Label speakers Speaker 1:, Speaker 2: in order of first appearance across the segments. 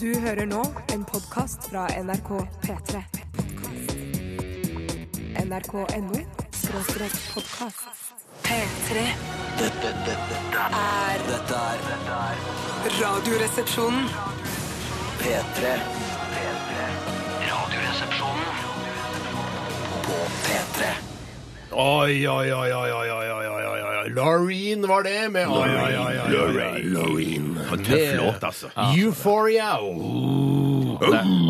Speaker 1: Du hører nå en podkast fra NRK P3. NRK.no skråstrek podkast. P3
Speaker 2: Dette, dette, dette,
Speaker 1: er
Speaker 2: dette er dette er
Speaker 1: Radioresepsjonen.
Speaker 2: P3. P3. Radioresepsjonen på P3.
Speaker 3: Oi, oi, oi, oi, oi, oi, oi, oi, oi, oi. Loreen var det med oi, oi, oi, oi, oi, oi.
Speaker 4: Tøff låt, altså.
Speaker 3: Euphoria. Og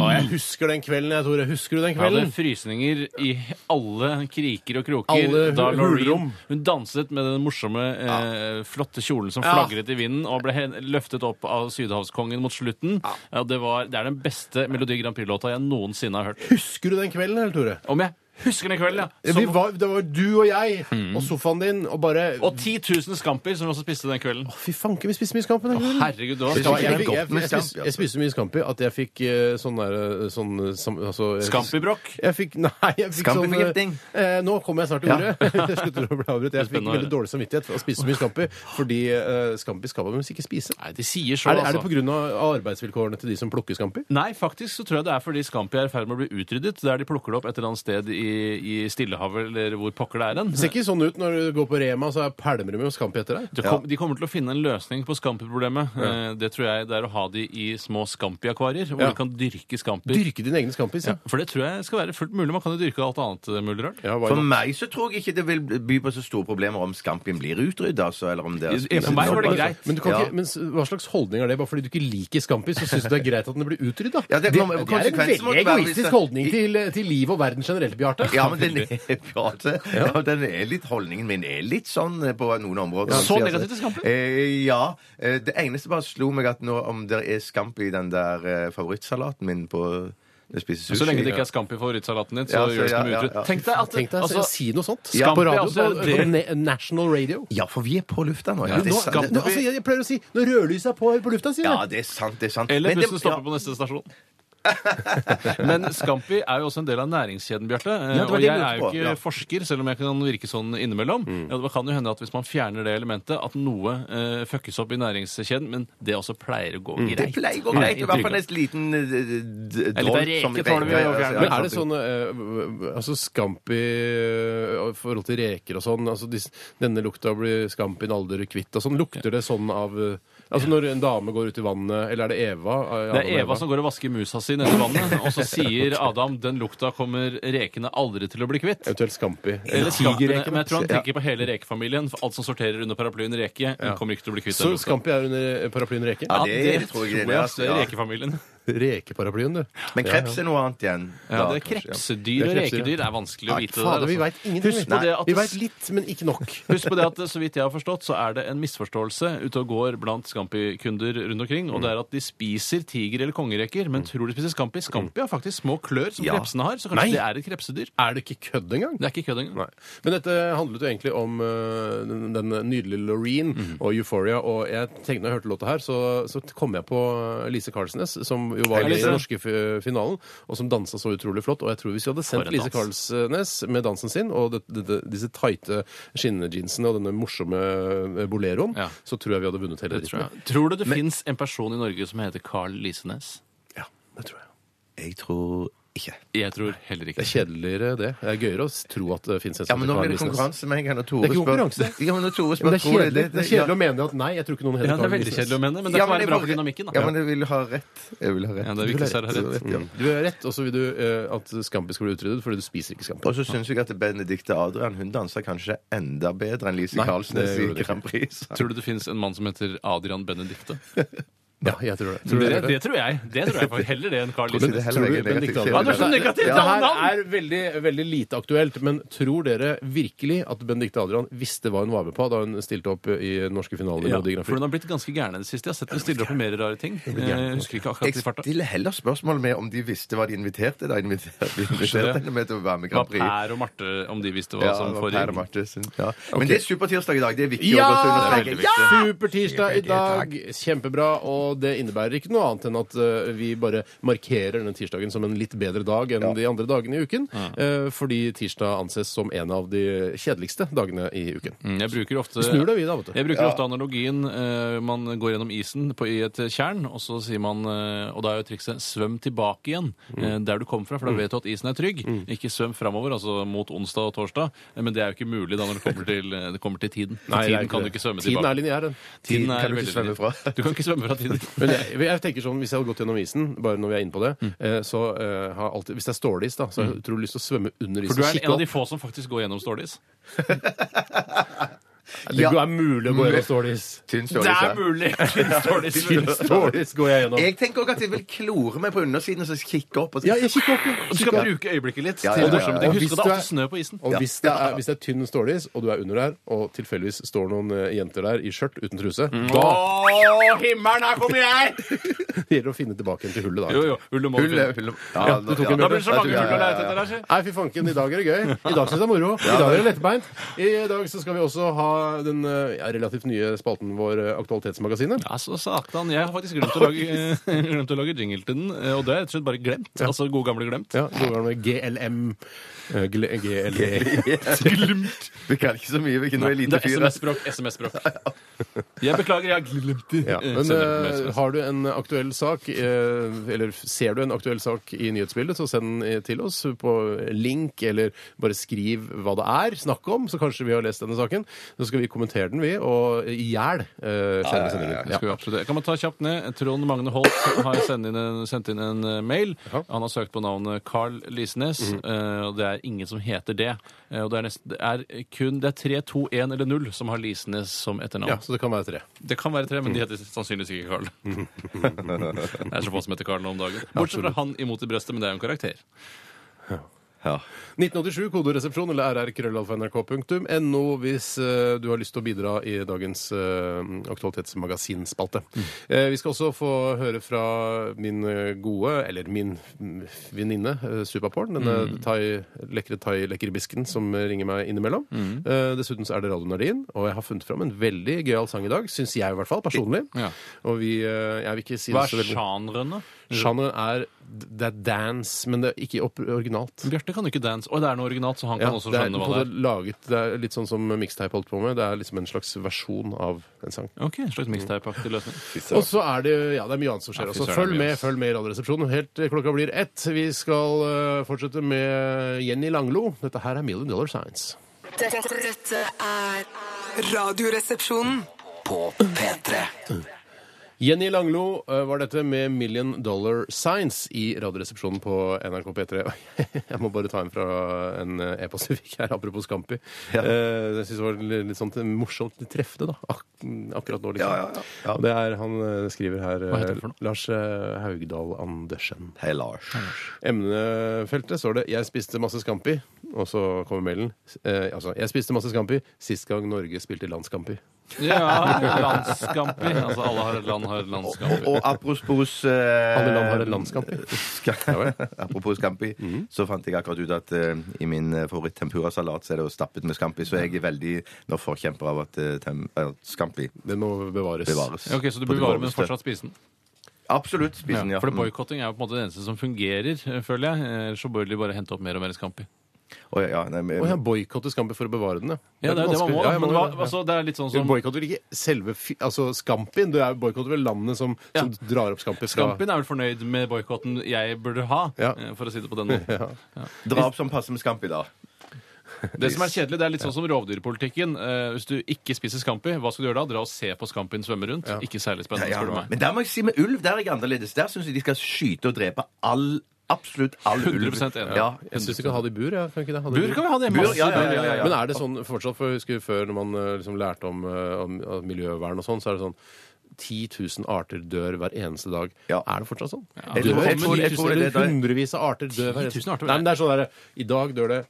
Speaker 3: jeg husker den kvelden, jeg, Tore. Husker du den
Speaker 5: Jeg hadde
Speaker 3: kvelden?
Speaker 5: frysninger i alle kriker og kroker
Speaker 3: Alle
Speaker 5: da
Speaker 3: hu- hulrom.
Speaker 5: Loreen hun danset med den morsomme, eh, flotte kjolen som
Speaker 3: Ja.
Speaker 5: flagret i vinden og ble hen- løftet opp av Sydhavskongen mot slutten. Ja, det, var, det er den beste Melodi Grand Prix-låta jeg noensinne har hørt.
Speaker 3: Husker du den kvelden, eller, Tore?
Speaker 5: Om jeg husker den kvelden, ja!
Speaker 3: Vi
Speaker 5: Som,
Speaker 3: var, det var du og jeg og sofaen din og bare
Speaker 5: og 10 000 skamper som vi også spiste den kvelden.
Speaker 3: Fy fanken, vi spiste mye Scampi den kvelden.
Speaker 5: Herregud, det var
Speaker 3: Ja, jeg,
Speaker 4: skikkelig
Speaker 3: fikk- jeg,
Speaker 4: godt med
Speaker 3: jeg, spis-
Speaker 4: Scampi, altså.
Speaker 3: jeg spiste så mye Scampi at jeg fikk eh, sånn der eh, sånn, eh, sam, altså, jeg-
Speaker 5: Scampi-brokk.
Speaker 3: Jeg fikk, nei, jeg fikk sånn
Speaker 4: Scampi-forgiftning.
Speaker 3: eh, Nå kommer jeg snart til ordet. Jeg slutter å bli avbrutt. Jeg fikk
Speaker 5: Spennende å høre.
Speaker 3: veldig dårlig samvittighet for å spise så mye Scampi, fordi eh, Scampi skal man visst ikke spise.
Speaker 5: Nei, de sier så,
Speaker 3: Er det, er det
Speaker 5: altså.
Speaker 3: pga. arbeidsvilkårene til de som plukker Scampi?
Speaker 5: Nei, faktisk så tror jeg det er fordi Scampi er i ferd med å bli utryddet. Der de plukker det opp et eller annet sted i, i Stillehavet eller hvor pokker det er hen.
Speaker 3: Det ser ikke sånn ut når du går på Rema, så er pælmer du med Scampi etter deg.
Speaker 5: Det kom, De kommer til å finne en løsning på Scampi-problemet. Eh, Det tror jeg det er å ha de i små Scampi-akvarier, hvor
Speaker 3: Ja.
Speaker 5: du kan dyrke Scampi.
Speaker 3: Dyrke dine egne Scampis, ja.
Speaker 5: For det tror jeg skal være fullt mulig. Man kan jo dyrke alt annet eh, mulig rart.
Speaker 3: ja why
Speaker 4: For
Speaker 3: not?
Speaker 4: meg så tror jeg ikke det vil by på så store problemer om Skampien blir utrydda. Altså, eller om det er
Speaker 5: Ja, for meg var det greit.
Speaker 3: Men, du kan
Speaker 4: Ja.
Speaker 3: ikke, men s- hva slags holdning er det? Bare fordi du ikke liker Scampi, så syns du det er greit at den blir utrydda?
Speaker 4: Ja, det-
Speaker 3: det er en
Speaker 4: konsekvensen måtte
Speaker 3: veldig
Speaker 4: være hvis
Speaker 3: egoistisk
Speaker 4: det-
Speaker 3: holdning til, til liv og verden generelt, Bjarte.
Speaker 4: Ja, men den er, ja, det- ja, den er litt, holdningen min er litt sånn eh, på noen områder.
Speaker 5: Så negativ sånn til Scampi?
Speaker 4: Eh, ja. Eh, Det eneste bare slo meg at nå om det er Scampi i den der eh, favorittsalaten min på når jeg spiser sushi
Speaker 5: Så lenge det ikke er Scampi i favorittsalaten din, så
Speaker 4: Ja, så-
Speaker 5: gjør det
Speaker 4: ja,
Speaker 5: som
Speaker 4: ja,
Speaker 5: utryddet.
Speaker 4: ja.
Speaker 5: Tenk deg at
Speaker 3: Tenk deg å
Speaker 5: altså,
Speaker 3: si noe sånt.
Speaker 5: Ja.
Speaker 3: på radio,
Speaker 5: altså,
Speaker 3: på, på
Speaker 5: det-
Speaker 3: na- National Radio.
Speaker 4: Ja, for vi er på lufta nå. Ja,
Speaker 5: Ja,
Speaker 4: det,
Speaker 5: nå-
Speaker 4: er sant,
Speaker 3: Nå,
Speaker 4: det,
Speaker 3: altså, jeg, jeg pleier å si når rødlyset er på på lufta, sier
Speaker 4: ja,
Speaker 3: jeg.
Speaker 4: det er sant. det er sant
Speaker 5: Eller
Speaker 4: Men det-
Speaker 5: bussen stopper på neste stasjon. Men Scampi er jo også en del av næringskjeden, Bjarte. eh,
Speaker 4: Ja, det var
Speaker 5: og
Speaker 4: det
Speaker 5: jeg
Speaker 4: jeg lurte
Speaker 5: er jo
Speaker 4: på,
Speaker 5: ikke
Speaker 4: ja.
Speaker 5: forsker, selv om jeg kan virke sånn innimellom.
Speaker 4: Mm.
Speaker 5: Ja, det kan jo hende at hvis man fjerner det elementet, at noe eh, fuckes opp i næringskjeden, men det også pleier å gå greit.
Speaker 4: Det pleier å gå
Speaker 5: Ja,
Speaker 4: greit. I hvert fall
Speaker 5: inntrykket.
Speaker 4: en liten eh, d-
Speaker 5: Eller bare
Speaker 4: droll som
Speaker 5: reke tåler vi å
Speaker 4: Ja, ja,
Speaker 5: fjerne.
Speaker 4: ja,
Speaker 3: Men er det
Speaker 4: sant.
Speaker 3: sånn eh, altså Scampi eh, i forhold til reker og sånn altså dis- Denne lukta blir Scampien aldri kvitt og sånn. Lukter det sånn av eh, Altså når en dame går ut i vannet, eller er det Eva? eh, Adam
Speaker 5: Det
Speaker 3: og
Speaker 5: er Eva som går og vasker musa si nedi vannet, og så sier Adam den lukta kommer rekene aldri til å bli kvitt.
Speaker 3: Eventuelt Scampi.
Speaker 5: Eller skampene.
Speaker 3: Tigerreken.
Speaker 5: Men jeg tror han tenker på hele rekefamilien. For alt som sorterer under paraplyen reke, kommer ikke til å bli kvitt
Speaker 3: Så
Speaker 5: den lukta.
Speaker 3: Scampi er under paraplyen reke?
Speaker 4: Ja, det, tror jeg. det er,
Speaker 5: ass, det er
Speaker 4: ja.
Speaker 5: rekefamilien.
Speaker 3: Rekeparaplyen, du.
Speaker 4: Men kreps er noe annet igjen.
Speaker 5: Ja,
Speaker 4: da,
Speaker 5: det er
Speaker 4: kanskje, ja.
Speaker 5: krepsedyr og
Speaker 3: Det er krepsedyr.
Speaker 5: rekedyr. Det er vanskelig å
Speaker 3: Nei,
Speaker 5: vite det
Speaker 3: fader, vi
Speaker 5: der. altså.
Speaker 3: veit ingenting.
Speaker 5: Husk
Speaker 3: vi.
Speaker 5: på det at
Speaker 3: vi
Speaker 5: det
Speaker 3: veit
Speaker 5: s-
Speaker 3: litt, men ikke nok.
Speaker 5: Husk på det at så vidt jeg har forstått, så er det en misforståelse ute og går blant Scampi-kunder rundt omkring, og det er at de spiser tiger- eller kongereker, men tror de spiser Scampi. Scampi har faktisk små klør som
Speaker 4: Ja.
Speaker 5: krepsene har, så kanskje
Speaker 3: Nei.
Speaker 5: det er et krepsedyr.
Speaker 3: Er det ikke kødd engang?
Speaker 5: Det er ikke kødd engang.
Speaker 3: Nei. Men dette handlet jo egentlig om eh, den, den nydelige Loreen
Speaker 5: Mhm.
Speaker 3: og Euphoria. Og jeg tenkte når jeg hørte låta her, så, så kom jeg på Lise Karlsnes, som jo var
Speaker 5: Hei,
Speaker 3: med i
Speaker 5: Lise.
Speaker 3: den norske fi- finalen, og som dansa så utrolig flott. Og jeg tror hvis vi hadde sendt
Speaker 5: en
Speaker 3: Lise
Speaker 5: dans.
Speaker 3: Karlsnes med dansen sin og det, det, det, disse tighte skinnejeansene og denne morsomme eh, boleroen,
Speaker 5: Ja.
Speaker 3: så tror jeg vi hadde vunnet hele
Speaker 5: Det tror
Speaker 3: dritten.
Speaker 5: jeg. Tror du det fins en person i Norge som heter Carl Lisenes?
Speaker 3: Ja, det tror jeg.
Speaker 4: Jeg tror ikke.
Speaker 5: Jeg tror heller
Speaker 3: Det
Speaker 5: ikke
Speaker 3: er kjedeligere, det. Det er gøyere å tro at det fins en
Speaker 4: Ja, men nå
Speaker 3: Carl
Speaker 4: blir det
Speaker 3: Lisnes.
Speaker 4: konkurranse med en gang.
Speaker 3: Det er ikke konkurranse.
Speaker 4: Ja, men når Tore
Speaker 3: Men det er
Speaker 4: spør, tror jeg
Speaker 3: kjedelig, det er kjedelig
Speaker 4: ja.
Speaker 3: å mene at nei, jeg tror ikke noen heter
Speaker 5: Ja, det er
Speaker 3: Carl
Speaker 5: veldig
Speaker 3: Lisnes.
Speaker 5: kjedelig å mene, men det
Speaker 4: Ja,
Speaker 5: kan være bra
Speaker 4: jeg-
Speaker 5: for dynamikken,
Speaker 4: Ja,
Speaker 5: da.
Speaker 4: men jeg vil ha rett. Jeg vil ha rett.
Speaker 5: Ja, det er
Speaker 4: Du vil
Speaker 5: viktig
Speaker 4: ha
Speaker 5: å ha rett. Mm.
Speaker 4: du har ja.
Speaker 3: Du har rett, og så vil du eh, at Scampi skal bli utryddet fordi du spiser ikke Scampi.
Speaker 4: Og så syns jeg at Benedicte Adrian hun danser kanskje enda bedre enn Lise
Speaker 3: Nei,
Speaker 4: Karlsnes
Speaker 3: det
Speaker 4: i
Speaker 3: gjorde det ikke.
Speaker 4: Grand Prix.
Speaker 5: Tror du det finnes en mann som heter Adrian Benedicte?
Speaker 3: Ja, jeg tror det.
Speaker 5: Det,
Speaker 3: Tror dere
Speaker 5: det tror jeg. Det tror jeg faktisk Heller det enn Carl
Speaker 4: Men-
Speaker 5: Lisenes.
Speaker 4: heller
Speaker 3: Tror du
Speaker 4: ikke negativt.
Speaker 3: Benedicte
Speaker 4: Ja,
Speaker 3: Adrian
Speaker 4: det er så
Speaker 5: negativt,
Speaker 3: Det
Speaker 5: det er
Speaker 3: her
Speaker 5: navn.
Speaker 3: er veldig, veldig lite aktuelt, men tror dere virkelig at Benedicte Adrian visste hva hun var med på da hun stilte opp i den norske finalen i
Speaker 5: Ja,
Speaker 3: Melodi Grand
Speaker 5: for
Speaker 3: Prix?
Speaker 5: hun har blitt ganske gæren i det siste. Jeg har sett henne stille opp i mer rare ting. Jeg husker ikke akkurat
Speaker 4: Jeg
Speaker 5: i farta.
Speaker 4: stiller heller spørsmål med om de visste hva de inviterte da de inviterte, de inviterte henne med til å være med i
Speaker 5: Hva
Speaker 4: Grand Prix.
Speaker 5: Per og Marte, om de visste hva
Speaker 4: Ja,
Speaker 5: som
Speaker 4: det var Per og
Speaker 5: foregikk.
Speaker 4: Martinsen. Ja. Men det er supertirsdag i dag. Det er viktig å
Speaker 3: Ja!
Speaker 4: godt understreke.
Speaker 3: Supertirsdag i
Speaker 4: Det er veldig
Speaker 3: dag. Kjempebra. Og og det innebærer ikke noe annet enn at eh, vi bare markerer denne tirsdagen som en litt bedre dag enn de andre dagene i uken, eh, fordi tirsdag anses som en av de kjedeligste dagene i uken.
Speaker 5: Mm, Jeg bruker ofte,
Speaker 3: Snur deg vi da, vet du.
Speaker 5: jeg bruker ofte analogien eh, man går gjennom isen på, i et tjern, og så sier man eh, Og da er jo trikset 'svøm tilbake igjen'
Speaker 3: Mm.
Speaker 5: eh, der du kom fra, for da vet du at isen er trygg. Ikke svøm framover, altså mot onsdag og torsdag, eh, men det er jo ikke mulig da når det kommer til, eh, det kommer til tiden. For
Speaker 3: Nei, det er
Speaker 5: tiden kan du
Speaker 3: det.
Speaker 5: ikke svømme
Speaker 3: Tiden
Speaker 5: tilbake.
Speaker 3: er lineær, den.
Speaker 4: Tiden kan du ikke
Speaker 5: veldig
Speaker 4: svømme
Speaker 5: lineær.
Speaker 4: fra.
Speaker 5: Du kan ikke svømme fra tiden.
Speaker 3: Men jeg, jeg tenker sånn, Hvis jeg hadde gått gjennom isen, bare når vi er inne på det
Speaker 5: Mm.
Speaker 3: eh, så eh, har alltid, Hvis det er stålis, da, så har jeg utrolig lyst til å svømme under isen.
Speaker 5: For du er en av
Speaker 3: skikkelig
Speaker 5: de få som faktisk går gjennom stålis.
Speaker 3: opp. Det er mulig å gå gjennom stålis.
Speaker 4: Tynn størrelse.
Speaker 5: mulig! Stålis.
Speaker 3: Stålis går jeg gjennom.
Speaker 4: Jeg tenker også at jeg vil klore meg på undersiden og så kikke opp. Og så
Speaker 3: Ja, jeg kikker opp. ja.
Speaker 5: Du skal bruke øyeblikket litt.
Speaker 4: Ja,
Speaker 5: til
Speaker 4: ja, ja,
Speaker 5: morsomme
Speaker 4: ja.
Speaker 5: ting.
Speaker 3: Og
Speaker 5: Husk
Speaker 3: hvis du
Speaker 5: at det er
Speaker 3: er-
Speaker 5: alltid snø på isen.
Speaker 3: Og
Speaker 4: Ja.
Speaker 3: hvis det, er, hvis det er tynn stålis, og du er under der, og tilfeldigvis står noen eh, jenter der i skjørt uten truse, da
Speaker 5: himmelen, her kommer jeg!
Speaker 3: gjelder det å finne tilbake igjen til hullet. da.
Speaker 5: Jo, jo, hullet må
Speaker 4: Hullet, hullet.
Speaker 3: Ja, du tok en
Speaker 5: Da
Speaker 3: bjørn.
Speaker 5: blir det så mange
Speaker 4: Ja, ja,
Speaker 5: huller å
Speaker 4: ja, ja.
Speaker 5: lete etter her, si.
Speaker 3: Nei, fy fanken, i dag er det gøy. I dag syns jeg det er moro. I dag er det lettbeint. I dag så skal vi også ha den eh, ja, relativt nye spalten vår, eh, Aktualitetsmagasinet.
Speaker 5: Altså, satan, jeg har faktisk glemt å lage, eh, glemt å lage jingle til den, eh, og det er rett og slett bare glemt. Altså god gamle glemt.
Speaker 3: Ja, noen ganger med GLM. eh, gle- GLE.
Speaker 5: Glemt!
Speaker 4: Vi kan ikke så mye. Vi kan være
Speaker 5: Det
Speaker 4: lite
Speaker 5: er
Speaker 4: fyr.
Speaker 5: SMS-språk. SMS-språk. Jeg beklager, jeg har glemt det.
Speaker 3: Ja,
Speaker 5: Eh,
Speaker 3: men
Speaker 5: sender den med
Speaker 3: eh,
Speaker 5: SMS.
Speaker 3: har du en aktuell sak, eh, eller ser du en aktuell sak i nyhetsbildet, så send den eh, til oss på link, eller bare skriv hva det er snakk om, så kanskje vi har lest denne saken. Så skal vi kommentere den, vi, og i hjel eh, sende sendingen.
Speaker 5: Det skal vi absolutt. Kan man ta kjapt ned? Trond Magne Holt har sendt inn en, sendt inn en eh, mail.
Speaker 3: Jaha.
Speaker 5: Han har søkt på navnet Carl Lisnes, eh, og det er ingen som heter det. Eh, Og det er, nest, det er kun det er 3, 2, 1 eller 0 som har Lisnes som etternavn.
Speaker 3: Ja, så det kan være tre.
Speaker 5: Det kan være tre, men de heter sannsynligvis ikke Carl. det er så få som heter Carl nå om dagen. Bortsett fra han imot i brøstet, men det er jo en karakter.
Speaker 3: 1987, kodoresepsjon eller rrkrøllalfa.nrk.no hvis eh, du har lyst til å bidra i dagens eh, aktualitetsmagasinspalte.
Speaker 5: Mm.
Speaker 3: Eh, vi skal også få høre fra min eh, gode, eller min mm, venninne, eh, Supaporn, denne
Speaker 5: Mm.
Speaker 3: thai, lekre thai-lekkerbisken som eh, ringer meg innimellom.
Speaker 5: Mm.
Speaker 3: Eh, dessuten så er det Radio Nardin, og jeg har funnet fram en veldig gøyal sang i dag, syns jeg i hvert fall, personlig.
Speaker 5: Ja.
Speaker 3: Og vi, eh, jeg vil ikke si
Speaker 5: Hva
Speaker 3: det så
Speaker 5: er
Speaker 3: veldig...
Speaker 5: sjangeren, da?
Speaker 3: Sjangeren er, det er dance, men det er ikke opp- originalt.
Speaker 5: Bjarte kan jo ikke dance. Og det er noe originalt, så han kan også
Speaker 3: det er,
Speaker 5: skjønne
Speaker 3: på en
Speaker 5: hva det
Speaker 3: måte
Speaker 5: er.
Speaker 3: Laget, det er litt sånn som mixtape holdt på med. Det er liksom en slags versjon av en sang.
Speaker 5: Ok, En slags mixtape-aktig løsning.
Speaker 3: Og så er det ja, det er mye annet som skjer.
Speaker 5: Ja, fy
Speaker 3: også.
Speaker 5: søren, det
Speaker 3: Følg
Speaker 5: er mye,
Speaker 3: med
Speaker 5: ass.
Speaker 3: følg med i Radioresepsjonen helt til klokka blir ett. Vi skal eh, fortsette med Jenny Langlo. Dette her er Million Dollar Science.
Speaker 6: Dette, dette er Radioresepsjonen.
Speaker 2: På P3.
Speaker 3: Jenny Langlo eh, var dette med Million Dollar Science i Radioresepsjonen på NRK P3. Jeg må bare ta en fra en eh, e-post vi fikk her, apropos Scampi. Eh, Jeg syns det var litt litt sånn morsomt litt treffende, da. Ak akkurat nå, liksom.
Speaker 4: Ja, ja, ja. Ja.
Speaker 3: Og det er han eh, skriver her
Speaker 5: Hva heter det for noe?
Speaker 3: eh, Lars eh, Haugdal Andersen.
Speaker 4: Hei, Lars.
Speaker 3: Emnefeltet står det 'Jeg spiste masse Scampi', og så kommer mailen. Eh, altså 'Jeg spiste masse Scampi sist gang Norge spilte landskampi'.
Speaker 5: Ja, landskamper. Altså, alle har et land, har et landskamper.
Speaker 4: Og apropos eh,
Speaker 3: Alle land har en landskamp.
Speaker 4: Ska- Apropos Scampi, så fant jeg akkurat ut at eh, i min eh, favoritt-tempura-salat så er det jo stappet med Scampi, så jeg er veldig nå forkjemper av at eh, tem eh, Scampi
Speaker 3: Den må bevares.
Speaker 4: bevares.
Speaker 5: Ja, Ok, Så du
Speaker 4: På det
Speaker 5: bevarer, men
Speaker 4: groveste.
Speaker 5: fortsatt spise den?
Speaker 4: Absolutt. Spis den, ja.
Speaker 5: For det
Speaker 4: Mm.
Speaker 5: boikotting er jo på en måte det eneste som fungerer, eh, føler jeg. Ellers så bør de bare hente opp mer og mer Scampi.
Speaker 4: Å, ja, nei, men-
Speaker 3: Å ja, boikotte Scampi for å bevare den, ja.
Speaker 5: Ja, det er jo det man må,
Speaker 3: vanskelig.
Speaker 5: da.
Speaker 3: Ja,
Speaker 5: Men
Speaker 3: må
Speaker 5: hva,
Speaker 3: jo det, ja.
Speaker 5: altså, det er litt sånn
Speaker 3: Du
Speaker 5: som
Speaker 3: boikotter ikke selve fi- altså Scampien. Du er boikotter vel landet som, som drar opp Scampi fra
Speaker 5: Scampien er vel fornøyd med boikotten jeg burde ha,
Speaker 3: Ja.
Speaker 5: eh, for å si det på den måten.
Speaker 4: Dra opp som passer med Scampi, da.
Speaker 5: Det som er kjedelig, det er litt sånn som rovdyrpolitikken. Eh, Hvis du ikke spiser Scampi, hva skal du gjøre da? Dra og se på Scampien svømme rundt? Ikke særlig spennende,
Speaker 4: Ja,
Speaker 5: spør du
Speaker 4: ja.
Speaker 5: meg.
Speaker 4: Men der må jeg si med ulv, der er jeg annerledes. Der syns jeg de skal skyte og drepe all Absolutt all ulv.
Speaker 5: 100% enig.
Speaker 4: Ja.
Speaker 3: Jeg syns du kan ha det i bur. Ja. Kan ikke det? Ha det i
Speaker 5: Bur kan vi ha det.
Speaker 4: Bur,
Speaker 5: Masse
Speaker 4: ja, ja, ja, ja, ja.
Speaker 3: Men er det sånn fortsatt? For jeg husker Før når man eh, liksom lærte om, eh, om om miljøvern og sånn, så er det sånn 10 000 arter dør hver eneste dag.
Speaker 4: Ja.
Speaker 3: Er det fortsatt sånn?
Speaker 4: Jeg
Speaker 3: Dør
Speaker 4: tror- jeg
Speaker 3: 10 000,
Speaker 4: tror- jeg tror det
Speaker 3: eller
Speaker 4: er det.
Speaker 3: hundrevis av arter dør hver
Speaker 5: 10 000
Speaker 3: eneste
Speaker 5: arter?
Speaker 3: Nei, men det er sånn derre I dag dør det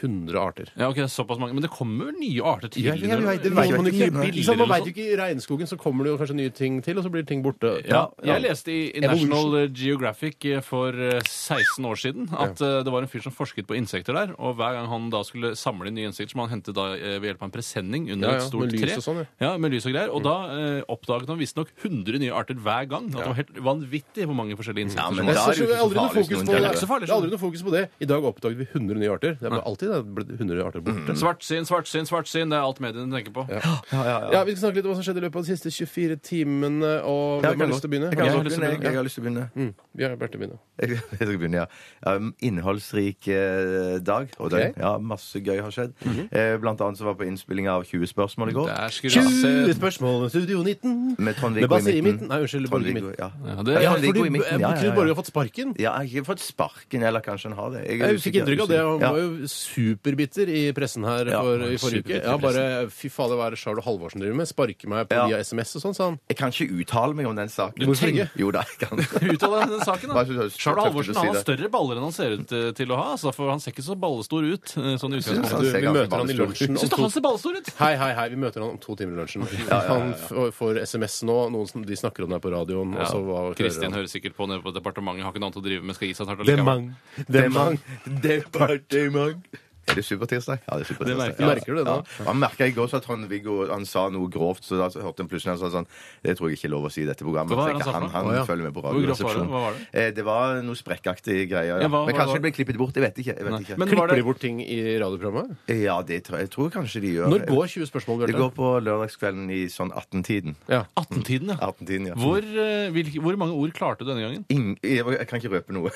Speaker 3: 100 arter.
Speaker 5: Ja, ok, det er såpass mange. Men det kommer jo nye arter til.
Speaker 3: Ja, jeg vet, det
Speaker 5: Noen
Speaker 3: vet man
Speaker 5: nye
Speaker 3: ikke.
Speaker 5: biller
Speaker 3: Ikke sant, Man
Speaker 5: eller
Speaker 3: veit jo ikke i regnskogen, så kommer det jo kanskje nye ting til, og så blir ting borte.
Speaker 5: Ja,
Speaker 3: Ja.
Speaker 5: jeg leste i, i National Geographic eh, for eh, 16 år siden at eh, det var en fyr som forsket på insekter der, og hver gang han da skulle samle inn nye insekter, som han hentet da eh, ved hjelp av en presenning under
Speaker 3: Ja, ja,
Speaker 5: et stort
Speaker 3: med lys
Speaker 5: tre,
Speaker 3: og sånn,
Speaker 5: ja. med lys og greier, og da eh, oppdaget oppdaget han visstnok 100 nye arter hver gang. At det var helt vanvittig hvor mange forskjellige
Speaker 4: Ja,
Speaker 5: insekter
Speaker 4: men
Speaker 5: som var.
Speaker 4: da er
Speaker 3: Jeg
Speaker 4: det jo
Speaker 3: skjønner
Speaker 4: ikke
Speaker 3: aldri
Speaker 4: så
Speaker 3: noe fokus på det.
Speaker 5: Det er ikke så farlig,
Speaker 4: farlig hvis noen gjør
Speaker 3: Det er aldri noe fokus på det. I dag oppdaget vi 100 nye arter. Det er bare alltid det er blitt 100 arter borte.
Speaker 4: Mm,
Speaker 5: Svartsyn, svartsyn, svartsyn. Det er alt mediene tenker på.
Speaker 3: Ja, Vi skal snakke litt om hva som skjedde i løpet av de siste 24 timene. Og hvem
Speaker 4: Jeg
Speaker 3: har
Speaker 4: kan godt-
Speaker 3: lyst til å begynne?
Speaker 4: Jeg,
Speaker 5: Jeg
Speaker 4: kan
Speaker 5: har
Speaker 4: godt
Speaker 5: lyst til å
Speaker 4: begynne, jeg,
Speaker 5: begynne.
Speaker 4: jeg har lyst til å begynne.
Speaker 3: Mm, vi har Berte begynne.
Speaker 4: Jeg skal begynne, ja. Um, Innholdsrik eh, dag og døgn. Ja, masse gøy har skjedd.
Speaker 3: Mhm.
Speaker 4: Eh, Blant annet så var jeg på innspilling av 20 spørsmål i går.
Speaker 5: Der skulle jeg se.
Speaker 3: 20 spørsmål Studio 19!
Speaker 4: Med
Speaker 3: Med
Speaker 4: Trond-Viggo
Speaker 3: Basse i midten. Nei, unnskyld. Borge i
Speaker 4: Trond-Viggo,
Speaker 3: midten.
Speaker 4: ja.
Speaker 5: Ja, det,
Speaker 3: Ja,
Speaker 4: Ja,
Speaker 3: fordi
Speaker 4: Viggo i
Speaker 3: eh,
Speaker 4: midten, ja, ja,
Speaker 3: Knut
Speaker 4: ja.
Speaker 3: Borge har fått sparken.
Speaker 4: ja, jeg har ikke fått sparken, eller kanskje han har det. er
Speaker 3: Jeg fikk
Speaker 4: usikker-
Speaker 3: inntrykk av det. Han
Speaker 4: Ja.
Speaker 3: var jo superbitter i pressen her
Speaker 4: Ja,
Speaker 3: for,
Speaker 4: han
Speaker 3: i
Speaker 4: var
Speaker 3: forrige uke.
Speaker 4: superbitter i
Speaker 3: Ja, bare fy fader, hva er det Charlo Halvorsen driver med? Sparker meg på
Speaker 4: Ja.
Speaker 3: via SMS og sånn, sa han.
Speaker 4: Jeg kan ikke uttale meg om den saken.
Speaker 3: Hvorfor ikke?
Speaker 4: Jo da, jeg kan.
Speaker 5: Uttale deg om den saken,
Speaker 4: Bare så det
Speaker 5: da.
Speaker 4: er så
Speaker 5: Charles
Speaker 4: tøft å
Speaker 5: Halvorsen
Speaker 4: si
Speaker 5: han har
Speaker 4: det.
Speaker 5: større baller enn han ser ut eh, til å ha. Altså, for han ser ikke så ballestor ut. eh, Sånn i
Speaker 4: Synes
Speaker 5: utgangspunktet.
Speaker 4: han
Speaker 3: Du,
Speaker 4: ser
Speaker 3: vi
Speaker 4: ganske
Speaker 3: møter han i
Speaker 4: ballestor ut.
Speaker 3: lunsjen
Speaker 5: Syns
Speaker 3: om
Speaker 5: du
Speaker 3: to
Speaker 5: han ser ballestor ut?
Speaker 3: Hei, hei, hei, vi møter han om to timer i lunsjen. Han f- får SMS nå, noen som de snakker om deg på radioen, og så hva
Speaker 5: Kristin hører sikkert på nede på departementet, har ikke noe annet å drive med. Skal gi seg snart
Speaker 3: Det er
Speaker 5: allikevel.
Speaker 3: mang. Det er mang.
Speaker 4: Departement. Er det supertirsdag? Ja, det er supertirsdag.
Speaker 5: Det merker-
Speaker 4: ja.
Speaker 3: merker du det da?
Speaker 4: Ja. Han merka i går så at Trond-Viggo han sa noe grovt, så da hørte han plutselig han sa sånn Det tror jeg ikke er lov å si i dette programmet.
Speaker 5: Hva var det han
Speaker 4: Så jeg-
Speaker 5: sa for
Speaker 4: han,
Speaker 5: noe?
Speaker 4: han
Speaker 3: Å, ja.
Speaker 4: følger med på
Speaker 5: Hvor grovt var det?
Speaker 4: radioresepsjonen.
Speaker 5: Hva var det?
Speaker 4: Eh, det var noe sprekkaktige greier. Ja.
Speaker 5: Ja, hva-
Speaker 4: Men
Speaker 5: hva
Speaker 4: kanskje
Speaker 5: var
Speaker 4: det ble klippet bort? Jeg vet ikke. Jeg vet
Speaker 5: Men
Speaker 4: ikke.
Speaker 5: var
Speaker 3: Klipper
Speaker 5: det,
Speaker 3: de bort ting i radioprogrammet?
Speaker 4: Ja, det tror jeg, jeg tror kanskje de gjør.
Speaker 3: Når går 20 spørsmål,
Speaker 4: Det
Speaker 3: Bjarte?
Speaker 4: går på lørdagskvelden i sånn 18-tiden.
Speaker 3: Ja.
Speaker 5: 18-tiden, ja.
Speaker 4: 18-tiden, ja.
Speaker 5: Hvor, eh, hvilke, hvor mange ord klarte du denne gangen?
Speaker 4: Ing- jeg kan ikke røpe noe.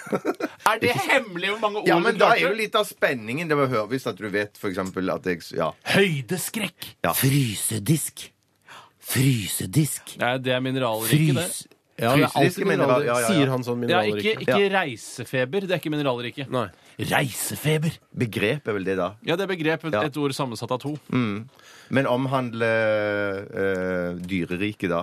Speaker 5: Er det hemmelig hvor mange ord
Speaker 4: Ja, men da er jo litt av spenningen det var å høre hvis at du vet for eksempel at jeg Ja.
Speaker 5: Høydeskrekk!
Speaker 4: ja.
Speaker 7: Frysedisk. Frysedisk.
Speaker 5: Nei, det er mineralriket, det.
Speaker 7: Frys...
Speaker 3: Ja, det er
Speaker 4: Fysiske
Speaker 3: alltid mineraler.
Speaker 4: mineraler, ja, ja, ja.
Speaker 3: Sier han sånn
Speaker 5: Ja, ikke,
Speaker 3: mineralrik?
Speaker 5: ikke reisefeber. Det er ikke mineralriket.
Speaker 3: Nei.
Speaker 7: Reisefeber.
Speaker 4: Begrep er vel det, da.
Speaker 5: Ja, det er begrep.
Speaker 4: Ja.
Speaker 5: Et ord sammensatt av to.
Speaker 4: Men omhandler eh, dyreriket, da.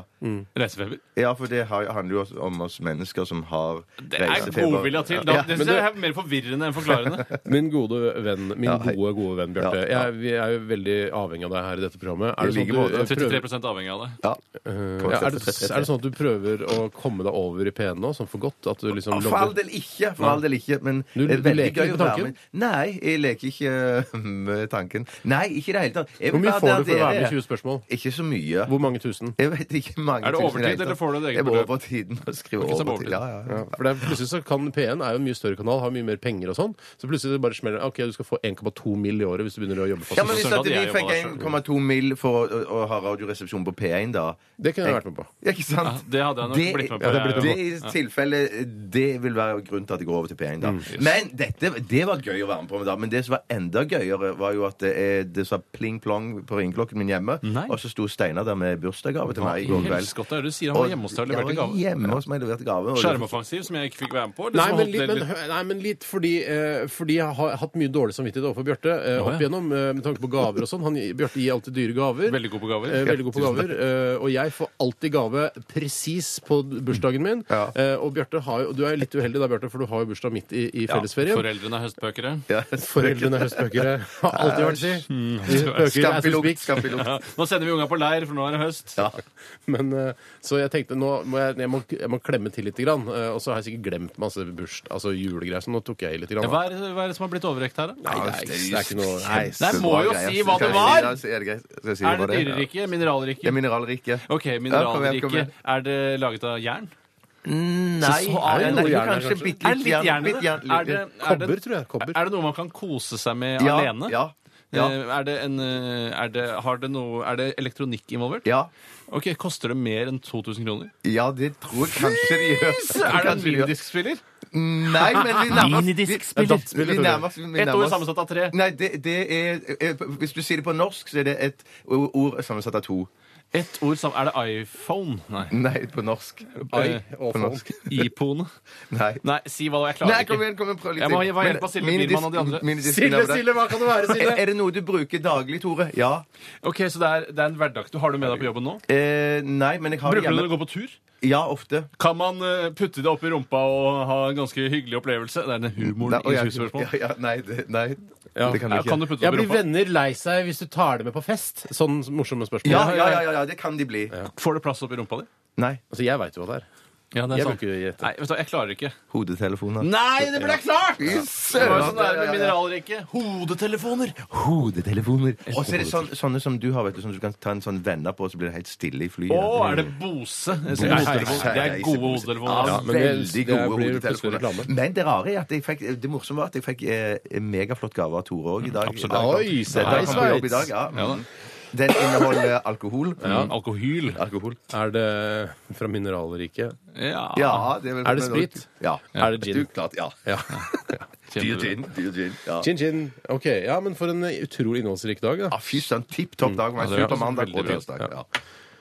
Speaker 5: Reisefeber.
Speaker 4: Ja, for det har, handler jo også om oss mennesker som har
Speaker 5: Det er godvilja til. Da,
Speaker 4: Ja,
Speaker 5: det
Speaker 4: men
Speaker 5: synes jeg er mer forvirrende enn forklarende.
Speaker 3: Min gode venn, min
Speaker 4: Ja, hei.
Speaker 3: gode, gode venn Bjarte.
Speaker 4: Ja, ja.
Speaker 3: Jeg- Vi er jo veldig avhengig av deg her i dette programmet. Er det sånn at
Speaker 4: I like
Speaker 3: du
Speaker 4: måte.
Speaker 3: eh, prøver Eh,
Speaker 5: 33 avhengig av det.
Speaker 3: ja,
Speaker 4: ja.
Speaker 3: er, det, er det sånn at du prøver å komme deg over i P1 nå, sånn for godt? At du liksom
Speaker 4: Ja, For all
Speaker 3: logger
Speaker 4: del ikke. for all del ikke, Men
Speaker 3: Du-
Speaker 4: det er
Speaker 3: du
Speaker 4: veldig
Speaker 3: leker
Speaker 4: gøy
Speaker 3: ikke på
Speaker 4: å være
Speaker 3: tanken?
Speaker 4: med. Nei, jeg leker ikke eh, med tanken. Nei, ikke i det hele tatt.
Speaker 3: Hvor
Speaker 4: Jeg vil
Speaker 3: mye
Speaker 4: bare
Speaker 3: får du for å
Speaker 4: dere-
Speaker 3: være med i 20 spørsmål?
Speaker 4: Ikke så mye.
Speaker 3: Hvor mange tusen?
Speaker 4: Jeg vet ikke mange
Speaker 5: Er det
Speaker 4: tusen i
Speaker 5: overtid,
Speaker 4: hele tatt.
Speaker 5: eller får du det eget
Speaker 4: Jeg må
Speaker 5: beløp?
Speaker 4: over tiden og skrive
Speaker 5: ikke som
Speaker 4: overtid. Ja,
Speaker 5: overtid.
Speaker 4: ja, ja.
Speaker 3: Ja, for det er, plutselig så kan P1 er jo en mye større kanal, har mye mer penger og sånn. Så plutselig det bare smeller det. OK, du skal få 1,2 mill. i året hvis du begynner å jobbe sånn. fast.
Speaker 4: Ja, men
Speaker 5: Så
Speaker 4: Hvis
Speaker 5: skjønner
Speaker 4: at
Speaker 5: jeg
Speaker 4: vi
Speaker 5: at jeg
Speaker 4: fikk
Speaker 5: jobber
Speaker 4: 1,2 mill. for å, å, å ha radioresepsjon på P1, da
Speaker 3: Det kunne jeg vært med på.
Speaker 4: Ja, ikke sant?
Speaker 5: Det hadde jeg nok
Speaker 4: Det-
Speaker 5: blitt med
Speaker 3: ja,
Speaker 5: på.
Speaker 3: det hadde blitt
Speaker 4: Det
Speaker 5: jeg,
Speaker 4: i tilfelle, det vil være grunnen til at det går over til P1.
Speaker 3: Mm,
Speaker 4: da. Men dette, det var gøy å være med på. med da. Men det som var enda gøyere, var jo at det, er, det sa pling-plong på ringeklokken min hjemme.
Speaker 5: Nei.
Speaker 4: Og så sto Steinar der med bursdagsgave til meg i
Speaker 5: ja.
Speaker 4: går kveld.
Speaker 5: Helskotte, er det du sier han var hjemme hos deg og leverte
Speaker 4: Ja,
Speaker 5: gave?
Speaker 4: Hjemme hos meg og leverte gave. og-
Speaker 5: Skjermoffensiv, som jeg ikke fikk være med på? eller
Speaker 3: Nei
Speaker 5: som
Speaker 3: men,
Speaker 5: holdt
Speaker 3: litt,
Speaker 5: det
Speaker 3: men, hø- nei, men litt fordi, eh, fordi jeg har hatt mye dårlig samvittighet overfor Bjarte eh, opp
Speaker 5: Å, ja.
Speaker 3: igjennom eh, med tanke på gaver og sånn. Han- Bjarte gir alltid dyre gaver.
Speaker 5: Veldig god på gaver.
Speaker 3: Eh, veldig god på gaver. Eh, og jeg får alltid gave presis på bursdagen min.
Speaker 4: Ja.
Speaker 3: Eh, og Bjarte har jo Du er jo litt uheldig da, Bjarte, for du har jo bursdag midt i, i fellesferien.
Speaker 5: Foreldrene er høstbøkere.
Speaker 4: Ja.
Speaker 3: Foreldrene er høstbøkere. Har alltid vært si. De spøker as we
Speaker 4: Skampilukt,
Speaker 3: speak.
Speaker 4: skampilukt.
Speaker 5: Ja. Nå sender vi unga på leir, for nå er det høst.
Speaker 3: Men, eh, så jeg tenkte nå må jeg, jeg, må, jeg må klemme til litt. Grann. eh, Og så har jeg sikkert glemt masse burs, altså julegreier, så nå tok jeg i litt. Grann, da.
Speaker 5: Hva er, hva er det som har blitt overrekt her, da?
Speaker 3: Nei, det er, ikke- det er ikke noe nei.
Speaker 5: Nei, må jo
Speaker 4: Kjempebra
Speaker 5: si
Speaker 4: greier.
Speaker 5: hva det
Speaker 4: Skal jeg
Speaker 5: var!
Speaker 4: si- Er det greit? Skal jeg si
Speaker 5: Er
Speaker 4: hva
Speaker 5: det
Speaker 4: det er?
Speaker 5: dyreriket?
Speaker 4: Det er
Speaker 5: Mineralriket?
Speaker 4: mineralriket.
Speaker 5: OK,
Speaker 4: Ja, kom igjen, kom
Speaker 5: mineralriket.
Speaker 4: igjen.
Speaker 5: Er det laget av jern?
Speaker 4: Nei,
Speaker 5: Så så er det
Speaker 4: nei,
Speaker 3: noe jern her,
Speaker 4: kanskje
Speaker 3: kanskje.
Speaker 4: bitte
Speaker 5: Er det litt jern i
Speaker 4: bitte
Speaker 5: det? Er det, er det,
Speaker 3: Kobber, tror jeg. Kobber.
Speaker 5: er det noe man kan kose seg med
Speaker 4: Ja,
Speaker 5: alene?
Speaker 4: Ja. Ja.
Speaker 5: Eh, Er, det en, eh, er, det, har det noe, er det elektronikk involvert?
Speaker 4: ja.
Speaker 5: Ok, Koster det mer enn 2000 kroner?
Speaker 4: Ja, det tror jeg kanskje de gjør.
Speaker 5: Er det en
Speaker 4: Kanskje de gjør.
Speaker 5: minidiskspiller?
Speaker 4: Nei, men vi nærmer oss
Speaker 7: Minidiskspiller.
Speaker 4: vi- Vi nærmer oss vi
Speaker 5: Ett
Speaker 4: nærmer
Speaker 5: ord
Speaker 4: oss-
Speaker 5: sammensatt av tre.
Speaker 4: Nei, det, det er eh, Hvis du sier det på norsk, så er det et o- ord sammensatt av to.
Speaker 5: Ett ord sammen. Er det iPhone? Nei.
Speaker 4: Nei, på norsk.
Speaker 5: Oi,
Speaker 3: og
Speaker 4: på norsk.
Speaker 5: Ipone?
Speaker 4: Nei.
Speaker 5: Nei, si hva jeg klarer
Speaker 4: Nei, kom
Speaker 5: ikke.
Speaker 4: igjen, kom igjen, prøv litt
Speaker 5: Jeg må
Speaker 4: til.
Speaker 5: få hjelp av Silje
Speaker 4: Men
Speaker 5: Birman og de andre.
Speaker 4: minidisk-
Speaker 3: Sille,
Speaker 4: minidisk-
Speaker 3: Sille, hva kan det være,
Speaker 4: Er,
Speaker 3: Sille?
Speaker 4: er det noe du bruker daglig, Tore? Ja.
Speaker 5: Ok, Så det er, det er en hverdag. Du har det med deg på jobben nå?
Speaker 4: Eh, nei, men jeg har det
Speaker 5: Bruker du det når
Speaker 4: hjemme.
Speaker 5: du går på tur?
Speaker 4: Ja, ofte.
Speaker 5: Kan man eh, putte det opp i rumpa og ha en ganske hyggelig opplevelse? Det er den humoren
Speaker 4: Nei, og
Speaker 5: i
Speaker 4: jeg-
Speaker 5: 20 spørsmål.
Speaker 4: Ja, ja, nei, det, nei
Speaker 3: Ja.
Speaker 4: det kan
Speaker 5: Ja,
Speaker 4: jeg ikke.
Speaker 5: Kan du putte det
Speaker 3: Jeg
Speaker 5: opp i
Speaker 3: blir
Speaker 5: rumpa?
Speaker 3: venner lei seg hvis du tar det med på fest. Sånn morsomme spørsmål.
Speaker 4: ja, ja, ja, ja, ja, det kan de bli.
Speaker 5: Får det plass opp i rumpa di?
Speaker 4: Nei.
Speaker 3: Altså, jeg veit jo hva det er.
Speaker 5: Ja, det er
Speaker 3: Jeg
Speaker 5: sant.
Speaker 3: bruker gjette.
Speaker 5: Nei, vet du hva, jeg klarer ikke.
Speaker 4: Hodetelefoner.
Speaker 5: Nei, det ble klart! Det var jo sånn
Speaker 4: Ja,
Speaker 5: der
Speaker 4: ja, ja,
Speaker 5: med
Speaker 4: ja.
Speaker 5: mineralrikke. Hodetelefoner!
Speaker 4: Hodetelefoner. Og så er det sånn, sånne som du har, vet du, som du kan ta en sånn venner på, og så blir det helt stille i flyet.
Speaker 5: Å, er det Bose? Jeg sier
Speaker 4: Nei,
Speaker 5: hodetelefon.
Speaker 4: nei,
Speaker 5: Det
Speaker 4: nei,
Speaker 5: er gode
Speaker 4: nei,
Speaker 5: hodetelefoner.
Speaker 3: Ja,
Speaker 5: altså.
Speaker 3: men det-
Speaker 4: Veldig
Speaker 3: det
Speaker 4: gode
Speaker 3: blir plutselig
Speaker 4: hodetelefoner.
Speaker 3: reklame.
Speaker 4: Men det rare er at jeg fikk, det morsomme var at jeg fikk eh, en megaflott gave av Tore òg i dag.
Speaker 5: absolutt.
Speaker 3: Oi,
Speaker 4: se der kom på jobb i dag. Ja. Mm.
Speaker 5: Ja da.
Speaker 4: Den inneholder alkohol. Mm.
Speaker 5: Ja, Mm, alkohyl.
Speaker 4: Alkohol.
Speaker 3: Er det fra mineralriket?
Speaker 5: Ja.
Speaker 4: Ja, det er, vel,
Speaker 3: Er det sprit?
Speaker 4: Ja.
Speaker 3: Er det gin?
Speaker 4: Du, klart, ja.
Speaker 3: Ja.
Speaker 4: Dyr gin. Dyr gin. Ja.
Speaker 3: Gin, gin. Ok, ja, men for en eh, utrolig innholdsrik dag, da.
Speaker 4: Ah, Fy søren, tipp topp dag. men
Speaker 5: Ja, det
Speaker 4: Super
Speaker 5: hørtes
Speaker 4: mandag
Speaker 5: veldig
Speaker 4: og
Speaker 5: bra ut.
Speaker 4: tirsdag. Ja.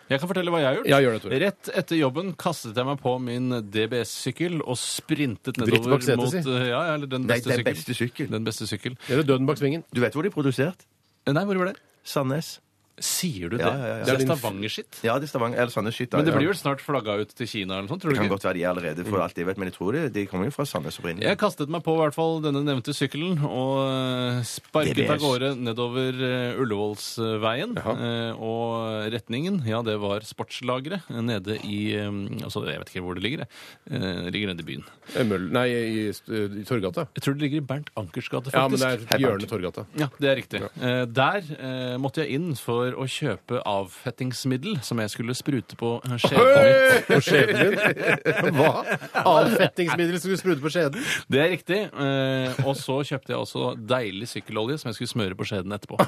Speaker 5: Jeg kan fortelle hva jeg har gjort.
Speaker 3: Ja, gjør det, Tore.
Speaker 5: Rett etter jobben kastet jeg meg på min DBS-sykkel og sprintet
Speaker 3: Drittbak
Speaker 5: nedover
Speaker 3: sete,
Speaker 5: mot
Speaker 3: si.
Speaker 5: eh, Ja, eller den
Speaker 4: Nei,
Speaker 5: beste
Speaker 4: den
Speaker 5: sykkel.
Speaker 4: beste sykkel.
Speaker 5: Den beste sykkel.
Speaker 3: Eller døden bak svingen.
Speaker 4: Du vet hvor de er produsert?
Speaker 5: Eh, Nei, hvor var det?
Speaker 4: Sandnes.
Speaker 5: Sier du det?
Speaker 4: Ja, ja, ja.
Speaker 5: Det er
Speaker 3: din-
Speaker 5: Stavanger-skitt.
Speaker 4: Ja, det er Stavanger. Eller Sandnes skytter.
Speaker 5: Men det
Speaker 4: ja.
Speaker 5: blir vel snart flagga ut til Kina eller noe sånt, tror
Speaker 4: Det
Speaker 5: du
Speaker 4: kan
Speaker 5: ikke?
Speaker 4: godt være de er allerede, for alt jeg vet, men jeg tror det, de kommer jo fra Sandnes opprinnelig.
Speaker 5: Jeg kastet meg på i hvert fall denne nevnte sykkelen og eh, sparket
Speaker 4: DBS.
Speaker 5: av gårde nedover eh, Ullevålsveien. eh, Og retningen, ja, det var sportslageret eh, nede i eh, Altså, jeg vet ikke hvor det ligger, jeg. Eh, det Ligger nede i byen.
Speaker 3: Eh, Møll... Nei, i, eh, i Torgata.
Speaker 5: Jeg tror det ligger i Bernt Ankers gate, faktisk.
Speaker 3: Ja, men det er hjørnet Torgata.
Speaker 5: Ja, det er riktig. Eh, der eh, måtte jeg inn for å kjøpe avfettingsmiddel som jeg skulle sprute på eh, skjeven.
Speaker 3: På skjeden din? Hva? Avfettingsmiddel som du sprute på skjeden?
Speaker 5: min. Det er riktig. Eh, og så kjøpte jeg også deilig sykkelolje som jeg skulle smøre på skjeden etterpå.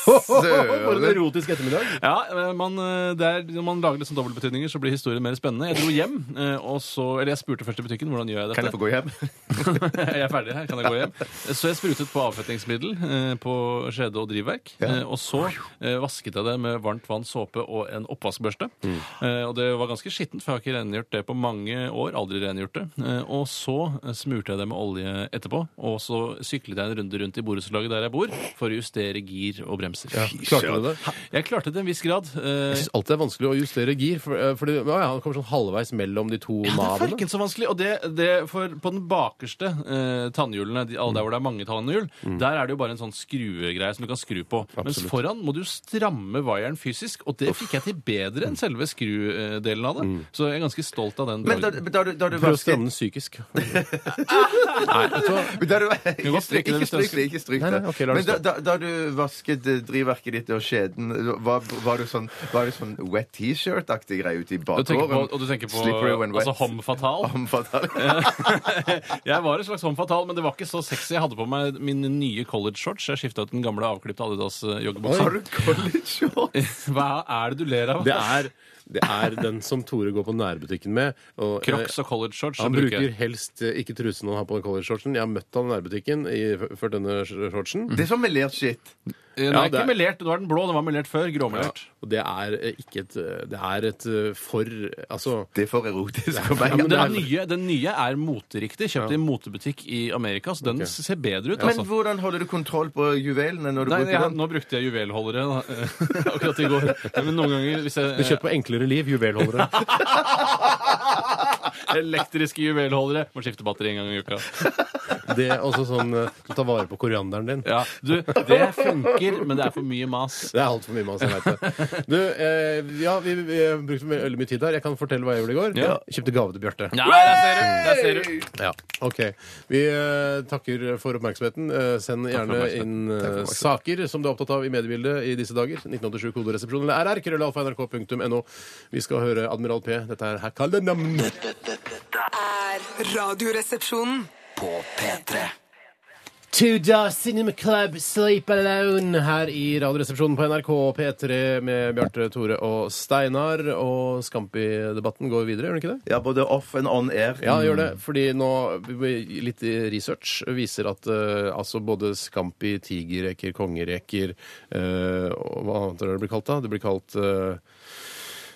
Speaker 3: For en erotisk ettermiddag.
Speaker 5: Ja, eh, man, eh, det er, Når man lager litt sånn dobbeltbetydninger, så blir historien mer spennende. Jeg dro hjem, eh, og så Eller jeg spurte først i butikken hvordan gjør jeg dette.
Speaker 4: Kan jeg få gå hjem?
Speaker 5: jeg er ferdig her, kan jeg gå hjem? Så jeg sprutet på avfettingsmiddel eh, på skjede og drivverk. Eh, og så eh, vasket jeg det med varmt vann, såpe og en oppvaskbørste. Eh, og det var ganske skittent, for jeg har ikke rengjort det på mange år. Aldri rengjort det. Eh, og så eh, smurte jeg det med olje etterpå, og så syklet jeg en runde rundt i borettslaget der jeg bor, for å justere gir og bremser.
Speaker 3: Klarte du det?
Speaker 5: Jeg klarte det til en viss grad. Eh,
Speaker 3: Jeg synes alltid det er vanskelig å justere gir, for, eh, fordi ja, ja, han kommer sånn halvveis mellom de to
Speaker 5: Ja, det er
Speaker 3: navene.
Speaker 5: farken så vanskelig. Og det, det for på den bakerste eh, tannhjulene, de, alle der hvor det er mange tannhjul, der er det jo bare en sånn skruegreie som du kan skru på. Mens foran må du stramme vaieren fysisk, og det fikk jeg til bedre enn selve skrudelen av det. Så jeg er ganske stolt av den.
Speaker 4: Men da,
Speaker 5: dagen.
Speaker 4: da, du- da du
Speaker 3: Prøv å
Speaker 4: vasket-
Speaker 3: stramme den psykisk.
Speaker 4: Men da du, ikke
Speaker 5: godt stryke det
Speaker 4: stryk ikke
Speaker 5: hvis du
Speaker 4: stryk det. ikke stryk
Speaker 3: Nei,
Speaker 4: det.
Speaker 3: nei, ok, la det
Speaker 4: Men da, da, da du vasket eh, drivverket ditt og skjeden, var, var, du sånn, var det sånn wet T-shirt-aktig greie ute i
Speaker 5: Du tenker på,
Speaker 4: bakgården?
Speaker 5: og du tenker på
Speaker 4: Slippery when wet.
Speaker 5: altså, Homme Fatal?
Speaker 4: Homme fatal.
Speaker 5: jeg var en slags homme fatal, men det var ikke så sexy. Jeg hadde på meg mine nye college-shorts. Jeg skifta ut den gamle avklipte
Speaker 4: Har
Speaker 5: Adidas-joggebuksa.
Speaker 4: du college-shorts?
Speaker 5: Hva er det du ler av?
Speaker 3: Det er, det er den som Tore går på nærbutikken med. Og, eh,
Speaker 5: Crocs og college-shorts.
Speaker 3: Han
Speaker 5: bruker jeg.
Speaker 3: bruker helst eh, ikke trusen han har på den college-shortsen. Jeg har møtt han i nærbutikken i, før denne shortsen.
Speaker 4: Det er sånn melert shit.
Speaker 5: Den
Speaker 3: Ja, det
Speaker 5: er ikke
Speaker 3: er-
Speaker 5: melert. Nå er den blå. Den var melert før. Gråmelert.
Speaker 3: Og det er eh, ikke et eh, Det er et eh, for Altså
Speaker 4: Det er for erotisk for
Speaker 3: Ja,
Speaker 4: meg.
Speaker 3: men
Speaker 5: Den,
Speaker 3: det
Speaker 5: er
Speaker 3: er-
Speaker 5: nye, den nye er moteriktig. Kjøpt i en motebutikk i Amerika, så den
Speaker 3: Ok.
Speaker 5: ser bedre ut.
Speaker 4: Men
Speaker 5: Altså.
Speaker 4: hvordan holder du kontroll på juvelene når du
Speaker 5: Nei,
Speaker 4: bruker
Speaker 5: jeg,
Speaker 4: den?
Speaker 5: nå brukte jeg juvelholdere da, akkurat i går. Men noen ganger hvis jeg,
Speaker 3: Det er kjøpt på enklere liv, juvelholdere.
Speaker 5: Elektriske juvelholdere. Må skifte batteri en gang i uka.
Speaker 3: Det er også sånn eh, som tar vare på korianderen din.
Speaker 5: Ja, du, det funker, men det er for mye mas.
Speaker 3: Det er altfor mye mas, jeg veit det. Du, eh, ja, vi, vi brukte my- veldig mye tid her. Jeg kan fortelle hva jeg gjorde i går.
Speaker 5: Ja.
Speaker 3: Kjøpte gave til Bjarte.
Speaker 5: Ja, der ser du! Der ser du.
Speaker 3: Ja, ok. Vi eh, takker for oppmerksomheten. Eh, send gjerne inn eh, saker som du er opptatt av i mediebildet i disse dager. 1987 koderesepsjon eller rr krøllalfa nrk.no. Vi skal høre Admiral P. Dette er Hakalenam.
Speaker 2: Dette, dette, dette er
Speaker 6: Radioresepsjonen.
Speaker 2: på P3.
Speaker 3: Tudor Cinema Club, Sleep Alone her i Radioresepsjonen på NRK P3 med Bjarte, Tore og Steinar. Og Skampi-debatten går videre, gjør den ikke det?
Speaker 4: Ja, både off and on air.
Speaker 3: Ja, gjør det.
Speaker 5: Mm.
Speaker 3: Fordi nå litt research viser at eh, altså både scampi, tigerreker, kongereker eh, og Hva annet er det det blir kalt da? Det blir kalt eh,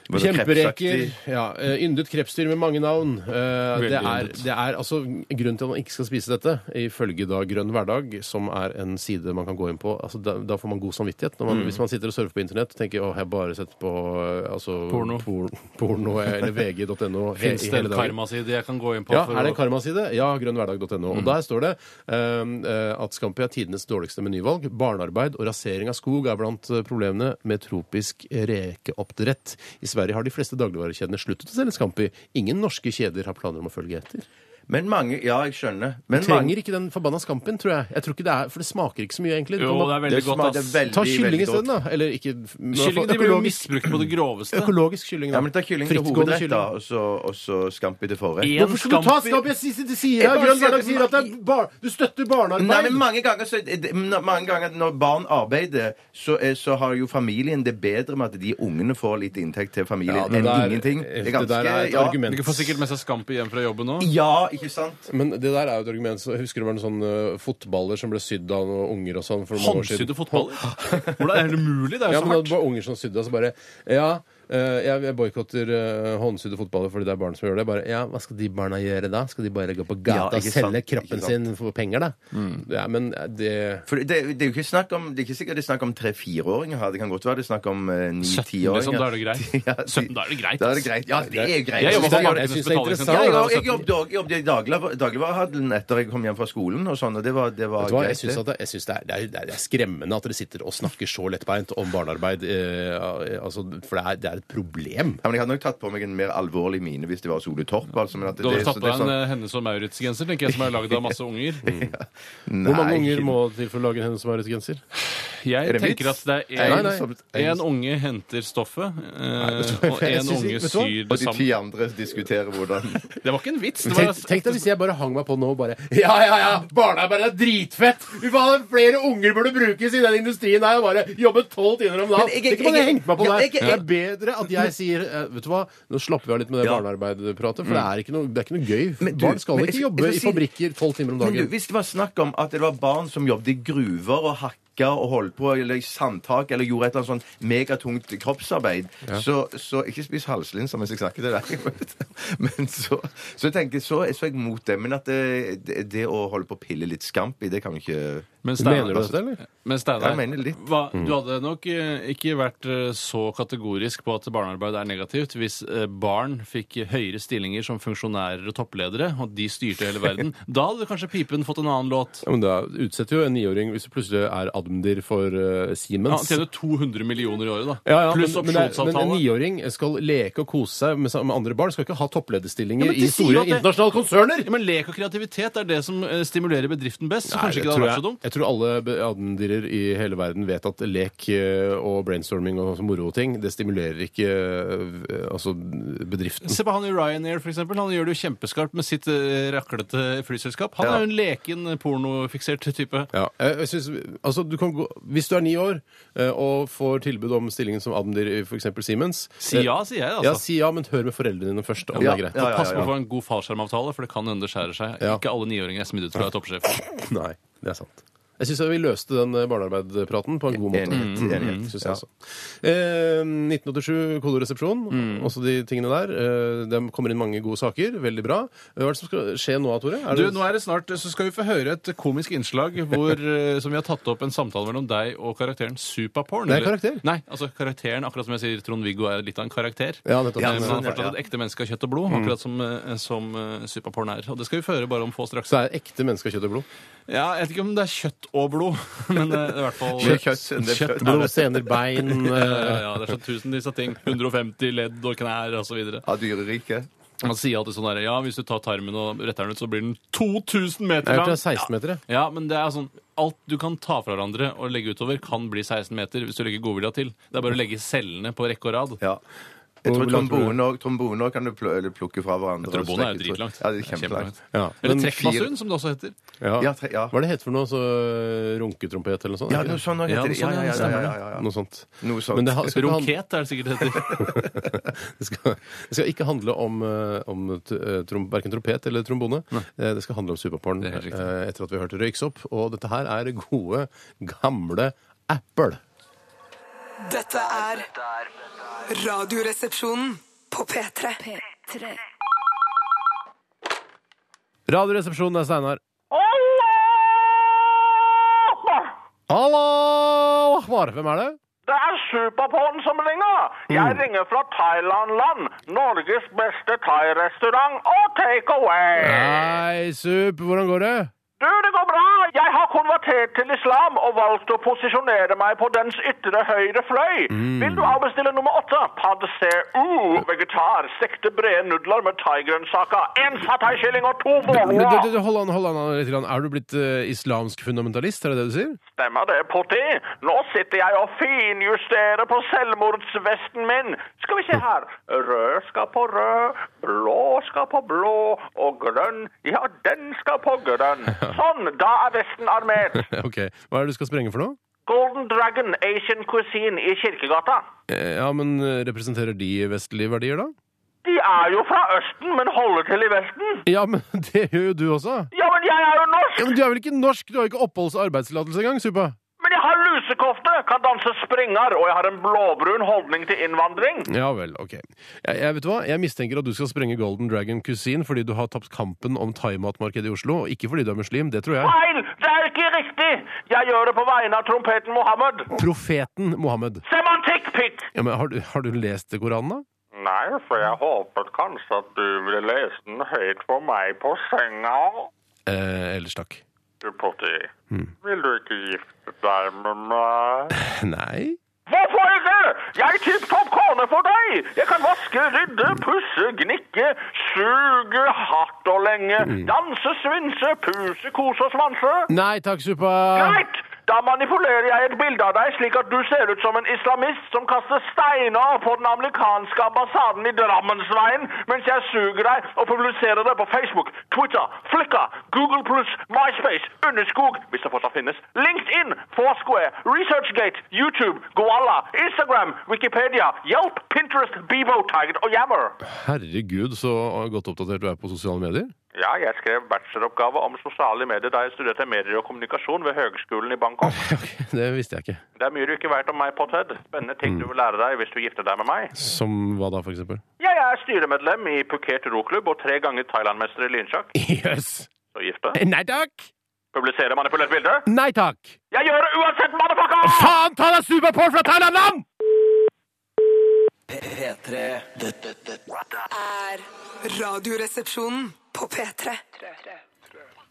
Speaker 4: Både
Speaker 3: Kjempereker.
Speaker 4: krepsaktig-
Speaker 3: Ja, eh, yndet krepsdyr med mange navn. Eh,
Speaker 5: Veldig
Speaker 3: det, er,
Speaker 5: yndet.
Speaker 3: det er altså Grunnen til at man ikke skal spise dette, ifølge da Grønn hverdag, som er en side man kan gå inn på altså Da, da får man god samvittighet. Når man,
Speaker 5: Mm.
Speaker 3: Hvis man sitter og surfer på internett og tenker at jeg har bare sett på eh, altså,
Speaker 5: Porno.
Speaker 3: por- porno eller vg.no he-
Speaker 5: Fins det
Speaker 3: hele
Speaker 5: en
Speaker 3: dagen.
Speaker 5: karmaside jeg kan gå inn på?
Speaker 3: Ja, er
Speaker 5: for
Speaker 3: det
Speaker 5: å-
Speaker 3: en karmaside? Ja, grønnhverdag.no.
Speaker 4: Mm.
Speaker 3: Og der står det ehm, eh, at Scampi er tidenes dårligste menyvalg. Barnearbeid og rasering av skog er blant eh, problemene med tropisk rekeoppdrett. I Sverige har de fleste dagligvarekjedene sluttet å selge Scampi. Ingen norske kjeder har planer om å følge etter.
Speaker 4: Men mange Ja, jeg skjønner. Men
Speaker 3: Trenger ikke den forbanna Scampien, tror jeg. Jeg tror ikke det er, For det smaker ikke så mye, egentlig.
Speaker 5: Jo, det er veldig
Speaker 4: Det
Speaker 5: godt,
Speaker 4: smaker
Speaker 5: ass.
Speaker 4: veldig-
Speaker 3: Ta kylling
Speaker 4: veldig
Speaker 3: isteden, da. Eller ikke
Speaker 5: Kylling de blir jo misbrukt på det groveste.
Speaker 3: Økologisk kylling, da.
Speaker 4: Ja, men ta kylling til
Speaker 3: Frittgående
Speaker 4: hovedrett, da,
Speaker 3: kylling.
Speaker 4: og så, og så scampi til forrett.
Speaker 5: En
Speaker 3: Hvorfor skal du ta
Speaker 5: Scampi-
Speaker 3: Scampi? Jeg sier, sier,
Speaker 4: Jeg
Speaker 3: sier,
Speaker 4: bare
Speaker 3: Grønn
Speaker 4: sier at-
Speaker 3: Hverdag sier at det er bar, du støtter barnearbeid.
Speaker 4: Nei, men mange ganger, så, når- mange ganger når barn arbeider, så, er- så har jo familien det bedre med at de ungene får litt inntekt til familien
Speaker 3: Ja, det
Speaker 4: enn
Speaker 3: der-
Speaker 4: ingenting.
Speaker 3: det der er et
Speaker 4: ja,
Speaker 3: argument.
Speaker 5: Du får sikkert med seg Scampi hjem fra jobben nå.
Speaker 4: Ja, ikke sant?
Speaker 3: Men det der er jo et argument. Så jeg husker det var noen sånne eh, fotballer som ble sydd av noen unger og sånn for noen år siden.
Speaker 5: Håndsydde fotballer? Hvordan er det mulig? Det
Speaker 3: Ja,
Speaker 5: er jo så
Speaker 3: men det
Speaker 5: hardt.
Speaker 3: var unger som sydde, og så bare Ja, eh, jeg, jeg boikotter eh, håndsydde fotballer fordi det er barn som gjør det. Bare, ja, Hva skal de barna gjøre da? Skal de bare gå på
Speaker 4: Ja,
Speaker 3: gata og
Speaker 4: ikke sant,
Speaker 3: selge kroppen
Speaker 4: ikke
Speaker 3: sin for penger, da? Ja, men det
Speaker 4: For det, det er jo ikke snakk om Det er ikke sikkert det er snakk om tre-fireåringer her. Det kan godt være det er snakk om eh,
Speaker 5: Sytten, liksom, da er
Speaker 4: ni-tiåringer.
Speaker 5: det greit. Sytten, da er det greit,
Speaker 4: Da er
Speaker 5: ass.
Speaker 4: det greit. Ja, det er jo greit.
Speaker 5: Jeg jobber på
Speaker 4: Ja,
Speaker 3: jeg
Speaker 5: Markedets
Speaker 3: synes det er
Speaker 4: Ja,
Speaker 5: betalingssentral.
Speaker 4: jeg,
Speaker 5: da,
Speaker 4: jeg,
Speaker 5: altså.
Speaker 4: jobbet også- jeg jobbet i dagligvar- dagligvarehandelen etter jeg kom hjem fra skolen. og sånn, og det var, det var
Speaker 3: Vet du hva, jeg
Speaker 4: greit.
Speaker 3: syns,
Speaker 4: det.
Speaker 3: at det, jeg synes det, er, det, er, det er skremmende at dere sitter og snakker så lettbeint om barnearbeid. Eh, altså, for det er, det er et problem.
Speaker 4: Ja, men Jeg hadde nok tatt på meg en mer alvorlig mine hvis det var Sole Torp. Altså, men at det,
Speaker 5: Du hadde
Speaker 4: det-
Speaker 5: tatt
Speaker 4: så
Speaker 5: på
Speaker 4: det er
Speaker 5: deg en eh, Hennes og Maurits-genser, tenker jeg, som er lagd av masse unger.
Speaker 4: sånn-
Speaker 3: Hvor mange
Speaker 4: Nei,
Speaker 3: unger
Speaker 4: ikke-
Speaker 3: må til for å lage en henne som har et genser?
Speaker 5: Jeg
Speaker 4: det
Speaker 5: tenker at
Speaker 4: vits?
Speaker 5: det er
Speaker 4: Nei,
Speaker 5: en,
Speaker 4: nei.
Speaker 5: en unge henter stoffet, eh,
Speaker 3: vet du hva,
Speaker 5: og
Speaker 3: jeg
Speaker 5: en
Speaker 3: synes
Speaker 5: unge
Speaker 3: ikke- vet du hva?
Speaker 5: syr det
Speaker 4: Og de
Speaker 5: samme.
Speaker 4: ti andre diskuterer hvordan
Speaker 5: Det var ikke en vits. Det var,
Speaker 3: Tenk, tenk deg hvis jeg bare hang meg på nå og bare Ja, ja, ja! Barnearbeid er dritfett! Vi får ha flere unger burde brukes i den industrien her og bare jobbe tolv timer om dagen!
Speaker 4: Men jeg-
Speaker 3: Tenk om jeg hadde
Speaker 4: jeg-
Speaker 3: hengt meg på
Speaker 4: ja,
Speaker 3: der!
Speaker 4: jeg-
Speaker 3: Det er bedre at jeg sier eh, Vet du hva, nå slapper vi av litt med det
Speaker 4: Ja.
Speaker 3: barnearbeidpratet, for det
Speaker 5: Mm.
Speaker 3: er ikke noe, det er ikke noe gøy.
Speaker 4: Men du-
Speaker 3: Barn skal
Speaker 4: men jeg-
Speaker 3: ikke
Speaker 4: jeg
Speaker 3: jobbe
Speaker 4: skal
Speaker 3: i
Speaker 4: si-
Speaker 3: fabrikker tolv timer om
Speaker 4: Men du,
Speaker 3: dagen.
Speaker 4: hvis det var snakk om at det var barn som jobbet i gruver og hakka og holdt på, eller i sandtak, eller gjorde et eller annet sånn megatungt kroppsarbeid, så, så ikke spis halslinser mens jeg snakker til deg. Men så, så jeg tenker, så er så er jeg mot det. Men at det, det, det å holde på å pille litt skampi, det kan vi ikke
Speaker 5: men
Speaker 3: Mener du
Speaker 5: Steinar-
Speaker 3: dette, eller?
Speaker 5: Men Steinar,
Speaker 4: Jeg mener litt.
Speaker 5: hva, du hadde nok eh, ikke vært eh, så kategorisk på at barnearbeid er negativt hvis eh, barn fikk høyere stillinger som funksjonærer og toppledere, og de styrte hele verden. Da hadde kanskje pipen fått en annen låt.
Speaker 3: Ja, men Da utsetter jo en niåring hvis du plutselig er admdir for eh,
Speaker 5: Ja,
Speaker 3: Siemens.
Speaker 5: Han tjener 200 millioner i året, da.
Speaker 3: Ja, ja,
Speaker 5: Pluss
Speaker 3: men, men, det er- men en
Speaker 5: opsjonsavtale.
Speaker 3: niåring skal leke og kose seg med, med andre barn. Skal ikke ha topplederstillinger
Speaker 5: Ja, men de
Speaker 3: i
Speaker 5: sier
Speaker 3: store
Speaker 5: jo at det-
Speaker 3: internasjonale konserner!
Speaker 5: Ja, men lek og kreativitet er det som eh, stimulerer bedriften best. Så
Speaker 3: Nei,
Speaker 5: kanskje
Speaker 3: det
Speaker 5: ikke
Speaker 3: tror
Speaker 5: det hadde vært så
Speaker 3: jeg,
Speaker 5: dumt.
Speaker 3: jeg tror alle be- admirer i hele verden vet at lek eh, og brainstorming og moroting, det stimulerer ikke eh, altså bedriften.
Speaker 5: Se på han i Ryanair, for eksempel. Han gjør det jo kjempeskarpt med sitt eh, raklete flyselskap. Han
Speaker 4: Ja.
Speaker 5: er jo en leken, pornofiksert type.
Speaker 3: Ja, jeg, jeg synes, altså du kan gå, Hvis du er ni år eh, og får tilbud om stillingen som admdir i f.eks. Siemens eh,
Speaker 5: Si ja, sier jeg,
Speaker 3: Ja,
Speaker 5: altså.
Speaker 3: si ja, men hør med foreldrene dine først om
Speaker 4: Ja,
Speaker 3: det er greit.
Speaker 4: ja, ja,
Speaker 5: Pass på å få en god fallskjermavtale, for det kan hende det skjærer seg.
Speaker 3: Ja.
Speaker 5: Ikke alle niåringer er smidd ut fra toppsjef.
Speaker 3: Nei, det er sant. Jeg syns vi løste den eh, barnearbeidpraten på en god måte.
Speaker 4: Enighet,
Speaker 3: Mm,
Speaker 4: enighet,
Speaker 3: synes jeg
Speaker 4: ja.
Speaker 3: også. Eh, 1987, kodoresepsjon,
Speaker 4: Mm.
Speaker 3: også de tingene der. Eh, det kommer inn mange gode saker. Veldig bra. Hva er det som skal skje nå, Tore? Er
Speaker 5: Du,
Speaker 3: det-
Speaker 5: nå er det snart, så skal vi få høre et komisk innslag hvor, eh, som vi har tatt opp en samtale mellom deg og karakteren Supaporn.
Speaker 3: Det er
Speaker 5: eller-
Speaker 3: karakter.
Speaker 5: Nei, altså karakteren, akkurat som jeg sier Trond-Viggo er litt av en karakter.
Speaker 3: Ja, Mm. nettopp.
Speaker 5: Eh, Men
Speaker 4: sånn,
Speaker 5: han er
Speaker 4: ja,
Speaker 5: fortsatt et ekte menneske av kjøtt og blod, akkurat som, eh, som eh, Supaporn er. Og det skal vi få høre bare om få straks.
Speaker 3: Så er det ekte mennesker av kjøtt og blod.
Speaker 5: Ja, jeg vet ikke om det er kjøtt og blod, men eh, det er i hvert fall
Speaker 4: Mer kjøtt enn det er født.
Speaker 3: Blod, sener, bein
Speaker 5: Ja,
Speaker 3: eh,
Speaker 5: ja, det er så tusenvis av ting. 150 ledd og knær og så videre.
Speaker 4: Av dyreriket.
Speaker 5: Man sier alltid sånn der, ja, hvis du tar tarmen og retter den ut, så blir den 2000
Speaker 3: Jeg
Speaker 5: meter
Speaker 3: hørte
Speaker 5: lang.
Speaker 3: det er 16-metere.
Speaker 5: Ja, men det er sånn, alt du kan ta fra hverandre og legge utover kan bli 16 meter hvis du legger godvilja til. Det er bare å legge cellene på rekke og rad.
Speaker 4: Ja. Jeg tror
Speaker 3: Hvor langt tror du-
Speaker 4: trombonen også- trombonen også kan du pl eller plukke fra hverandre. og
Speaker 5: Trombone er jo
Speaker 4: strekke ut.
Speaker 5: dritlangt.
Speaker 4: Ja, det er kjempelangt.
Speaker 3: Ja.
Speaker 5: Eller
Speaker 3: Men-
Speaker 5: trekkbasun, som det også heter.
Speaker 3: Ja.
Speaker 4: Ja, tre- ja.
Speaker 3: Hva er det heter for noe? Så, eh, runketrompet eller noe sånt?
Speaker 4: Ja,
Speaker 3: er det
Speaker 4: noe
Speaker 3: ikke
Speaker 4: sånt
Speaker 5: Ja,
Speaker 4: heter
Speaker 5: noe sånt,
Speaker 4: det. Ja,
Speaker 5: ja,
Speaker 4: ja, ja,
Speaker 5: det stemmer,
Speaker 4: ja,
Speaker 5: det.
Speaker 4: ja, ja.
Speaker 3: det? noe sånt.
Speaker 4: Noe sånt.
Speaker 3: Men det ha- skal ikke handle-
Speaker 5: Roket er det sikkert det heter.
Speaker 3: Det skal, det skal ikke handle om, eh, om t- eh, trom, verken trompet eller trombone. Eh, Det skal handle om superporn
Speaker 5: Det er helt riktig.
Speaker 3: eh, etter at vi har hørt Røyksopp. Og dette her er gode, gamle Apple.
Speaker 6: Dette er Radioresepsjonen på P3.
Speaker 3: Radioresepsjonen er Steinar. Hallo! Ahmar, Hvem er det?
Speaker 8: Det er Superporn som ringer. Jeg
Speaker 3: Mm.
Speaker 8: ringer fra Thailand-land. Norges beste thai-restaurant og takeaway.
Speaker 3: Hei, Sup. Hvordan går det?
Speaker 8: Du, det går bra! Jeg har konvertert til islam og valgt å posisjonere meg på dens ytre høyre fløy.
Speaker 3: Mm.
Speaker 8: Vil du avbestille nummer åtte? Pad CU, vegetar, stekte brede nudler med thaigrønnsaker, en sataikylling og to
Speaker 3: Men du, du,
Speaker 8: boller.
Speaker 3: du, hold an, hold an litt. grann. Er du blitt eh, islamsk fundamentalist, er det det du sier?
Speaker 8: Stemmer det, Potti? Nå sitter jeg og finjusterer på selvmordsvesten min. Skal vi se her. Rød skal på rød, blå skal på blå, og grønn, ja, den skal på grønn. Sånn, da er vesten armert.
Speaker 3: Ok. Hva er det du skal sprenge for noe?
Speaker 8: Golden Dragon Asian Cuisine i Kirkegata.
Speaker 3: Eh, Ja, men eh, representerer de vestlige verdier, da?
Speaker 8: De er jo fra Østen, men holder til i Vesten.
Speaker 3: Ja, men det gjør jo du også.
Speaker 8: Ja, men jeg er jo norsk!
Speaker 3: Ja, men Du er vel ikke norsk? Du har jo ikke oppholds- og arbeidstillatelse engang, Supa?
Speaker 8: Men jeg har lusekofte, kan danse springer, og jeg har en blåbrun holdning til innvandring.
Speaker 3: Ja vel, ok. Jeg, jeg vet du hva? Jeg mistenker at du skal sprenge Golden Dragon Cuisine fordi du har tapt kampen om thaimatmarkedet i Oslo, og ikke fordi du er muslim. Det tror jeg.
Speaker 8: Feil! Det er ikke riktig! Jeg gjør det på vegne av trompeten Mohammed.
Speaker 3: Profeten Mohammed.
Speaker 8: Semantikk-pikk!
Speaker 3: Ja, men har du, har du lest Koranen, da?
Speaker 8: Nei, for jeg håpet kanskje at du ville lese den høyt for meg på senga.
Speaker 3: Eh, ellers takk. Hmm.
Speaker 8: Du, Potti, vil du ikke gifte deg med meg?
Speaker 3: Nei?
Speaker 8: Hvorfor ikke? Jeg er tipp topp kone for deg! Jeg kan vaske, rydde, pusse, gnikke, suge hardt og lenge, danse, svinse, puse, kose og svanse.
Speaker 3: Nei takk, Supa!
Speaker 8: Greit! Da manipulerer jeg et bilde av deg slik at du ser ut som en islamist som kaster steiner på den amerikanske ambassaden i Drammensveien, mens jeg suger deg og publiserer det på Facebook, Twitter, Flickr, Google+, MySpace, Underskog, hvis det fortsatt finnes, LinkedIn, Foursquare, ResearchGate, YouTube, Goala, Instagram, Wikipedia, Yelp, Pinterest, Bebo, Tiger og Yammer.
Speaker 3: Herregud, så godt oppdatert du er på sosiale medier.
Speaker 8: Ja, jeg skrev bacheloroppgave om sosiale medier da jeg studerte medier og kommunikasjon ved Høgskolen i Bangkok.
Speaker 3: Det visste jeg ikke.
Speaker 8: Det er mye du ikke vet om meg, Potthead. Spennende ting du vil lære deg hvis du gifter deg med meg.
Speaker 3: Som hva da, for eksempel?
Speaker 8: Jeg er styremedlem i Phuket roklubb og tre ganger Thailand-mester i lynsjakk.
Speaker 3: Jøss!
Speaker 8: Så gifte.
Speaker 3: Nei takk!
Speaker 8: Publisere manipulert bilde.
Speaker 3: Nei takk!
Speaker 8: Jeg gjør det uansett, motherfucker!
Speaker 3: Faen ta deg Supa på fra Thailand-land!
Speaker 2: P3 Dette, dette
Speaker 6: er Radioresepsjonen på P3.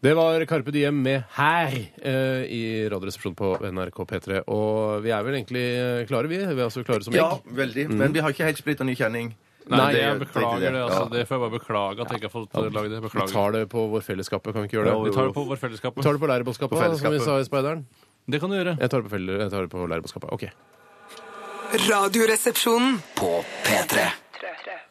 Speaker 3: Det var Carpe Diem med 'Her' eh, i Radioresepsjonen på NRK P3. Og vi er vel egentlig eh, klare, vi? Vi er altså klare som egg.
Speaker 4: Ja, veldig. Men vi har ikke helt splitta ny kjenning.
Speaker 5: Nei,
Speaker 3: Nei,
Speaker 5: jeg
Speaker 4: tenkte
Speaker 5: beklager det. altså,
Speaker 4: Ja.
Speaker 5: Det får jeg bare beklage at jeg ikke har fått eh, lage det.
Speaker 3: Vi
Speaker 5: Beklager.
Speaker 3: tar det på vår fellesskapet, kan vi ikke gjøre det?
Speaker 4: Jo,
Speaker 5: Vi
Speaker 4: jo.
Speaker 5: tar det på vår
Speaker 3: Vi
Speaker 5: fellesskap.
Speaker 3: tar det på leirbåtskapet,
Speaker 4: På
Speaker 3: da, som vi
Speaker 4: fellesskapet.
Speaker 3: sa i Speideren.
Speaker 5: Det kan du gjøre.
Speaker 3: Jeg tar det på, felle- jeg tar det på leirbåtskapet. Ok.
Speaker 6: Radioresepsjonen.
Speaker 2: På P3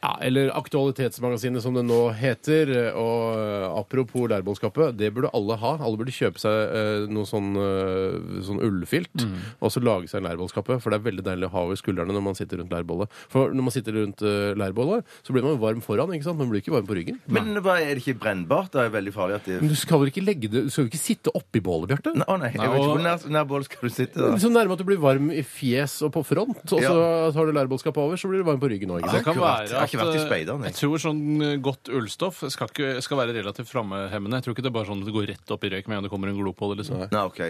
Speaker 3: Ja, eller Aktualitetsmagasinet, som det nå heter. Og eh, apropos leirbålskapet, det burde alle ha. Alle burde kjøpe seg eh, noe sånn, eh, sånn ullfilt,
Speaker 4: Mm.
Speaker 3: og så lage seg en leirbålskappe. For det er veldig deilig å ha over skuldrene når man sitter rundt leirbålet. For når man sitter rundt eh, leirbålet, så blir man jo varm foran, ikke sant? Man blir ikke varm på ryggen.
Speaker 4: Men hva, er det ikke brennbart? Det er det veldig farlig at det
Speaker 3: Men du skal vel ikke legge det Du skal jo ikke sitte oppi bålet, Bjarte?
Speaker 4: Å nei, jeg vet ikke hvor nær, nær bål skal du sitte da.
Speaker 3: Så nærme at du blir varm i fjes og på front, og så
Speaker 4: Ja.
Speaker 3: tar du leirbålskapet over, så blir du varm på ryggen òg.
Speaker 5: Det kan
Speaker 4: Akkurat. Jeg
Speaker 5: være at
Speaker 4: har ikke vært i speideren,
Speaker 5: eh,
Speaker 4: jeg.
Speaker 5: jeg tror sånn eh, godt ullstoff skal, ikke, skal være relativt flammehemmende. Jeg tror ikke det er bare sånn at det går rett opp i røyk med en gang det kommer en glopåle. Liksom.
Speaker 4: Nei, ok.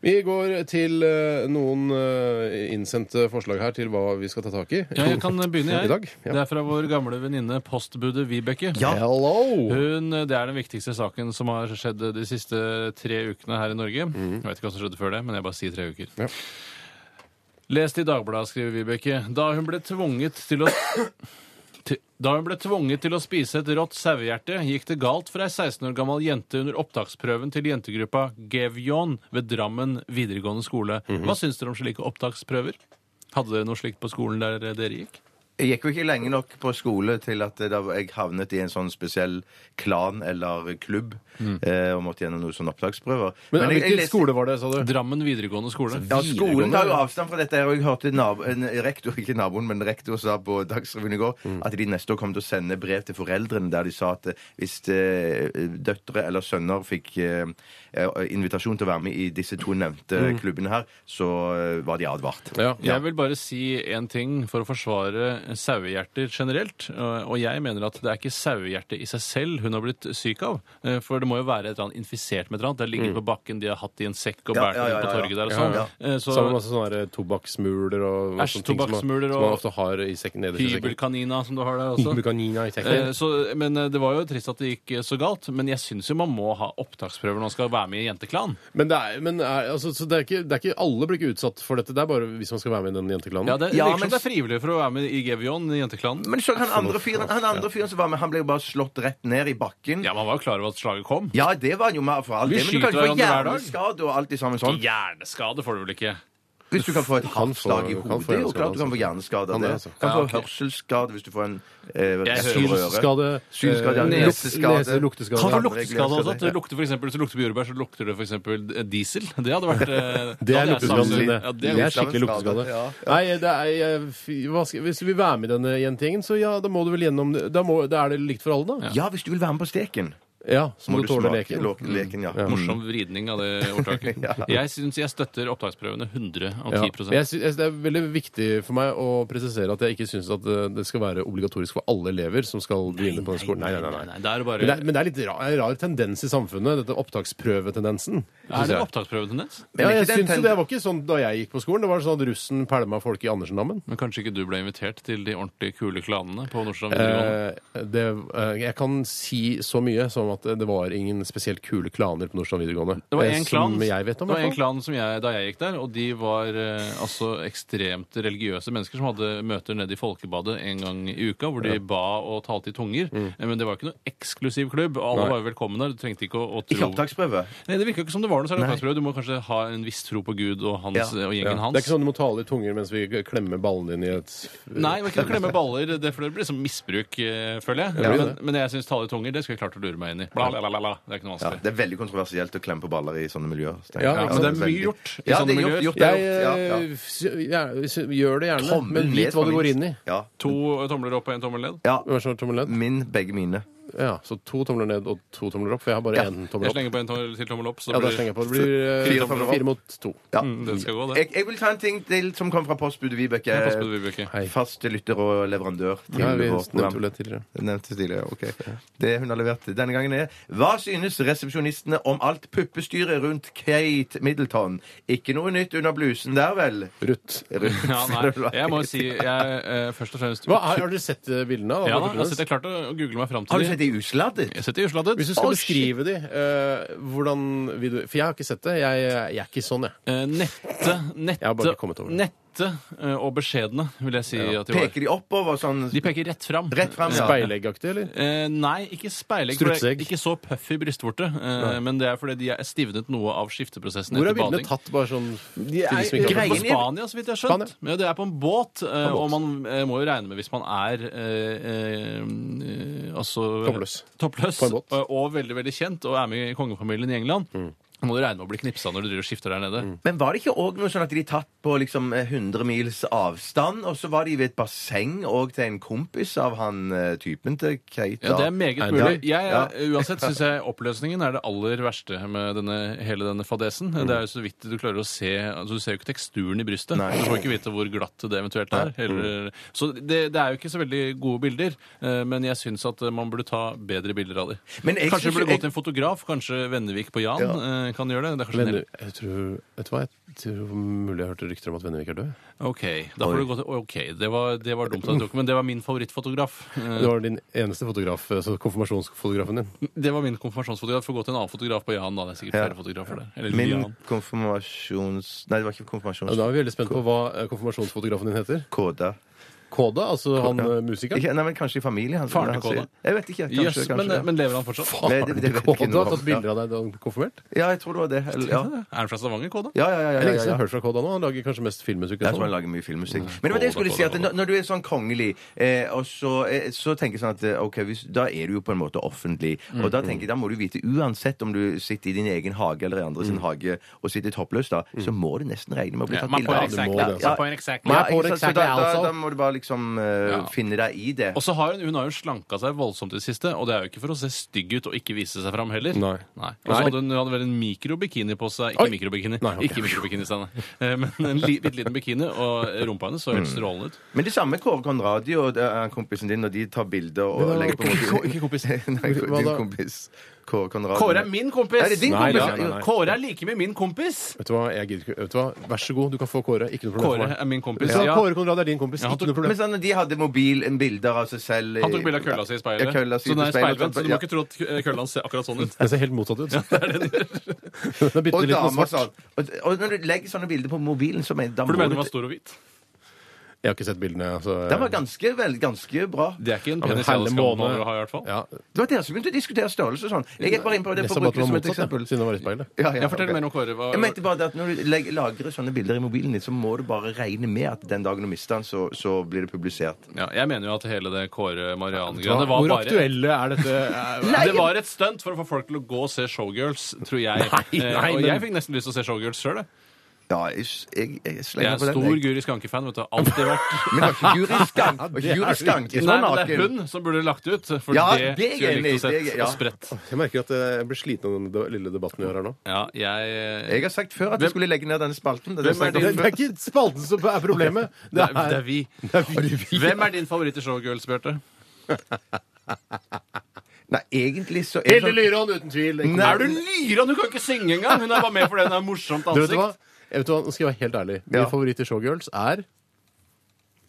Speaker 3: Vi går til eh, noen eh, innsendte forslag her til hva vi skal ta tak i.
Speaker 5: Ja, jeg kan begynne,
Speaker 3: I
Speaker 5: jeg.
Speaker 3: dag, ja.
Speaker 5: Det er fra vår gamle venninne postbudet Vibeke.
Speaker 3: Hello!
Speaker 5: Hun, eh, det er den viktigste saken som har skjedd de siste tre ukene her i Norge. Jeg vet ikke hva som skjedde før det, men jeg bare sier tre uker.
Speaker 3: Ja.
Speaker 5: Lest i Dagbladet, skriver Vibeke. Da hun ble tvunget til å til- Da hun ble tvunget til å spise et rått sauehjerte, gikk det galt for ei 16 år gammel jente under opptaksprøven til jentegruppa Gevion ved Drammen videregående skole. Hva syns dere om slike opptaksprøver? Hadde dere noe slikt på skolen der dere gikk?
Speaker 4: Jeg gikk jo ikke lenge nok på skole til at eh, da jeg havnet i en sånn spesiell klan eller klubb
Speaker 5: Mm.
Speaker 4: eh, og måtte gjennom noen sånne opptaksprøver.
Speaker 3: Men,
Speaker 4: jeg- jeg
Speaker 3: Hvilken
Speaker 4: leste-
Speaker 3: skole var det, sa du?
Speaker 5: Drammen videregående skole.
Speaker 4: Ja, skolen
Speaker 3: videregående,
Speaker 4: tar jo
Speaker 3: ja.
Speaker 4: avstand fra dette. her, og Jeg hørte nabo, en rektor ikke naboen, men rektor sa på Dagsrevyen i går
Speaker 5: Mm.
Speaker 4: at de neste år kommer til å sende brev til foreldrene der de sa at eh, hvis eh, døtre eller sønner fikk eh, eh, invitasjon til å være med i disse to nevnte
Speaker 5: Mm.
Speaker 4: klubbene her, så eh, var de advart.
Speaker 3: Ja.
Speaker 5: Jeg vil bare si én ting for å forsvare sauehjerter generelt. eh, Og jeg mener at det er ikke sauehjertet i seg selv hun har blitt syk av. eh, For det må jo være et eller annet infisert med et eller annet. Det ligger på bakken, de har hatt i en sekk og
Speaker 4: Mm. Ja,
Speaker 5: båret
Speaker 4: ja,
Speaker 5: den
Speaker 4: ja,
Speaker 5: på
Speaker 4: ja, ja.
Speaker 5: torget der og
Speaker 3: Ja,
Speaker 5: sånn.
Speaker 3: ja.
Speaker 5: Eh, så-
Speaker 3: Sammen med sånne der tobakksmuler og sånne
Speaker 5: Æsj,
Speaker 3: ting som man,
Speaker 5: tobakksmuler
Speaker 3: som
Speaker 5: og-
Speaker 3: man ofte har i sekken nederst i sekken.
Speaker 5: Hybelkanina som du har der også.
Speaker 3: Hybelkanina i sekken.
Speaker 5: Eh, Så, men eh, det var jo trist at det gikk eh, så galt. Men jeg syns jo man må ha opptaksprøver når man skal være med i Jenteklan.
Speaker 3: Men, det er, men er, altså, så det er ikke, det er ikke alle blir ikke utsatt for dette. Det er bare hvis man skal være med i den jenteklanen.
Speaker 5: Ja, det
Speaker 4: Ja,
Speaker 5: virker som
Speaker 4: men-
Speaker 5: det er frivillig for å være med i Gevion i Jenteklanen.
Speaker 4: Men så han andre fyren han andre fyren som var med, han ble jo bare slått rett ned i bakken.
Speaker 5: Ja, man var jo klar over at slaget kom.
Speaker 4: Ja, det var han jo med for alt
Speaker 5: Vi
Speaker 4: det. Men du kan
Speaker 5: skyter
Speaker 4: ikke få
Speaker 5: hverandre hver dag.
Speaker 4: hjerneskade og alt i sammen sånn.
Speaker 5: Hjerneskade får du vel ikke?
Speaker 4: Hvis du kan få et
Speaker 3: få-
Speaker 4: hardt slag i
Speaker 3: kan få
Speaker 4: hodet, det er jo
Speaker 3: hjerneskade,
Speaker 4: klart du kan få
Speaker 3: altså.
Speaker 4: hjerneskade av
Speaker 3: Kan det,
Speaker 4: det.
Speaker 3: altså.
Speaker 4: Kan
Speaker 5: Ja,
Speaker 4: få
Speaker 5: ok.
Speaker 4: hørselsskade hvis du får en eh,
Speaker 5: Jeg
Speaker 4: rett
Speaker 5: hører
Speaker 4: over øret.
Speaker 3: Synsskade,
Speaker 4: Synsskade, ja,
Speaker 3: eh, luk-
Speaker 4: neseskade.
Speaker 3: nese- lukteskade.
Speaker 5: Kan få
Speaker 4: Ja, det er
Speaker 5: lukteskade
Speaker 4: glede
Speaker 5: også.
Speaker 4: seg.
Speaker 5: At det lukter for eksempel, hvis det lukter på jordbær, så lukter det f.eks. diesel. Det hadde
Speaker 3: Det
Speaker 5: vært eh, da
Speaker 3: er
Speaker 5: hadde jeg
Speaker 3: lukteskade.
Speaker 5: savnet-
Speaker 3: Det.
Speaker 5: Ja,
Speaker 3: det
Speaker 5: det
Speaker 3: er skikkelig lukteskade.
Speaker 4: Ja,
Speaker 3: Nei, det er, eh, fy- hva skal, hvis du vil være med i denne jentegjengen, så ja, da må du vel gjennom Da, må, da er det likt for alle, da.
Speaker 4: Ja, hvis du vil være med på steken,
Speaker 3: Ja, så
Speaker 4: må,
Speaker 3: må, du
Speaker 4: du
Speaker 3: tåle
Speaker 4: smake
Speaker 3: leken.
Speaker 4: lo- leken ja.
Speaker 5: Morsom vridning av det ordtaket. Jeg syns jeg støtter opptaksprøvene 110
Speaker 3: Ja. Jeg sy- jeg- Det er veldig viktig for meg å presisere at jeg ikke syns at eh, det skal være obligatorisk for alle elever som skal begynne på den skolen. Nei, nei, nei. nei.
Speaker 5: Det er,
Speaker 3: Men
Speaker 5: bare,
Speaker 3: det, er, men det er litt rar, en rar tendens i samfunnet, dette opptaksprøvetendensen. synes
Speaker 5: er det
Speaker 3: jeg.
Speaker 5: opptaksprøvetendens?
Speaker 4: Men
Speaker 3: Ja,
Speaker 4: ikke
Speaker 3: jeg
Speaker 4: den
Speaker 3: syns jo
Speaker 4: tenden-
Speaker 3: det var ikke sånn da jeg gikk på skolen. Det var sånn at russen pælma folk i Andersendammen.
Speaker 5: Men kanskje ikke du ble invitert til de ordentlig kule klanene på Nordstrand videregående?
Speaker 3: Eh, det, eh, jeg kan si så mye som at det var ingen spesielt kule klaner på Nordstrand videregående.
Speaker 5: Det var
Speaker 3: Eh,
Speaker 5: en klan,
Speaker 3: Som jeg vet om,
Speaker 5: det var
Speaker 3: i
Speaker 5: en
Speaker 3: hvert fall.
Speaker 5: klan som jeg, da jeg gikk der, og de var eh, altså ekstremt religiøse mennesker som hadde møter nede i Folkebadet en gang i uka, hvor de ba og talte i tunger.
Speaker 3: Mm.
Speaker 5: Eh, Men det var ikke noe eksklusiv klubb. og Alle var jo velkomne der. Du trengte ikke å, å
Speaker 4: Ikke
Speaker 5: tro
Speaker 4: opptaksprøve.
Speaker 5: Nei, Det virka ikke som det var noe særlig opptaksprøve. Du må kanskje ha en viss tro på Gud og, hans,
Speaker 4: Ja.
Speaker 5: og
Speaker 3: Ja.
Speaker 5: gjengen hans.
Speaker 3: Det er ikke sånn du må tale i tunger mens vi klemmer ballen din i et
Speaker 5: Nei, men ikke klemme baller. Det for det blir liksom misbruk, eh, føler jeg.
Speaker 3: Ja,
Speaker 5: men,
Speaker 3: det.
Speaker 5: men jeg syns tale i tunger, det skulle jeg klart å lure meg inn i. Bla, bla, bla, bla. Det er ikke noe
Speaker 4: Ja,
Speaker 5: vanskelig.
Speaker 4: det er veldig kontroversielt å klemme på baller i sånne miljøer. Stein.
Speaker 3: Ja, men
Speaker 5: det er mye gjort i
Speaker 4: ja,
Speaker 5: sånne
Speaker 4: det er
Speaker 5: miljøer.
Speaker 4: Gjort, gjort, det er
Speaker 3: Jeg
Speaker 4: gjort, ja, ja.
Speaker 3: eh, s- gjerne- s- gjør det gjerne,
Speaker 4: Tommel
Speaker 3: men
Speaker 4: ned
Speaker 3: vit hva
Speaker 4: for
Speaker 3: du går
Speaker 4: minst.
Speaker 3: inn i.
Speaker 4: Ja.
Speaker 5: To tomler opp og en tommel ned.
Speaker 4: ja.
Speaker 3: Hva er det som er tommel ned?
Speaker 4: Min, begge mine.
Speaker 3: Ja, så to tomler ned og to tomler opp, for jeg har bare
Speaker 4: Ja,
Speaker 3: én tommel
Speaker 5: Jeg
Speaker 3: opp.
Speaker 5: slenger på en tommel til tommel opp, så
Speaker 3: Ja, da
Speaker 5: blir
Speaker 3: slenger jeg på. Det blir eh,
Speaker 4: Fire tomler opp.
Speaker 3: fire mot to.
Speaker 4: Ja.
Speaker 5: det skal gå, det.
Speaker 4: Jeg, jeg vil ta en ting til som kom fra postbudet Vibeke.
Speaker 5: Pass på det, Vibeke.
Speaker 3: Hei.
Speaker 4: Fast lytter og leverandør. til
Speaker 3: Ja, vi
Speaker 4: vårt
Speaker 3: nevnte
Speaker 4: program.
Speaker 3: jo det tidligere.
Speaker 4: Nevnte tidligere, ok. Det hun har levert denne gangen, er Hva synes resepsjonistene om alt puppestyret rundt Kate Middleton? Ikke noe nytt under blusen der, vel?
Speaker 3: Ruth.
Speaker 4: Rundt,
Speaker 5: Ja, nei,
Speaker 4: eller hva?
Speaker 5: jeg må jo si jeg eh, først og fremst
Speaker 3: Hva, har, har dere sett eh, bildene? av
Speaker 5: Ja, da,
Speaker 3: Martin
Speaker 5: altså, jeg
Speaker 3: Prince?
Speaker 5: sitter klart og googler meg fram til
Speaker 4: Har du sett
Speaker 5: de.
Speaker 4: det i usladdet?
Speaker 5: Jeg sitter i Oslo,
Speaker 3: Hvis du skal
Speaker 4: Å, shit.
Speaker 3: beskrive de, eh, hvordan vil du For jeg har ikke sett det. Jeg, jeg er ikke sånn, jeg.
Speaker 5: Eh, Nette,
Speaker 3: Jeg har bare ikke
Speaker 5: nette,
Speaker 3: kommet over det.
Speaker 5: nette eh, og beskjedne, vil jeg si at de var.
Speaker 4: Peker de oppover sånn
Speaker 5: De peker rett fram.
Speaker 4: rett frem? Ja.
Speaker 3: Speileggaktig, eller?
Speaker 5: Eh, nei, ikke speilegg. for det er
Speaker 3: Strutseegg.
Speaker 5: Ikke så puff i brystvorte. Eh, men det er fordi de er stivnet noe av skifteprosessen
Speaker 3: Hvor er
Speaker 5: etter
Speaker 3: bildene
Speaker 5: bading.
Speaker 3: tatt, bare sånn de som ikke
Speaker 5: Nei, det
Speaker 3: har
Speaker 5: er
Speaker 3: sett
Speaker 5: på
Speaker 3: det?
Speaker 4: Greien i-
Speaker 5: Spania, så vidt jeg har skjønt. Ja, det er på en båt, eh,
Speaker 3: båt.
Speaker 5: og man eh, må jo regne med, hvis man er eh, eh, eh, altså,
Speaker 3: Toppløs.
Speaker 5: toppløs,
Speaker 3: På en båt. Mm.
Speaker 5: og, og veldig veldig kjent, og er med i kongefamilien i England, må du regne med å bli knipsa når du driver og skifter der nede.
Speaker 4: Men var det ikke òg noe sånn at de tatt på liksom eh, 100 mils avstand, og så var de ved et basseng òg til en kompis av han eh, typen til Kate?
Speaker 5: Ja,
Speaker 4: da?
Speaker 5: Det er meget
Speaker 3: Nei,
Speaker 5: mulig.
Speaker 4: det-
Speaker 5: Jeg, er- Uansett syns jeg oppløsningen er det aller verste med denne, hele denne fadesen.
Speaker 4: Mm.
Speaker 5: Det er jo så vidt du klarer å se altså Du ser jo ikke teksturen i brystet.
Speaker 4: Nei. Mm.
Speaker 5: Du får ikke vite hvor glatt det eventuelt er. Eller, så det, det er jo ikke så veldig gode bilder, eh, men jeg syns at man burde ta bedre bilder av dem.
Speaker 4: Men jeg
Speaker 5: Kanskje
Speaker 4: synes
Speaker 5: vi burde
Speaker 4: jo-
Speaker 5: gå til en fotograf. Kanskje Vennevik på Jan
Speaker 4: Ja.
Speaker 5: eh, kan gjøre det. det er kanskje
Speaker 3: Men
Speaker 5: en-
Speaker 3: jeg tror, vet du hva, jeg tror mulig jeg hørte rykter om at Vennevik er død.
Speaker 5: OK, da får du gå til, ok, det, var, det var dumt at jeg tok men det var min favorittfotograf. Eh,
Speaker 3: Det var din eneste fotograf,
Speaker 4: eh,
Speaker 3: altså konfirmasjonsfotografen din.
Speaker 5: Det var min konfirmasjonsfotograf. Får gå til en annen fotograf på Jan. da, det er sikkert
Speaker 4: Ja.
Speaker 5: flere fotografer der. Eller
Speaker 4: Min
Speaker 5: Jan.
Speaker 4: konfirmasjons... Nei, det var
Speaker 3: Ja,
Speaker 4: ikke
Speaker 3: Da
Speaker 4: konfirmasjonskode.
Speaker 3: er vi veldig spent på hva eh, konfirmasjonsfotografen din heter. Koda, altså han eh, musikeren.
Speaker 4: Ikke, nei, men kanskje i familien hans.
Speaker 5: Faren til
Speaker 4: men han sier-
Speaker 5: Koda.
Speaker 4: Jeg vet ikke. Kanskje,
Speaker 5: Jøss,
Speaker 4: kanskje.
Speaker 5: men, eh, men lever han fortsatt?
Speaker 4: Nei, det, det vet jeg
Speaker 3: Koda
Speaker 4: ikke noe
Speaker 3: Ah, har
Speaker 4: om.
Speaker 3: tatt bilder av deg da han ble konfirmert?
Speaker 4: Ja, jeg tror det var det. Eller, ja.
Speaker 5: Er han fra Stavanger, Kåda?
Speaker 4: Ja, ja,
Speaker 3: Det er
Speaker 4: ja, ja,
Speaker 3: lenge
Speaker 4: ja,
Speaker 3: siden jeg
Speaker 4: ja.
Speaker 3: har hørt fra Koda nå. Han lager kanskje mest filmmusikk. og
Speaker 4: Jeg tror han
Speaker 3: sånn.
Speaker 4: lager mye filmmusikk. Men det var det
Speaker 5: Koda,
Speaker 4: jeg skulle si, at
Speaker 5: Koda, Koda.
Speaker 4: når når du er sånn kongelig, eh, og så, eh, så tenker jeg sånn at eh, ok, hvis, da er du jo på en måte offentlig. Og da tenker jeg, da må du vite, uansett om du sitter i din egen hage eller i andre sin hage og sitter toppløs, da, så må du nesten regne med å bli
Speaker 5: Ja,
Speaker 4: tatt
Speaker 5: man
Speaker 4: bilde
Speaker 5: får
Speaker 4: av.
Speaker 5: exakt-
Speaker 3: man får
Speaker 4: Ja,
Speaker 5: exakt-
Speaker 4: ja,
Speaker 5: man
Speaker 3: man
Speaker 5: får altså. exakt-
Speaker 4: ja,
Speaker 3: får
Speaker 4: ikke sant? Så
Speaker 3: exakt
Speaker 4: da, da,
Speaker 3: also.
Speaker 4: da må du bare liksom eh,
Speaker 5: Ja.
Speaker 4: finne deg i det.
Speaker 5: Og så har hun, hun har jo slanka seg voldsomt i det siste, og det er jo ikke for å se stygg ut og ikke vise seg fram heller.
Speaker 3: Nei.
Speaker 5: Og så
Speaker 3: Nei.
Speaker 5: hadde hun, hun hadde vel en mikrobikini på seg. Ikke
Speaker 3: Oi!
Speaker 5: mikrobikini,
Speaker 3: Nei, ok.
Speaker 5: ikke mikrobikini, Steinar. Eh, Men en li, bitte liten bikini, og rumpa hennes så
Speaker 4: Mm.
Speaker 5: helt strålende ut.
Speaker 4: Men det samme Kåre Conradi og eh, kompisen din når de tar bilder og
Speaker 3: Men da-
Speaker 4: legger på
Speaker 3: Ikke- ikke kompis.
Speaker 4: Nei,
Speaker 3: Hva
Speaker 4: din
Speaker 3: da?
Speaker 4: kompis. Kåre Conradi.
Speaker 5: Kåre er min kompis!
Speaker 4: Er det din
Speaker 3: Nei,
Speaker 4: kompis?
Speaker 3: nei, nei, nei.
Speaker 5: Kåre er like med min kompis!
Speaker 3: Vet du hva, jeg gidder ikke. Vet du hva? Vær så god, du kan få Kåre. Ikke noe problem.
Speaker 5: Kåre
Speaker 3: for meg.
Speaker 5: er min kompis.
Speaker 3: Hvis du har
Speaker 5: Ja.
Speaker 3: Kåre Konrad er din kompis.
Speaker 5: Ja, han
Speaker 3: Ikke
Speaker 5: tok-
Speaker 3: noe problem.
Speaker 4: Men sånn, de hadde mobil, en bilder av seg selv i-
Speaker 5: Han tok bilde av kølla si i
Speaker 4: Ja,
Speaker 5: speilet.
Speaker 4: kølla si
Speaker 5: så den
Speaker 4: i
Speaker 5: er
Speaker 4: speilet. sånn,
Speaker 5: speilvendt, så du
Speaker 4: Ja.
Speaker 5: må ikke tro at kø- kølla hans ser akkurat sånn ut.
Speaker 3: Jeg ser helt motsatt ut. Den er bitte
Speaker 4: Og
Speaker 3: liten og
Speaker 4: damer
Speaker 3: svart.
Speaker 4: sånn. Og, og når du legger sånne bilder på mobilen, så mener da
Speaker 5: For du
Speaker 4: må
Speaker 5: mener den
Speaker 4: du-
Speaker 5: var stor og hvit?
Speaker 3: Jeg har ikke sett bildene. Altså.
Speaker 4: Den var ganske, vel, ganske bra.
Speaker 5: Det er ikke en
Speaker 3: Ja, men
Speaker 5: penis
Speaker 3: hele
Speaker 5: jeg skal
Speaker 3: måned-
Speaker 5: ha, i hvert fall.
Speaker 3: Ja,
Speaker 4: Det var dere som begynte å diskutere størrelse og sånn. Jeg gikk bare inn på det
Speaker 3: jeg sa
Speaker 4: for å
Speaker 3: bare at det
Speaker 4: bruke
Speaker 3: var
Speaker 4: det som et
Speaker 3: motsatt,
Speaker 4: eksempel.
Speaker 3: jeg, siden det var i speilet.
Speaker 4: Ja, ja,
Speaker 5: Jeg forteller
Speaker 4: ok.
Speaker 5: mer om Kåre. Hva,
Speaker 4: Jeg mente bare det at Når du legger, lagrer sånne bilder i mobilen din, så må du bare regne med at den dagen du mister den, så, så blir det publisert.
Speaker 5: ja, jeg mener jo at hele det Kåre Mariann-greiene var
Speaker 3: Hvor
Speaker 5: bare
Speaker 3: aktuelle er dette?
Speaker 4: Nei,
Speaker 5: det var et stunt for å få folk til å gå og se Showgirls, tror jeg.
Speaker 3: Nei,
Speaker 5: Eh,
Speaker 3: nei,
Speaker 5: og
Speaker 3: men-
Speaker 5: jeg fikk nesten lyst til å se Showgirls sjøl.
Speaker 4: Ja, jeg, jeg, jeg
Speaker 5: Jeg
Speaker 4: slenger
Speaker 5: er
Speaker 4: på den.
Speaker 5: stor
Speaker 4: jeg.
Speaker 5: Guri Skanke-fan. vet du, Alltid vært
Speaker 4: Men det var ikke Guri Skank. det var ikke
Speaker 3: det er
Speaker 4: Guri Skank
Speaker 5: Nei,
Speaker 4: er så
Speaker 5: men det er
Speaker 4: naken.
Speaker 5: hun som burde lagt ut. For
Speaker 4: Ja,
Speaker 5: det,
Speaker 4: det er
Speaker 5: skulle jeg
Speaker 4: enig,
Speaker 5: likt å
Speaker 4: det er-
Speaker 5: sett.
Speaker 4: ja.
Speaker 5: Og spredt.
Speaker 3: Jeg merker at eh, jeg blir sliten av den de- lille debatten vi har her nå.
Speaker 5: Ja, jeg, eh,
Speaker 4: Jeg har sagt før at jeg skulle legge ned denne spalten. Det er det
Speaker 5: Hvem er
Speaker 4: jeg
Speaker 3: Det
Speaker 5: din-
Speaker 4: snakker om.
Speaker 3: er ikke spalten som er problemet.
Speaker 5: det, er, det er vi.
Speaker 3: det er vi.
Speaker 5: Hvem er din favoritt i Showgirls, Bjarte?
Speaker 4: Nei, egentlig så er
Speaker 3: Hilde
Speaker 4: det sånn
Speaker 3: Lyrån, uten tvil.
Speaker 4: Nei.
Speaker 5: Er du lyra? Du kan ikke synge engang! Hun er bare med fordi hun har morsomt
Speaker 3: Du vet
Speaker 5: ansikt.
Speaker 3: hva? Jeg vet hva? Nå skal jeg være helt ærlig. Min
Speaker 4: Ja.
Speaker 3: favoritt i Showgirls er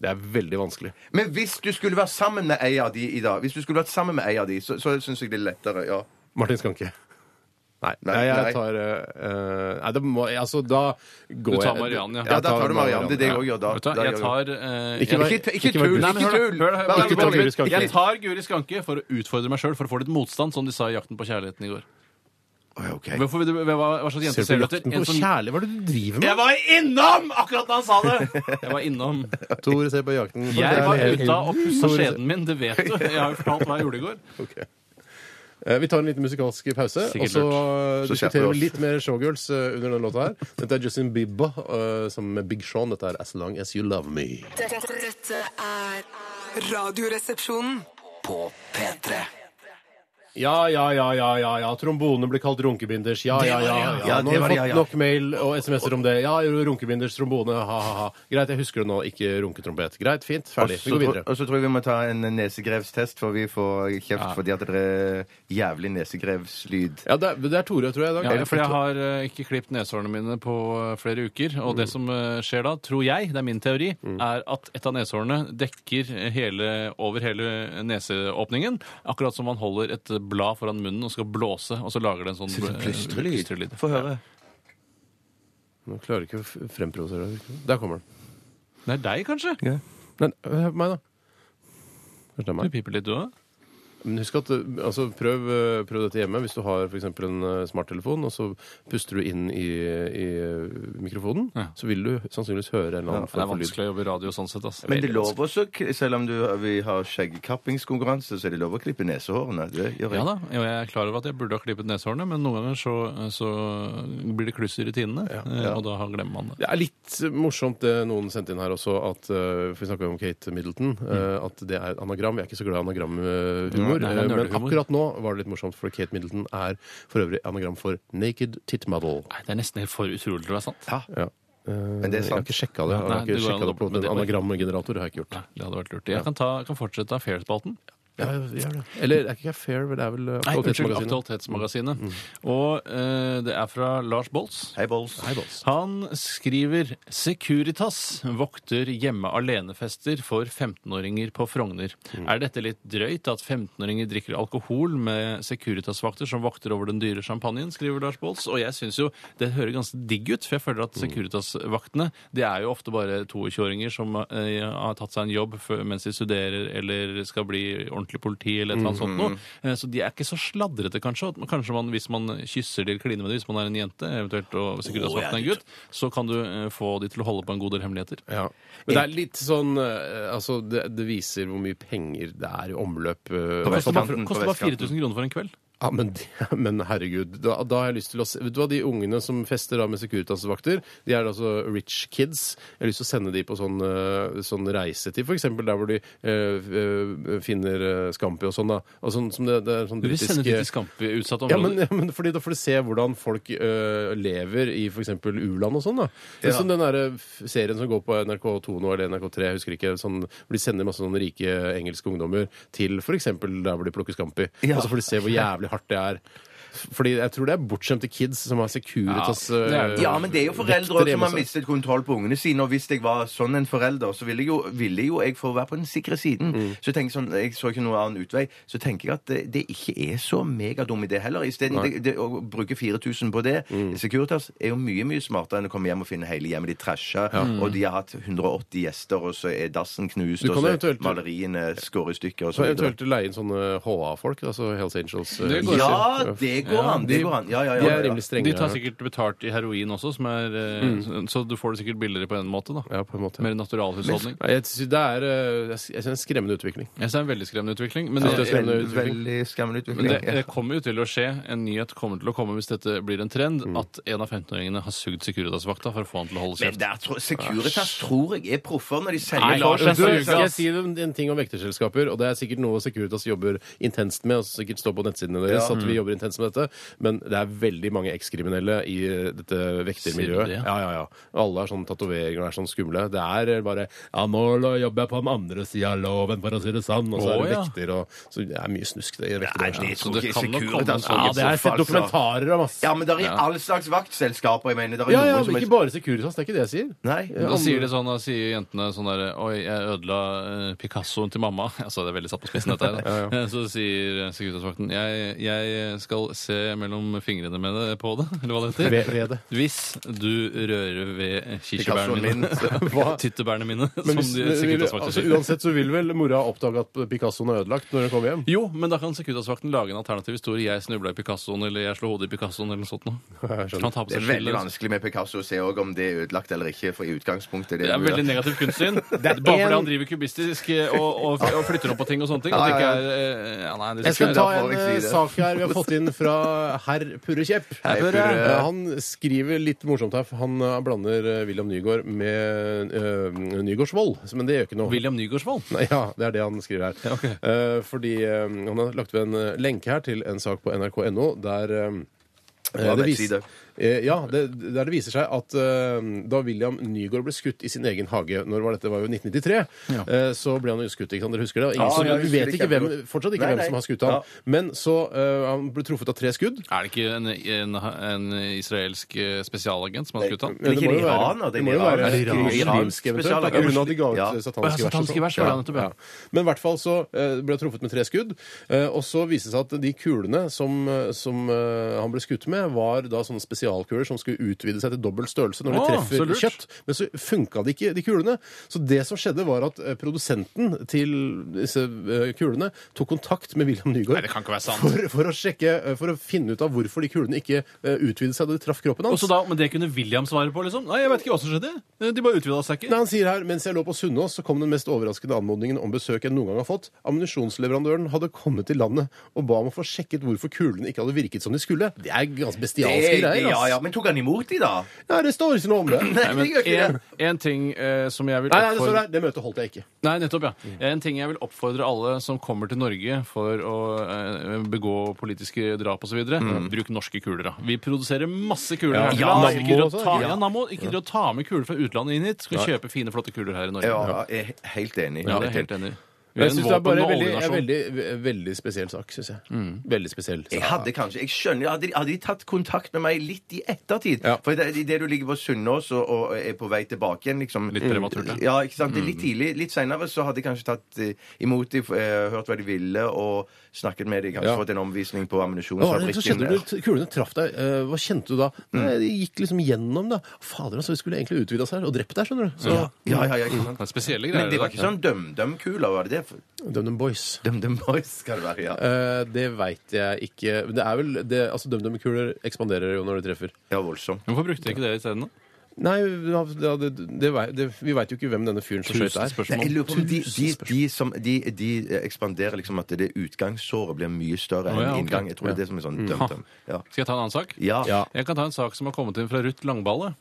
Speaker 3: Det er veldig vanskelig.
Speaker 4: Men hvis du skulle være sammen med ei av de i dag, Hvis du skulle vært sammen med ei av de, så, så syns jeg det er lettere. ja.
Speaker 3: Martin Skanke. Nei,
Speaker 4: Nei,
Speaker 3: jeg,
Speaker 4: nei.
Speaker 3: tar eh, eh, Nei, det må altså, Da går
Speaker 5: Du tar
Speaker 3: jeg-
Speaker 5: Mariann, ja.
Speaker 4: Ja, da tar du Marianne. Det er det jeg
Speaker 3: ja.
Speaker 4: òg gjør da.
Speaker 5: Vet du hva,
Speaker 4: Da
Speaker 5: jeg
Speaker 4: gjør jeg-
Speaker 5: tar eh,
Speaker 3: Ikke
Speaker 5: jeg-
Speaker 3: vær-
Speaker 4: Ikke, ikke
Speaker 3: Ikke
Speaker 4: tull!
Speaker 3: vær-
Speaker 5: Nei, men
Speaker 4: Ikke
Speaker 5: hør da,
Speaker 4: tull!
Speaker 5: hør da, hør da.
Speaker 4: Vær
Speaker 3: Ikke ta
Speaker 4: alvorlig.
Speaker 3: Guri Skanke.
Speaker 5: Jeg tar Guri Skanke for å utfordre meg sjøl, for å få litt motstand, som de sa i Jakten på kjærligheten i går.
Speaker 4: Oi, ok.
Speaker 5: Hvorfor, vil du- hva, hva slags jente
Speaker 3: Ser
Speaker 5: ser
Speaker 3: du på
Speaker 5: du etter?
Speaker 3: jakten
Speaker 5: En sånn-
Speaker 3: på
Speaker 5: som-
Speaker 3: kjærlighet? Hva er det du driver med?
Speaker 5: Jeg var innom akkurat da han sa det! Jeg var innom.
Speaker 3: Tore ser på jakten.
Speaker 5: Jeg var
Speaker 3: Det er-
Speaker 5: ute og pussa
Speaker 3: Tore ser-
Speaker 5: skjeden min, det vet du. Jeg har jo fortalt hva jeg gjorde i går.
Speaker 3: Ok. Eh, Vi tar en liten musikalsk pause,
Speaker 5: Sikkert
Speaker 3: og så eh,
Speaker 4: Så skjerper vi
Speaker 3: diskuterer
Speaker 4: oss.
Speaker 3: vi litt mer Showgirls eh, under denne låta her. Dette er Justin Bieber eh, sammen med Big Sean. Dette er As Long As You Love Me.
Speaker 6: Dette, dette er Radioresepsjonen.
Speaker 2: På P3.
Speaker 3: Ja, ja, ja, ja, ja, ja. Trombone blir kalt runkebinders. Ja, ja, ja. ja.
Speaker 4: Ja,
Speaker 3: Nå har vi
Speaker 4: det var det,
Speaker 3: fått
Speaker 4: ja, ja.
Speaker 3: nok mail og SMS-er om det. Ja, jo, runkebinders, trombone, ha, ha, ha. Greit, jeg husker det nå. Ikke runketrompet. Greit, fint. Ferdig. Vi
Speaker 4: Så
Speaker 3: går
Speaker 4: tror-
Speaker 3: videre.
Speaker 4: Og så tror jeg vi må ta en nesegrevstest, for vi får kjeft fordi at det er jævlig nesegrevslyd.
Speaker 3: Ja, det er, det er Tore, tror jeg, i dag.
Speaker 5: Ja, for jeg har eh, ikke klippet neshårene mine på eh, flere uker. Og det som eh, skjer da, tror jeg, det er min teori, er at et av neshårene dekker eh, hele, over hele neseåpningen. Akkurat som man holder et blad foran munnen og skal blåse, og så lager det en sånn eh, plystrelyd.
Speaker 4: Få høre.
Speaker 3: Nå klarer jeg ikke å f- fremprovosere deg. Der kommer den.
Speaker 5: Det er deg, kanskje?
Speaker 3: Men hør på meg, da. Kanskje det er
Speaker 5: Du
Speaker 3: meg.
Speaker 5: piper litt, du òg?
Speaker 3: Men husk at, eh, altså, prøv, eh, prøv dette hjemme hvis du har f.eks. en eh, smarttelefon, og så puster du inn i, i eh, mikrofonen,
Speaker 5: Ja.
Speaker 3: så vil du sannsynligvis høre en eller annen
Speaker 5: Det er
Speaker 3: form for lyd.
Speaker 5: vanskelig å jobbe i radio sånn sett. ass.
Speaker 4: Men det er lov også, k- selv om du, vi har skjeggkappingskonkurranse, så er det lov å klippe nesehårene. Det gjør jeg.
Speaker 5: Ja da, jo, jeg er klar over at jeg burde ha klippet neshårene, men noen ganger så, eh, så blir det kluss i rutinene, eh, og da glemmer man det.
Speaker 3: Det er litt morsomt det noen sendte inn her også, at, eh, for vi snakka om Kate Middleton. eh, At det er et anagram. Jeg er ikke så glad i anagramhumor. eh,
Speaker 5: Mm. Nei, det er
Speaker 3: men
Speaker 5: nerdehumor.
Speaker 3: akkurat nå var det litt morsomt, for Kate Middleton er for øvrig anagram for Naked Tit Model.
Speaker 5: Nei, det er nesten helt for utrolig til å være sant.
Speaker 3: Ja. Men
Speaker 4: det er
Speaker 3: Jeg har
Speaker 4: sant.
Speaker 3: ikke sjekka det. Jeg
Speaker 5: Ah. Nei,
Speaker 3: har ikke
Speaker 5: det går an
Speaker 3: sjekket det
Speaker 5: å-
Speaker 3: på
Speaker 5: men
Speaker 3: en
Speaker 5: det går-
Speaker 3: anagramgenerator. har jeg ikke gjort.
Speaker 5: Nei, det hadde vært lurt. Jeg kan, ta, kan fortsette av Fair-spalten.
Speaker 3: Ja, gjør det. Eller det er ikke fair, men det er vel eh,
Speaker 5: Nei, unnskyld, Mm.
Speaker 3: Aktualitetsmagasinet.
Speaker 5: Aktualitetsmagasinet. Og eh, det er fra Lars Bolts.
Speaker 4: Hei, Bolls.
Speaker 5: Han skriver Securitas vokter hjemme alenefester for 15-åringer på Frogner. Er dette litt drøyt at 15-åringer drikker alkohol med Securitas-vakter som vokter over den dyre champagnen, skriver Lars Bolts. Og jeg syns jo det hører ganske digg ut, for jeg føler at Securitas-vaktene det er jo ofte bare 22-åringer som eh, har tatt seg en jobb før, mens de studerer eller skal bli ordentlig politi eller et eller annet sånt
Speaker 3: Mm,
Speaker 5: noe. Eh, Så de er ikke så sladrete, kanskje. at- Kanskje man, hvis man kysser til kline med det, hvis man er en jente, eventuelt og Securitas-vakten er en gutt, så kan du eh, få de til å holde på en god del hemmeligheter.
Speaker 3: Ja. Men det er litt sånn eh, Altså, det, det viser hvor mye penger det er i omløp. eh,
Speaker 4: På
Speaker 5: Koster
Speaker 4: vestkanten,
Speaker 5: bare,
Speaker 4: på
Speaker 5: koster bare
Speaker 4: vestkanten.
Speaker 5: 4000 kroner for en kveld.
Speaker 3: Ja, men, det- men herregud, da, da har jeg lyst til å se Vet du hva, de ungene som fester da med Securitas-vakter, de er altså rich kids. Jeg har lyst til å sende de på sånn, eh, sånn reise til f.eks. der hvor de eh, eh, finner eh, Scampi og sånn, da. Og sånn som det, det er sånn
Speaker 5: Du vil sende de til
Speaker 3: britiske
Speaker 5: skampe utsatte
Speaker 3: ja men,
Speaker 5: områder?
Speaker 3: ja, men fordi Da får du se hvordan folk eh, lever i f.eks. u-land og sånn. da. Det er som den der øh, serien som går på NRK2 nå, eller NRK3, jeg husker ikke, sånn, hvor de sender masse sånne rike øh, engelske ungdommer til f.eks. der hvor de plukker scampi. Og så får de se hvor jævlig hardt det er. Fordi jeg tror det er bortskjemte kids som har Securitas
Speaker 5: Ja, det er det.
Speaker 3: eh,
Speaker 4: Ja, men det er jo
Speaker 3: vekter
Speaker 4: foreldre også som
Speaker 3: hjemme
Speaker 4: har
Speaker 3: hos seg.
Speaker 4: mistet kontroll på ungene sine. Og hvis jeg var sånn en forelder, så ville jeg jo, ville jo jeg få være på den sikre siden. Så tenker jeg sånn, jeg så ikke noen annen utvei. Så tenker jeg at det, det ikke er så megadum idé heller. Isteden det- det å bruke 4000 på det Securitas er jo mye, mye smartere enn å komme hjem og finne hele hjemmet. De trasher, og de har hatt 180 gjester, og så er dassen knust,
Speaker 3: Du kan
Speaker 4: og så er
Speaker 3: eventuelt-
Speaker 4: maleriene skåret i stykker, og
Speaker 3: Så
Speaker 4: så videre.
Speaker 3: eventuelt leie inn sånne HA-folk, altså Hells Angels. eh,
Speaker 5: Det går
Speaker 4: Ja, det går an!
Speaker 3: de-
Speaker 4: Det går an. Ja, ja, ja,
Speaker 3: De
Speaker 4: ja,
Speaker 3: er
Speaker 4: ja.
Speaker 3: rimelig strenge.
Speaker 5: De tar sikkert betalt i heroin også, som er, eh, så- så du får det sikkert billigere på en måte. da.
Speaker 3: Mm. Ja, på en måte.
Speaker 5: Mer naturalhusholdning.
Speaker 3: Nei, jeg sy- det er eh, jeg sy- jeg synes det er en skremmende utvikling.
Speaker 5: Jeg ser en veldig skremmende utvikling. Men
Speaker 3: Ja, det er
Speaker 5: det,
Speaker 3: skremmende.
Speaker 4: Veldig, veldig skremmende
Speaker 5: men
Speaker 4: utvikling.
Speaker 5: det,
Speaker 4: Ja.
Speaker 5: det kommer jo til å skje. En nyhet kommer til å komme hvis dette blir en trend.
Speaker 3: Mm.
Speaker 5: At en av 15-åringene har sugd Securitas-vakta for å få han til å holde
Speaker 4: Men
Speaker 5: kjeft.
Speaker 4: der tror, Securitas tror jeg er proffer når de
Speaker 5: Nei,
Speaker 4: sender
Speaker 5: Lars,
Speaker 4: folk.
Speaker 5: jeg
Speaker 3: Du,
Speaker 5: tror ikke,
Speaker 3: skal jeg
Speaker 5: ass.
Speaker 3: si dem en ting om vekterselskaper, og det er sikkert noe Securitas jobber intenst med, og som sikkert står på nettsidene deres
Speaker 4: Ja.
Speaker 3: at vi jobber intenst med dette, men det er veldig mange ekskriminelle i eh, dette
Speaker 5: Sier du
Speaker 3: vektermiljøet.
Speaker 5: det?
Speaker 3: Ja, ja, ja. Alle har sånne tatoveringer og er sånn skumle. Det er bare Ja, nå jobber jeg på den andre sida av loven, for å si det sånn, og så er
Speaker 5: Å,
Speaker 3: det
Speaker 5: ja.
Speaker 3: vekter og Så det er mye snusk det i
Speaker 4: det
Speaker 3: vekterbransjen.
Speaker 5: Så
Speaker 4: tror
Speaker 5: det
Speaker 4: jeg
Speaker 5: kan nok komme
Speaker 4: Securitas
Speaker 5: en sånn-
Speaker 3: Ja, det har jeg sett
Speaker 4: proffer, altså.
Speaker 3: dokumentarer om, ass.
Speaker 4: Ja, men det er alle slags vaktselskaper. jeg mener. Det er
Speaker 3: Ja, ja,
Speaker 4: noen som
Speaker 3: men
Speaker 4: er-
Speaker 3: ikke bare Securitas, det er ikke det jeg sier.
Speaker 4: Nei.
Speaker 3: Ja,
Speaker 5: Da sier, de sånn, da sier jentene sånn der Oi, jeg ødela eh, Picassoen til mamma. Altså, det er veldig satt på spissen, dette her. da. Eh, Så sier Securitas-vakten jeg, jeg skal se mellom fingrene med det på det, eller hva det heter.
Speaker 3: Ved- ved det.
Speaker 5: Hvis du rører ved kirsebærene
Speaker 4: Picassoen min.
Speaker 5: mine,
Speaker 3: Hva?
Speaker 5: tyttebærene mine,
Speaker 3: Men
Speaker 5: som
Speaker 3: hvis,
Speaker 5: de Securitas-vakten
Speaker 3: altså,
Speaker 5: sier.
Speaker 3: uansett så vil vel mora oppdage at Picassoen er ødelagt når hun kommer hjem.
Speaker 5: Jo, men da kan Securitas-vakten lage en alternativ historie. Jeg snubla i Picassoen, eller jeg slo hodet i Picassoen, eller noe sånt noe.
Speaker 3: Jeg skjønner.
Speaker 5: Han tar på
Speaker 4: Det er
Speaker 5: seg
Speaker 4: veldig
Speaker 5: skylden.
Speaker 4: vanskelig med Picasso å se også om det er ødelagt eller ikke. for i utgangspunktet
Speaker 5: Det er
Speaker 4: jo-
Speaker 5: veldig negativt kunstsyn. Bare fordi han driver kubistisk eh, og, og, og flytter om på ting og sånne ting. At det ikke er eh, ja, nei, det
Speaker 3: Jeg skal ta en
Speaker 4: Derfor jeg
Speaker 3: eh,
Speaker 4: sier det.
Speaker 3: sak her vi har fått inn fra herr Purre Kjepp.
Speaker 4: Hei, Purre.
Speaker 3: Eh, Han skriver litt morsomt her, for han eh, blander eh, William Nygaard med uh, Nygaardsvold, men det gjør ikke noe.
Speaker 5: William Nygaardsvold.
Speaker 3: Nei, Ja, det er det han skriver her. Eh, fordi eh, han har lagt ved en eh, lenke her til en sak på nrk.no der eh,
Speaker 4: Ja,
Speaker 3: Eh, det
Speaker 4: nettside.
Speaker 3: viser, eh, ja, det, der det viser seg at eh, da William Nygaard ble skutt i sin egen hage Når var dette? Det var jo 1993. eh, så ble han jo skutt. ikke sant? Dere husker det? Og Ingen,
Speaker 4: Ja,
Speaker 3: som,
Speaker 4: jeg
Speaker 3: vi
Speaker 4: husker
Speaker 3: vet
Speaker 4: det
Speaker 3: ikke hvem,
Speaker 4: kjempegodt.
Speaker 3: fortsatt ikke
Speaker 4: Nei,
Speaker 3: hvem
Speaker 4: nei.
Speaker 3: som har skutt ham.
Speaker 4: Ja.
Speaker 3: Men så eh, han ble truffet av tre skudd.
Speaker 5: Er det ikke en, en, en israelsk eh, spespesialagent som har skutt han?
Speaker 4: Men ikke
Speaker 3: må jo
Speaker 4: en
Speaker 3: være-
Speaker 4: iraner, det er
Speaker 3: det
Speaker 4: en
Speaker 3: må jo være
Speaker 4: iraner.
Speaker 3: iransk, muslimsk
Speaker 4: Iransk
Speaker 3: eventuelt.
Speaker 4: spesialagent.
Speaker 3: På grunn av de ga ut
Speaker 4: Ja.
Speaker 3: eh,
Speaker 5: Å, ja,
Speaker 3: satanske
Speaker 5: satanske vers, var det nettopp, ja.
Speaker 3: altså. Men i hvert fall så eh, ble han truffet med tre skudd, eh, og så viste det seg at de kulene som, eh, som eh, han ble skutt med, var da sånne spesialkuler som skulle utvide seg til dobbel størrelse når de
Speaker 5: Å, så
Speaker 3: treffer
Speaker 5: lurt.
Speaker 3: kjøtt, men så funka de ikke, de kulene. Så det som skjedde, var at eh, produsenten til disse eh, kulene tok kontakt med William Nygaard
Speaker 5: Nei, det kan ikke være sant.
Speaker 3: for, for å sjekke, eh, for å finne ut av hvorfor de kulene ikke eh, utvidet seg da de traff kroppen
Speaker 5: Og
Speaker 3: hans.
Speaker 5: så da, men det kunne William svare på, liksom? Nei, jeg vet ikke hva som skjedde. Eh, De bare utvida seg
Speaker 3: Nei,
Speaker 5: ikke.
Speaker 3: han sier her, Mens jeg lå på Sunnaas, så kom den mest overraskende anmodningen om besøk jeg noen gang har fått. Ammunisjonsleverandøren hadde kommet til landet og ba om å få sjekket hvorfor kulene ikke hadde virket som de skulle. Det er ganske bestialske
Speaker 4: Det-
Speaker 3: greier.
Speaker 4: Ja,
Speaker 3: ass.
Speaker 4: ja, Men tok han imot de, da?
Speaker 3: ja, det står ikke noe om det. Nei,
Speaker 4: Nei, det gjør ikke
Speaker 5: En,
Speaker 4: det.
Speaker 5: en ting eh, som jeg vil
Speaker 3: nei, det står
Speaker 5: oppfordre
Speaker 3: her. Det møtet holdt jeg ikke.
Speaker 5: Nei, nettopp, ja. En ting jeg vil oppfordre alle som kommer til Norge for å eh, begå politiske drap osv. Bruk norske kuler, da. Vi produserer masse kuler her. til
Speaker 4: Ja,
Speaker 5: lands.
Speaker 3: Mm. Nammo
Speaker 5: ikke driv og
Speaker 3: også,
Speaker 5: ta,
Speaker 3: ja.
Speaker 5: ja, Nammo, ikke driv og ta med kuler fra utlandet inn hit. Skal kjøpe fine, flotte kuler her i Norge. Ja,
Speaker 4: Ja, jeg er helt enig.
Speaker 5: det er jeg helt enig. i. Vi
Speaker 3: Jeg
Speaker 5: er en
Speaker 3: synes det er bare
Speaker 5: våpen- og
Speaker 3: veldig, er
Speaker 5: oljenasjon.
Speaker 3: veldig, veldig spesiell sak, syns jeg.
Speaker 4: Mm.
Speaker 3: Veldig spesiell.
Speaker 4: Jeg hadde kanskje, jeg skjønner, hadde de, hadde de tatt kontakt med meg litt i ettertid?
Speaker 3: Ja.
Speaker 4: For det, i det du ligger på Sunnaas og, og er på vei tilbake igjen liksom,
Speaker 5: Litt prematurt, ja. Mm.
Speaker 4: Ja, ikke sant? Det er Litt tidlig. Litt seinere så hadde jeg kanskje tatt eh, imot dem, eh, hørt hva de ville, og snakket med dem. Kanskje
Speaker 3: Ja.
Speaker 4: fått en omvisning på
Speaker 3: Hva var det som
Speaker 4: ammunisjonsfabrikken.
Speaker 3: skjedde når kulene traff deg? Eh, Hva kjente du da?
Speaker 4: Mm.
Speaker 3: Nei, De gikk liksom gjennom, da. Fader, altså, vi skulle egentlig utvida oss her og drept deg, skjønner du. Så
Speaker 4: Ja, ja, ja, ikke sant?
Speaker 5: Det er spesielle greier.
Speaker 4: Men det var
Speaker 5: det
Speaker 4: ikke
Speaker 5: der.
Speaker 4: sånn dum-dum-kuler, var det det?
Speaker 3: DumDum Boys.
Speaker 4: Dum-dum boys skal det være, ja.
Speaker 3: Eh, det veit jeg ikke. Men det er vel det, altså DumDum-kuler ekspanderer jo når de treffer.
Speaker 4: Ja, voldsomt.
Speaker 5: Hvorfor brukte de ikke det isteden? da?
Speaker 3: Nei, ja, det, det, vei- det, vi veit jo ikke hvem denne fyren som skøyt
Speaker 5: Tusen
Speaker 3: er.
Speaker 4: Nei,
Speaker 5: spørsmål.
Speaker 4: jeg lurer på om de, de, de, som, de, de ekspanderer liksom at det utgangssåret blir mye større enn
Speaker 5: Å, ja, Mm. ok.
Speaker 4: inngang. Jeg tror det er det som er sånn dømt. Ja.
Speaker 5: Skal jeg ta en annen sak?
Speaker 4: Ja,
Speaker 3: Ja.
Speaker 5: Jeg kan ta en sak som har kommet inn fra Ruth Langballe.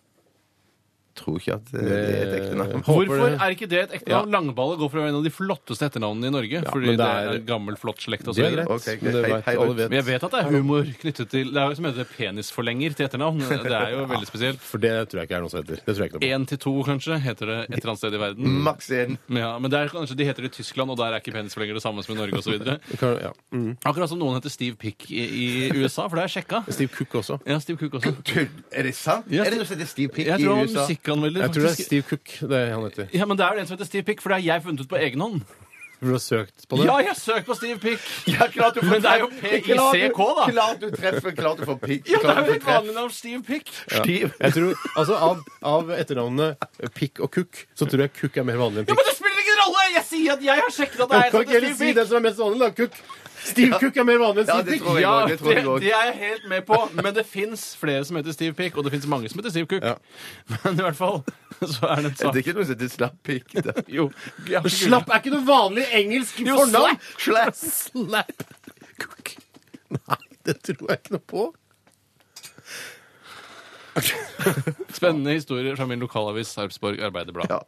Speaker 4: tror ikke at eh, det er et ekte navn.
Speaker 3: Håper
Speaker 5: Hvorfor
Speaker 3: det-
Speaker 5: er ikke det et ekte
Speaker 3: Ja.
Speaker 5: navn? Langballe går for å være en av de flotteste etternavnene i Norge.
Speaker 3: Ja,
Speaker 5: fordi
Speaker 3: men
Speaker 5: det
Speaker 3: det
Speaker 5: er,
Speaker 3: er-
Speaker 5: gammel, flott slekt og så
Speaker 3: Det er
Speaker 5: videre.
Speaker 3: greit.
Speaker 4: Ok, greit.
Speaker 3: men det
Speaker 4: Hei,
Speaker 3: vet,
Speaker 4: hei,
Speaker 3: alle
Speaker 5: Men
Speaker 4: Ruth.
Speaker 5: jeg
Speaker 3: vet.
Speaker 5: vet at det er humor knyttet til Det er jo som heter penisforlenger til etternavn. Det er jo veldig spesielt.
Speaker 3: For det tror jeg ikke er noe som heter. Det tror jeg ikke noe på.
Speaker 5: Én til to, kanskje, heter det et eller annet sted i verden.
Speaker 4: Maks én.
Speaker 5: Ja, men der, kanskje De heter det i Tyskland, og der er ikke penisforlenger det samme som i Norge osv.
Speaker 3: Kan, ja. mm.
Speaker 5: Akkurat som noen heter Steve Pick i, i USA, for det har jeg sjekka.
Speaker 3: Steve Cook også.
Speaker 5: Ja, Steve Cook også.
Speaker 4: Tull! Er det sant?
Speaker 5: Ja,
Speaker 4: er det noe som heter Steve Pick
Speaker 5: Jeg
Speaker 4: i
Speaker 5: tror han
Speaker 4: USA?
Speaker 5: musikkanmelder,
Speaker 3: Jeg tror det er
Speaker 5: faktisk.
Speaker 3: Steve Cook det er han heter.
Speaker 5: Ja, men det er jo en som heter Steve Pick, for det har jeg funnet ut på egen hånd.
Speaker 3: Burde du ha søkt på det?
Speaker 5: Ja, jeg søk på Steve Pick!
Speaker 4: Ja, klart du får
Speaker 5: Men det er jo
Speaker 4: treff.
Speaker 5: PICK, da.
Speaker 4: Klart du treffer, klart du får pick.
Speaker 5: Ja, det
Speaker 4: klart
Speaker 5: er jo
Speaker 4: du får
Speaker 5: et
Speaker 4: treff.
Speaker 5: vanlig navn, Steve Pick.
Speaker 4: Steve.
Speaker 3: Jeg tror, altså Av, av etternavnene eh, Pick og Cook, så tror jeg Cook er mer vanlig enn
Speaker 5: Men
Speaker 3: Pick.
Speaker 5: det spiller ingen rolle! Jeg sier at jeg har sjekket at det er en
Speaker 3: Kan
Speaker 5: som
Speaker 3: ikke
Speaker 5: heter
Speaker 3: heller
Speaker 5: Steve
Speaker 3: si
Speaker 5: Pick.
Speaker 3: den som er mest vanlig, da? Cook. Steve Cook er mer vanlig enn
Speaker 4: Ja,
Speaker 3: Steve
Speaker 4: det
Speaker 3: Pick.
Speaker 4: tror jeg
Speaker 5: Ja, det,
Speaker 4: òg. Det tror jeg òg.
Speaker 5: det er jeg helt med på, men det fins flere som heter Steve Pick, og det fins mange som heter Steve Cook.
Speaker 3: Ja.
Speaker 5: Men i hvert fall så er det en
Speaker 4: Det er
Speaker 5: sak.
Speaker 4: ikke noe som heter slapp pick. da.
Speaker 5: Jo, jeg har ikke
Speaker 3: Slapp er ikke noe vanlig engelsk
Speaker 5: Jo,
Speaker 3: fornavn!
Speaker 4: Slapp.
Speaker 3: Slap. Cook. Nei, det tror jeg ikke noe på.
Speaker 5: googlet. Spennende historier fra min lokalavis Sarpsborg Arbeiderblad.
Speaker 4: Ja.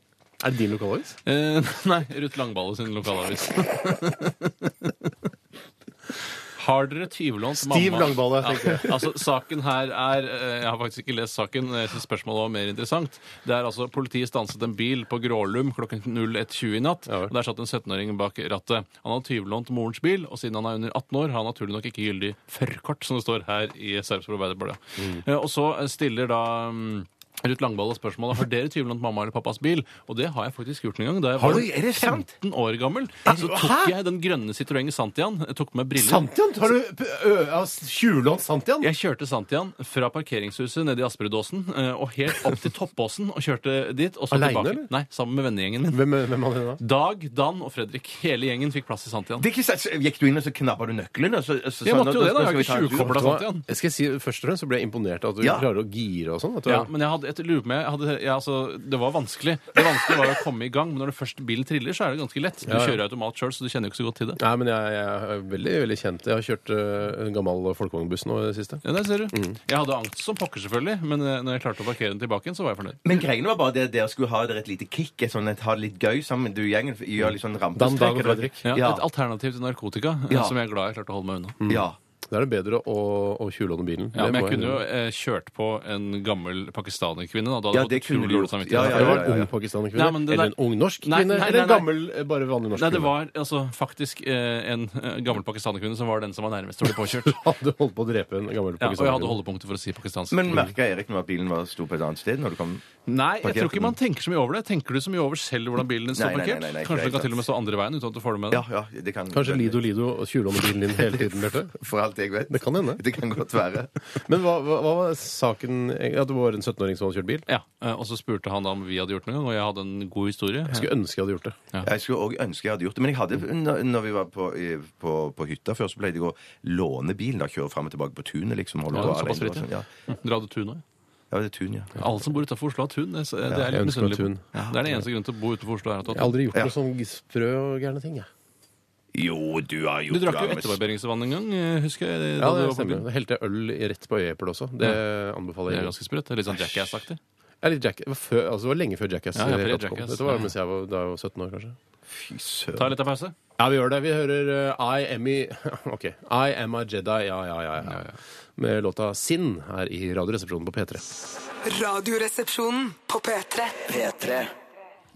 Speaker 3: Er det din lokalavis?
Speaker 5: Eh, nei, Ruth Langballe sin lokalavis. Har dere tyvlånt mamma
Speaker 3: Stiv Langballe, tenker
Speaker 5: Ja, altså, saken her er eh, Jeg har faktisk ikke lest saken. Jeg synes spørsmålet var mer interessant. Det er altså Politiet stanset en bil på Grålum klokken 01.20 i natt.
Speaker 3: Ja vel.
Speaker 5: og Der satt en 17-åring bak rattet. Han har tyvlånt morens bil, og siden han er under 18 år, har han naturlig nok ikke gyldig førerkort, som det står her i Sarpsborg Arbeiderblad. Eh, Og så stiller da mm, Ruth Langballe spørsmålet har dere tyvlånt mamma eller pappas bil. Og det har jeg faktisk gjort en gang. Da jeg var
Speaker 4: du- er det sant?
Speaker 5: 15 år gammel. Så
Speaker 3: Hæ?
Speaker 5: tok jeg den grønne Citroën Santian. Jeg tok med briller.
Speaker 3: Santian? Har du ø- ja, tjuvlånt Santian?
Speaker 5: Jeg kjørte Santian fra parkeringshuset nede i Asperudåsen eh, og helt opp til Toppåsen og kjørte dit. Og så
Speaker 3: Alene,
Speaker 5: tilbake.
Speaker 3: eller?
Speaker 5: Nei, sammen med vennegjengen min.
Speaker 3: Hvem, hvem er det da?
Speaker 5: Dag, Dan og Fredrik. Hele gjengen fikk plass i Santian.
Speaker 4: Det er ikke sant. Så Gikk du inn og så knappa du nøkkelen? Og så, så,
Speaker 5: Jeg
Speaker 4: sa han,
Speaker 5: måtte jo
Speaker 4: "Nå-
Speaker 5: det, da.
Speaker 4: nå
Speaker 5: Jeg har ikke
Speaker 4: skal vi ta en tur."
Speaker 5: tjuvkobla Santian.
Speaker 3: Jeg skal si, først og fremst så ble jeg imponert av at du
Speaker 4: Ja.
Speaker 3: klarer å gire og sånn. at du-
Speaker 5: Ja, men jeg hadde, jeg lurer på meg, jeg hadde, jeg, altså, det var vanskelig. Det vanskelige var å komme i gang, men når det først bilen triller, så er det ganske lett. Du
Speaker 3: Ja, ja.
Speaker 5: kjører automat sjøl, så du kjenner jo ikke så godt til det.
Speaker 3: Nei, men jeg, jeg er veldig veldig kjent. Jeg har kjørt ø, en gammel folkevognbuss nå i det siste.
Speaker 5: Ja, der ser du. Jeg hadde angst som pokker, selvfølgelig, men eh, når jeg klarte å parkere den tilbake igjen, så var jeg fornøyd.
Speaker 4: Men greiene var bare det at dere skulle ha dere et lite kick. Et sånn, et, ha det litt gøy sammen. Du gjengen gjør litt sånn
Speaker 3: Dan, Dag og
Speaker 4: rampestreker.
Speaker 3: Fredrik.
Speaker 5: Ja,
Speaker 4: Ja.
Speaker 5: Et alternativ til narkotika, eh,
Speaker 4: Ja.
Speaker 5: som jeg er glad jeg klarte å holde meg unna.
Speaker 4: Ja.
Speaker 3: Da er det bedre å, å tjuvlåne bilen.
Speaker 5: Ja,
Speaker 3: Det
Speaker 5: men
Speaker 3: må
Speaker 5: jeg kunne jo
Speaker 3: innrømme.
Speaker 5: eh, kjørt på en gammel pakistanerkvinne. da. Da
Speaker 4: Ja,
Speaker 5: hadde
Speaker 4: det
Speaker 5: jeg fått
Speaker 4: kunne
Speaker 5: utrolig
Speaker 4: du
Speaker 5: dårlig
Speaker 4: gjort.
Speaker 5: samvittighet.
Speaker 4: Ja, ja,
Speaker 3: Det var
Speaker 4: ja,
Speaker 3: en
Speaker 4: ja.
Speaker 3: ung pakistanerkvinne.
Speaker 5: Nei, men det
Speaker 3: Eller
Speaker 5: der-
Speaker 3: en ung norsk
Speaker 5: Nei,
Speaker 3: kvinne.
Speaker 5: nei,
Speaker 3: eller en
Speaker 5: nei, nei.
Speaker 3: gammel, bare vanlig norsk
Speaker 5: Nei, det
Speaker 3: kvinne.
Speaker 5: var altså, faktisk eh, en eh, gammel pakistanerkvinne som var den som var nærmest til å bli påkjørt.
Speaker 3: Hadde holdt på å drepe en gammel
Speaker 5: Ja, og jeg hadde
Speaker 3: pakistanerkvinne.
Speaker 5: holdepunkter for å si pakistansk.
Speaker 4: Men merka Erik nå at bilen var sto på et annet sted når du kom?
Speaker 5: nei, jeg tror
Speaker 4: Parkerte
Speaker 5: ikke man tenker så mye over det. Tenker du så mye over selv hvordan bilen din står
Speaker 4: Nei, nei, nei,
Speaker 5: parkert?
Speaker 4: nei, nei,
Speaker 5: Kanskje
Speaker 4: greit,
Speaker 5: det kan til og med
Speaker 4: sant.
Speaker 5: stå andre veien uten at du får det med
Speaker 4: Ja,
Speaker 5: deg.
Speaker 4: ja, det kan
Speaker 3: Kanskje Lido Lido tjuvlåner bilen din hele tiden, Bjarte?
Speaker 4: For alt jeg vet.
Speaker 3: Det kan hende.
Speaker 4: Det kan godt være.
Speaker 3: Men hva, hva, hva var saken At det var en 17-åring som hadde kjørt bil?
Speaker 5: Ja, eh, Og så spurte han da om vi hadde gjort noe, og jeg hadde en god historie.
Speaker 3: Jeg skulle ønske jeg hadde gjort det.
Speaker 4: Jeg skulle også ønske jeg hadde gjort det. Men jeg hadde, når- når vi var på, i- på, på hytta før, så pleide jeg å låne bilen. da, Kjøre fram og tilbake på tunet, liksom.
Speaker 5: Ja,
Speaker 4: Holde på
Speaker 5: såpass
Speaker 4: alene og
Speaker 5: fritt,
Speaker 4: sånn, ja.
Speaker 5: Dere hadde tun òg?
Speaker 4: ja, det er tun, ja.
Speaker 5: Alle som bor utafor Oslo har tun. Det, det
Speaker 3: jeg
Speaker 5: er litt
Speaker 3: ønsker meg
Speaker 5: misunnelig. på.
Speaker 3: tun.
Speaker 5: Det er den eneste grunnen til å bo utenfor Oslo. er at du
Speaker 3: Jeg
Speaker 5: har
Speaker 3: har
Speaker 5: tun.
Speaker 3: aldri gjort
Speaker 4: Ja.
Speaker 3: noe sånn sprø og gærne ting, jeg.
Speaker 4: Jo, du har gjort
Speaker 5: Du drakk
Speaker 4: har
Speaker 5: jo
Speaker 4: med-
Speaker 5: etterbarberingsvann en gang, eh, husker jeg. da
Speaker 3: Ja,
Speaker 5: du
Speaker 3: det
Speaker 5: var på
Speaker 3: stemmer.
Speaker 5: byen.
Speaker 3: Da helte jeg øl i- rett på øyeeplet også. Det anbefaler
Speaker 5: Det er
Speaker 3: jeg.
Speaker 5: ganske sprøtt. Det er Litt sånn
Speaker 3: Jeg
Speaker 5: Jackass-aktig.
Speaker 3: er litt Jack, det var før, altså det var lenge før Jackass.
Speaker 5: Ja, ja,
Speaker 3: i det
Speaker 5: før
Speaker 3: hele tatt kom.
Speaker 5: Jackass.
Speaker 3: Dette var
Speaker 5: Ja.
Speaker 3: mens jeg var, da jeg var 17 år, kanskje.
Speaker 4: Fy søren.
Speaker 5: Ta litt av pause.
Speaker 3: Ja, vi gjør det. Vi hører eh, I am i OK. I am a Jedi, ja, ja, ja. ja. Med låta Sinn her i Radioresepsjonen på P3.
Speaker 6: Radioresepsjonen på P3.
Speaker 2: P3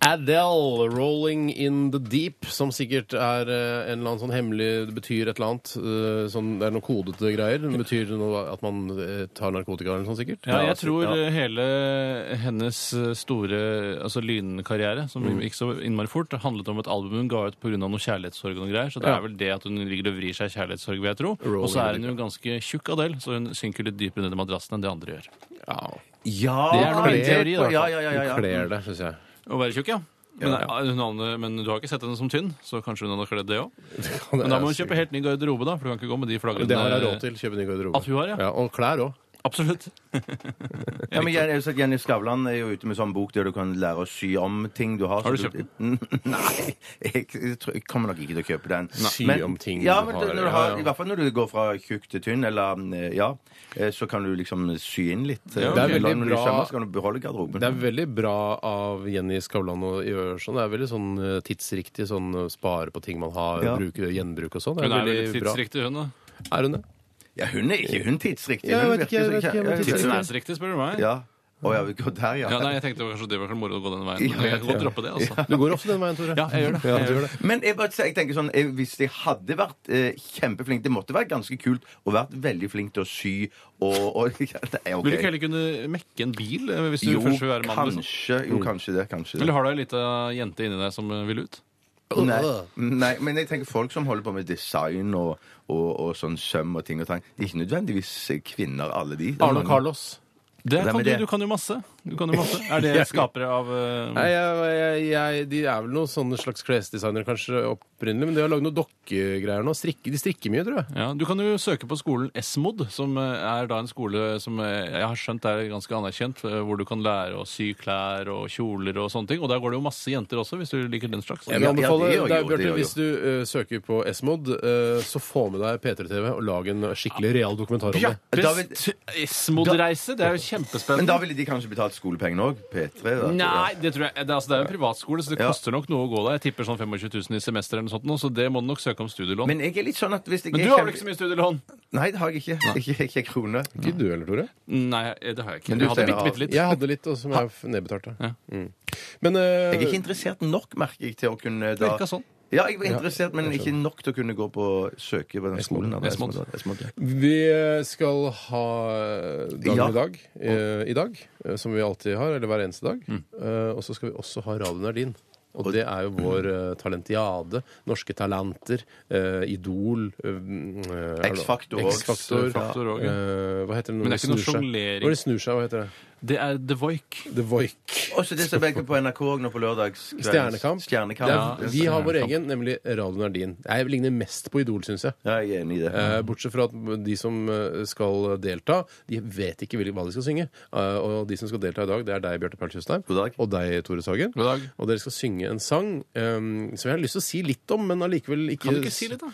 Speaker 3: Adele, 'Rolling in the Deep', som sikkert er eh, en eller annen sånn hemmelig Det betyr et eller annet. eh, Sånn, det er noen kodete greier. Det betyr noe at man eh, tar narkotika eller sånn, sikkert.
Speaker 5: Ja, jeg tror eh, hele hennes eh, store altså lynkarriere, som gikk så innmari fort, handlet om et album hun ga ut pga. noe kjærlighetssorg og noe greier. Så det
Speaker 3: Ja.
Speaker 5: er vel det at hun ligger og vrir seg i kjærlighetssorg, vil jeg tro.
Speaker 3: Rolling
Speaker 5: Og så er hun
Speaker 3: in
Speaker 5: jo ganske tjukk av del, så hun synker litt dypere ned i madrassen enn det andre gjør.
Speaker 3: Ja,
Speaker 4: Ja,
Speaker 5: Det er noe
Speaker 4: det-
Speaker 5: min teori, da, i hvert fall.
Speaker 4: Ja, ja, ja, ja,
Speaker 3: Hun
Speaker 4: ja.
Speaker 3: kler det, syns jeg.
Speaker 5: Å være tjukk, ja. Men, eh, hun aner- men du har ikke sett henne som tynn, så kanskje hun hadde kledd det òg. Men da må hun kjøpe helt ny garderobe, da, for du kan ikke gå med de flaggene eh,
Speaker 3: Det har jeg råd til. Kjøpe ny garderobe.
Speaker 5: At hun har, ja.
Speaker 3: Og klær òg.
Speaker 5: Absolutt.
Speaker 4: Ja, men jeg, jeg, har sett Jenny Skavlan er jo ute med sånn bok der du kan lære å sy om ting du har.
Speaker 5: Har du
Speaker 4: så
Speaker 5: kjøpt
Speaker 4: Nei, jeg, jeg, tror, jeg kommer nok ikke til å kjøpe den.
Speaker 3: Sy om ting
Speaker 4: ja,
Speaker 3: du
Speaker 4: men,
Speaker 3: har,
Speaker 4: Når du
Speaker 3: ja,
Speaker 4: har
Speaker 3: ja.
Speaker 4: I hvert fall når du går fra tjukk til tynn, eller eh, ja, eh, så kan du liksom sy inn litt.
Speaker 5: Ja,
Speaker 4: Eh,
Speaker 5: det er
Speaker 3: veldig
Speaker 4: når du
Speaker 3: bra-
Speaker 4: Sømmer, så kan du beholde garderoben.
Speaker 3: Det er veldig bra av Jenny Skavlan å gjøre sånn. Det er veldig sånn eh, tidsriktig sånn eh, spare på ting man har,
Speaker 4: Ja.
Speaker 3: bruke, gjenbruk og sånn. Det
Speaker 5: Hun
Speaker 3: er
Speaker 5: er veldig
Speaker 3: veldig bra.
Speaker 5: tidsriktig, hun. da.
Speaker 3: Er hun det?
Speaker 4: Ja, hun er ikke hun tidsriktig.
Speaker 3: Ja, jeg
Speaker 4: Hun
Speaker 3: vet ikke, jeg
Speaker 4: virker
Speaker 3: vet ikke, jeg vet
Speaker 4: så-
Speaker 3: ikke.
Speaker 5: Tidsen
Speaker 4: ja,
Speaker 5: er så riktig, spør du meg.
Speaker 4: Ja. Å ja, vi går der, ja.
Speaker 5: Ja, nei, jeg tenkte kanskje det var kanskje moro å gå den veien.
Speaker 4: Ja,
Speaker 5: Men jeg kan godt droppe det, altså.
Speaker 3: Du går også den veien, Tore.
Speaker 5: Ja, jeg gjør det.
Speaker 3: Ja, du gjør det.
Speaker 4: Men jeg, bare, jeg tenker sånn, jeg, hvis jeg hadde vært eh, kjempeflink Det måtte vært ganske kult å vært veldig flink til å sy og, og ja, det er ok.
Speaker 5: Vil du ikke heller kunne mekke en bil eh, hvis du
Speaker 4: Jo,
Speaker 5: først vil være mann? liksom?
Speaker 4: kanskje, jo, kanskje det. Kanskje det.
Speaker 5: Eller har du ei lita jente inni deg som eh, vil ut?
Speaker 4: Nei, nei, men jeg tenker folk som holder på med design og, og, og sånn søm og ting og tang, de er ikke nødvendigvis eh, kvinner, alle de.
Speaker 3: Arne og Carlos.
Speaker 5: Det
Speaker 4: Hvem er
Speaker 5: kan du,
Speaker 4: det?
Speaker 5: du kan jo masse. Du kan jo masse. Er det skapere av eh,
Speaker 4: Mm.
Speaker 3: Nei, jeg, jeg, jeg, de er vel noen sånne slags klesdesignere kanskje opprinnelig, men de har lagd noen dokkegreier nå. Strikke, de strikker mye, tror jeg.
Speaker 5: Ja, Du kan jo søke på skolen Esmod, som eh, er da en skole som eh, jeg har skjønt er ganske anerkjent, eh, hvor du kan lære å sy klær og kjoler og sånne ting. Og der går det jo masse jenter også, hvis du liker den slags.
Speaker 3: Jeg
Speaker 4: Ja,
Speaker 3: vil
Speaker 4: ja, det
Speaker 3: anbefale
Speaker 4: gjør
Speaker 3: deg,
Speaker 4: jo, det
Speaker 3: Bjarte,
Speaker 4: gjør
Speaker 3: hvis du eh, søker på Esmod, eh, så få med deg P3TV og lag en skikkelig real dokumentar om det.
Speaker 4: Ja, da vil-
Speaker 5: Best Esmod-reise! Det er jo
Speaker 4: Men da
Speaker 5: kjempespennende.
Speaker 4: ville de kanskje betalt skolepengene òg? P3? Da,
Speaker 5: Nei, det tror jeg det, er- altså, det er jo en privatskole, så det
Speaker 4: Ja.
Speaker 5: koster nok noe å gå der. Jeg tipper sånn 25 000 i semesteret eller noe sånt, nå, så det må du nok søke om studielån. Men,
Speaker 4: Men jeg er litt sånn at hvis jeg
Speaker 5: du har vel ikke så mye studielån?
Speaker 4: Nei, det har jeg ikke. Ikke, ikke en krone.
Speaker 3: Ikke du heller, Tore?
Speaker 5: Nei, det har jeg ikke.
Speaker 4: Men
Speaker 5: Men
Speaker 4: du
Speaker 5: jeg hadde
Speaker 4: ser-
Speaker 5: bitte, bitte litt.
Speaker 3: Jeg hadde litt, og som jeg f- nedbetalte.
Speaker 5: Ja.
Speaker 3: Mm. Men eh,
Speaker 4: Jeg er ikke interessert nok, merker jeg, til å kunne eh, da
Speaker 5: Virka sånn.
Speaker 4: Ja, jeg var interessert, men ikke nok til å kunne gå på søke på den skolen. da.
Speaker 5: Esmond.
Speaker 4: Esmond, ja.
Speaker 3: vi skal ha dagen
Speaker 4: Ja. Mm.
Speaker 3: i dag, eh, i dag, eh, som vi alltid har, eller hver eneste dag. Eh, og så skal vi også ha radioen er din. Og det er jo vår eh, talentiade. Norske talenter. eh, Idol. eh,
Speaker 4: X-Factor også.
Speaker 3: X-Faktor.
Speaker 5: Faktor også, ja.
Speaker 3: Eh, hva heter det
Speaker 5: Men
Speaker 3: når de
Speaker 5: det er ikke noe
Speaker 3: snur seg?
Speaker 5: sjonglering.
Speaker 3: Når de snur seg, hva heter det?
Speaker 5: Det er The Voik.
Speaker 3: The Voik.
Speaker 4: Og så det som vekker på NRK også nå på lørdags. kvelds-
Speaker 3: Stjernekamp.
Speaker 4: Stjernekamp.
Speaker 3: Det er, vi
Speaker 4: Ja,
Speaker 3: har vår egen, nemlig Radioen er din. Jeg ligner mest på Idol, syns jeg.
Speaker 4: jeg er enig i det.
Speaker 3: Eh, Bortsett fra at de som eh, skal delta, de vet ikke hvil- hva de skal synge. Eh, Og de som skal delta i dag, det er deg, Bjarte Paul Tjøstheim.
Speaker 4: God dag.
Speaker 3: Og deg, Tore Sagen.
Speaker 5: God dag.
Speaker 3: Og dere skal synge en sang eh, som jeg har lyst til å si litt om, men allikevel ikke
Speaker 5: Kan du ikke si litt, da?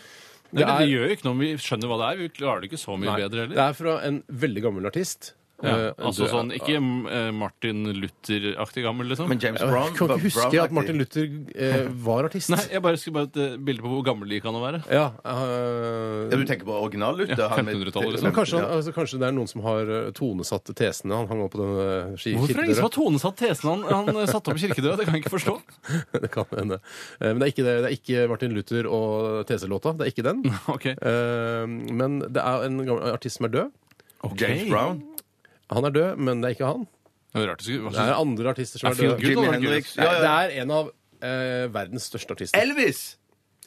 Speaker 5: Nei,
Speaker 3: Det
Speaker 5: men
Speaker 3: er-
Speaker 5: det gjør jo ikke noe om vi skjønner hva det er. Vi klarer det ikke så mye
Speaker 3: Nei, Det
Speaker 5: bedre heller.
Speaker 3: er fra en veldig gammel artist.
Speaker 5: Ja,
Speaker 3: Eh,
Speaker 5: altså
Speaker 3: død-
Speaker 5: sånn, Ikke eh, Martin Luther-aktig gammel, liksom.
Speaker 4: Men James
Speaker 3: Jeg
Speaker 4: Brown
Speaker 3: kan
Speaker 4: var
Speaker 3: ikke huske
Speaker 4: Brown-aktig.
Speaker 3: at Martin Luther eh, var artist.
Speaker 5: Nei, jeg bare skulle bare et eh, bilde på hvor gammel de kan være.
Speaker 3: Ja, eh,
Speaker 4: Ja, du tenker på original Luther?
Speaker 5: Ja,
Speaker 4: han med-
Speaker 5: 1500-tallet, liksom.
Speaker 3: men kanskje, han,
Speaker 4: Ja.
Speaker 3: altså, kanskje det er noen som har eh, tonesatt tesene han hang opp på den eh,
Speaker 5: Hvorfor er det
Speaker 3: kirkedøra.
Speaker 5: ingen som har tonesatt tesen han, han eh, satte opp i kirkedøra? Det kan jeg ikke forstå.
Speaker 3: Det kan hende. Eh, Men det er ikke, det. Det er ikke Martin Luther og TC-låta. Det er ikke den.
Speaker 5: Ok.
Speaker 3: Eh, Men det er en gammel artist som er død.
Speaker 4: James Brown?
Speaker 3: Han er død, men det er ikke han.
Speaker 5: Det var rart du skulle... hva
Speaker 3: Det er
Speaker 5: synes-
Speaker 3: andre artister som
Speaker 5: Er
Speaker 3: er
Speaker 5: Phil
Speaker 3: døde.
Speaker 5: Good
Speaker 4: Jimi
Speaker 5: hadde vært
Speaker 4: Hendrix?
Speaker 5: gøy.
Speaker 3: liksom. Nei,
Speaker 4: Ja,
Speaker 3: Det
Speaker 4: ja.
Speaker 3: er en av eh, verdens største artister.
Speaker 4: Elvis!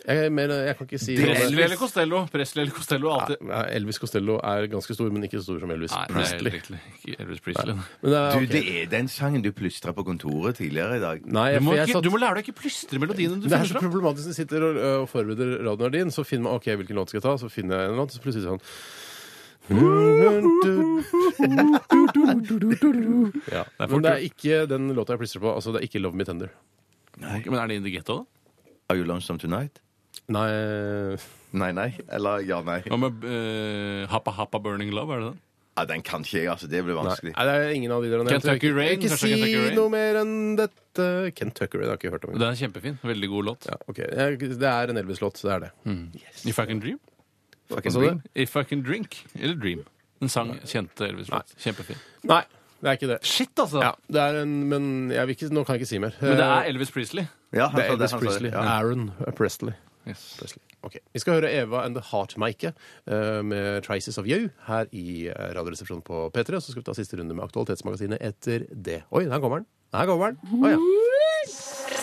Speaker 3: Jeg, mener, jeg kan ikke si
Speaker 4: Det er
Speaker 5: Presley
Speaker 4: Elvis.
Speaker 5: eller Costello? Presley eller Costello er alltid...
Speaker 3: Nei, Elvis Costello er ganske stor, men ikke så stor som Elvis
Speaker 5: Nei, det er helt
Speaker 3: Presley.
Speaker 5: riktig. Ikke Elvis Presley.
Speaker 3: Men det er,
Speaker 4: Du,
Speaker 3: ok.
Speaker 4: det er den sangen du plystra på kontoret tidligere i dag.
Speaker 3: Nei,
Speaker 5: Du må,
Speaker 3: for jeg
Speaker 5: ikke,
Speaker 3: satt-
Speaker 5: du må lære deg å ikke plystre melodiene du
Speaker 3: Det er så
Speaker 5: finner fram.
Speaker 3: problematisk når du sitter og, og forbereder radioen din, så finner man ok, hvilken låt skal jeg ta, så finner jeg en låt, så plutselig sånn ja. Men det er ikke den låta jeg plystrer på. Altså, det er ikke 'Love Me Tender'.
Speaker 5: Men er det In The Ghetto, da?
Speaker 4: Are you lonesome tonight?
Speaker 3: Nei
Speaker 4: Nei, nei. Eller ja, nei.
Speaker 5: Hva med eh, Happa Happa Burning Love? Er det den?
Speaker 4: Ja, den kan ikke jeg, altså. Det blir vanskelig.
Speaker 3: Nei, det er ingen av de der. Jeg tror
Speaker 5: Kentucky
Speaker 3: ikke-
Speaker 5: Rain,
Speaker 3: Ikke
Speaker 5: kanskje
Speaker 3: si
Speaker 5: Kentucky Rain?
Speaker 3: noe mer enn dette. Kentucky Rain har jeg ikke hørt om.
Speaker 5: Den er kjempefin. Veldig god låt.
Speaker 3: Ja, ok. Jeg- Det er en Elvis-låt, så det er det.
Speaker 5: Mm. If I Can Dream?
Speaker 4: Fucking
Speaker 3: sa du?
Speaker 4: dream.
Speaker 5: If I Can Drink eller Dream. En sang kjente Elvis Presley. Kjempefin.
Speaker 3: Nei, det er ikke det.
Speaker 5: Shit, altså!
Speaker 3: Ja, det er en, men jeg vil ikke, nå kan jeg ikke si mer. Eh,
Speaker 5: Men det er altså, Elvis Presley.
Speaker 4: Ja, han
Speaker 3: Det
Speaker 4: sa
Speaker 3: er Elvis
Speaker 4: han sa
Speaker 3: Presley.
Speaker 4: Ja.
Speaker 3: Aaron Presley. Presley. Ok, Vi skal høre Eva and The Heartmaker eh, med 'Traces of You' her i eh, Radioresepsjonen på P3. Så skal vi ta siste runde med Aktualitetsmagasinet etter det. Oi, der kommer den! Her kommer den. Å, ja.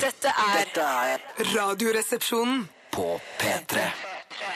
Speaker 6: Dette er Radioresepsjonen.
Speaker 2: På P3.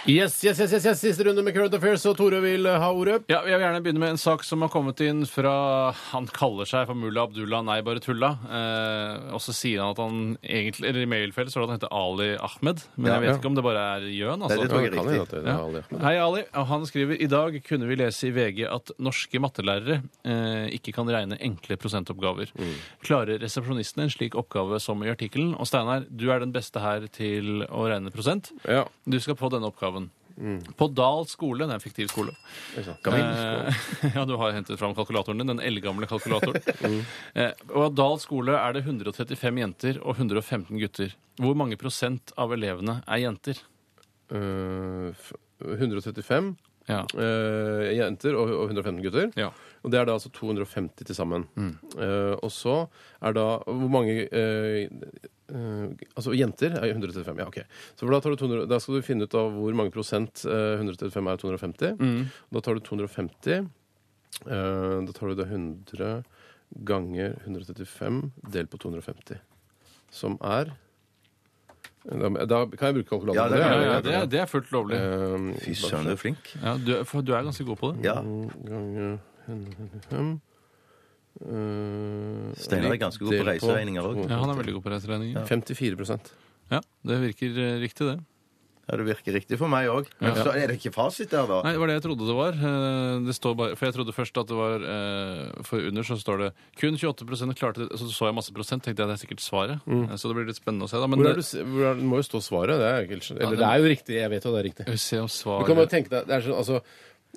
Speaker 3: Yes, yes, yes, yes, yes, Siste runde med Current Affairs, og Tore vil eh, ha ordet.
Speaker 5: Ja, Jeg vil gjerne begynne med en sak som har kommet inn fra Han kaller seg for mulla Abdullah, nei, bare tulla. Eh, og så sier han at han egentlig Eller i mailfellet står det at han heter Ali Ahmed. Men jeg vet
Speaker 3: ja.
Speaker 5: ikke om det bare er gjøn.
Speaker 4: Nei,
Speaker 5: Altså.
Speaker 4: det tror jeg er
Speaker 3: Kan
Speaker 4: riktig.
Speaker 3: jo at det- det er Ali.
Speaker 5: Ja. Hei, Ali. Og Han skriver i dag kunne vi lese i VG at norske mattelærere eh, ikke kan regne enkle prosentoppgaver.
Speaker 3: Mm.
Speaker 5: Klarer resepsjonistene en slik oppgave som i artikkelen? Og Steinar, du er den beste her til å regne prosent.
Speaker 3: Ja. Mm.
Speaker 5: Du skal på denne oppgaven. På Dal skole, det er en fiktiv skole. Eh, ja, du har hentet fram kalkulatoren din, den eldgamle kalkulatoren. eh, og av Dal skole er det 135 jenter og 115 gutter. Hvor mange prosent av elevene er jenter?
Speaker 3: Eh, f- 135
Speaker 5: Ja.
Speaker 3: eh, jenter og, og 115 gutter.
Speaker 5: ja.
Speaker 3: Og det er da altså 250 til sammen.
Speaker 5: Mm.
Speaker 3: Eh, og så er da Hvor mange eh, eh, Altså jenter er 135. Ja, OK. Så da, tar du 200, da skal du finne ut av hvor mange prosent eh, 135 er 250.
Speaker 5: Mm.
Speaker 3: Da tar du 250. eh, da tar du da 100 ganger 135 delt på 250, som er Da, da kan jeg bruke kalkulatoren.
Speaker 4: Ja, det
Speaker 5: Ja,
Speaker 4: kan
Speaker 5: ja,
Speaker 4: jeg.
Speaker 5: det, er, det er fullt lovlig.
Speaker 3: Eh,
Speaker 4: Fy søren, du er flink.
Speaker 5: Ja, du, er- for du er ganske god på det.
Speaker 4: Ja,
Speaker 3: ganger 155 uh,
Speaker 4: Steinar er ganske god på reiseregninger òg.
Speaker 5: Ja, Han er veldig god på reiseregninger.
Speaker 3: 54
Speaker 5: Ja, det virker eh, riktig, det.
Speaker 4: Ja, det virker riktig for meg òg. Men Så er det ikke fasit der, da.
Speaker 5: Nei, det var det jeg trodde det var. Eh, Det står bare, for jeg trodde først at det var eh, For under så står det kun 28 klarte det. Så så jeg masse prosent, tenkte jeg det er sikkert svaret. Eh, Så det blir litt spennende å se, da. Men eh,
Speaker 3: Hvor er du,
Speaker 5: det,
Speaker 3: s- hvor er, det må jo stå svaret. Det er, jo ikke, helt- eller,
Speaker 5: det-
Speaker 3: det er jo riktig. Jeg vet jo det er riktig.
Speaker 5: vi ser om
Speaker 3: Du kan bare
Speaker 5: svaret
Speaker 3: tenke deg Det er, sånn, altså,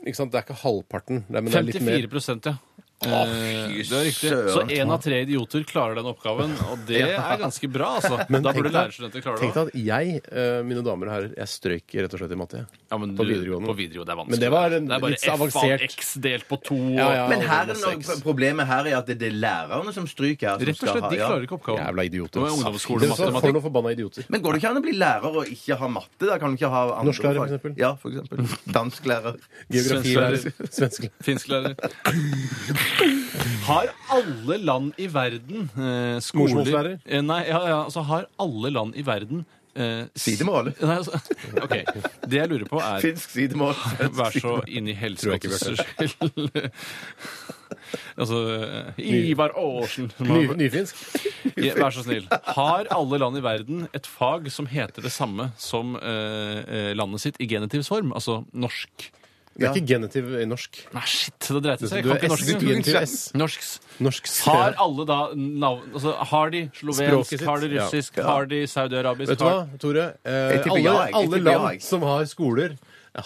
Speaker 3: ikke, sant? Det er ikke halvparten. Det er, men det er litt mer.
Speaker 5: 54 ja. Eh,
Speaker 4: fy
Speaker 5: Det er riktig. Så
Speaker 4: søren.
Speaker 5: én av tre idioter klarer den oppgaven, og det er ganske bra, altså. da
Speaker 3: tenk
Speaker 5: burde
Speaker 3: deg-
Speaker 5: lærerstudenter klare
Speaker 3: Tenk
Speaker 5: det. også.
Speaker 3: deg at jeg, eh, mine damer og herrer, jeg strøyk rett og slett i matte. jeg.
Speaker 5: Ja, men
Speaker 3: på
Speaker 5: du-
Speaker 3: videregående.
Speaker 5: På video, det er vanskelig.
Speaker 3: Men det var en-
Speaker 5: det er bare
Speaker 3: litt avansert.
Speaker 5: F av X delt på to.
Speaker 3: Ja, ja.
Speaker 4: Men her er
Speaker 3: det er
Speaker 4: noe,
Speaker 3: seks.
Speaker 4: problemet her er at det er lærerne som stryker. Her,
Speaker 5: Rett
Speaker 4: som
Speaker 5: og slett,
Speaker 4: skal ha-
Speaker 5: de
Speaker 4: ja.
Speaker 5: klarer ikke oppgaven.
Speaker 3: Jævla idioter.
Speaker 5: Det var ungdomsskole,
Speaker 3: Dere sa, For
Speaker 5: matematikk.
Speaker 3: noen forbanna idioter.
Speaker 4: Men går det ikke an å bli lærer og ikke ha matte? da? Kan du ikke ha andre
Speaker 3: Norsklærer, for
Speaker 4: fag?
Speaker 3: eksempel.
Speaker 4: Ja, for eksempel. Dansklærer.
Speaker 3: Geografilærer. Svensklærer.
Speaker 5: Finsklærer. Har alle land i verden eh, skoler
Speaker 3: Morsmålslærer?
Speaker 5: Eh, nei, ja, ja, altså har alle land i verden eh, s-
Speaker 4: Sidemål.
Speaker 5: Nei, altså, ok. Det jeg lurer på, er
Speaker 4: Finsk sidemål.
Speaker 5: Vær så inn i helskottets skyld Altså eh, Ivar Aasen. som
Speaker 3: Ny,
Speaker 5: har-
Speaker 3: nyfinsk.
Speaker 5: Ja, Vær så snill. Har alle land i verden et fag som heter det samme som eh, eh, landet sitt i genitivsform? Altså norsk.
Speaker 3: Det er ikke genitiv i norsk.
Speaker 5: Nei, shit, det dreide seg. Jeg
Speaker 3: Du
Speaker 5: kan
Speaker 3: er
Speaker 5: ikke
Speaker 3: S,
Speaker 5: norsk.
Speaker 3: genitiv S.
Speaker 5: Norsks.
Speaker 3: Norsk
Speaker 5: Har alle da navn altså, Har de slovensk,
Speaker 3: Språket sitt,
Speaker 5: har de
Speaker 3: ja.
Speaker 5: russisk, har de saudi-arabisk
Speaker 3: Vet du hva, Tore? Eh,
Speaker 4: Jeg tipper
Speaker 3: alle
Speaker 4: ja, jeg. Jeg
Speaker 3: alle
Speaker 4: tipper ja, jeg.
Speaker 3: land som har skoler,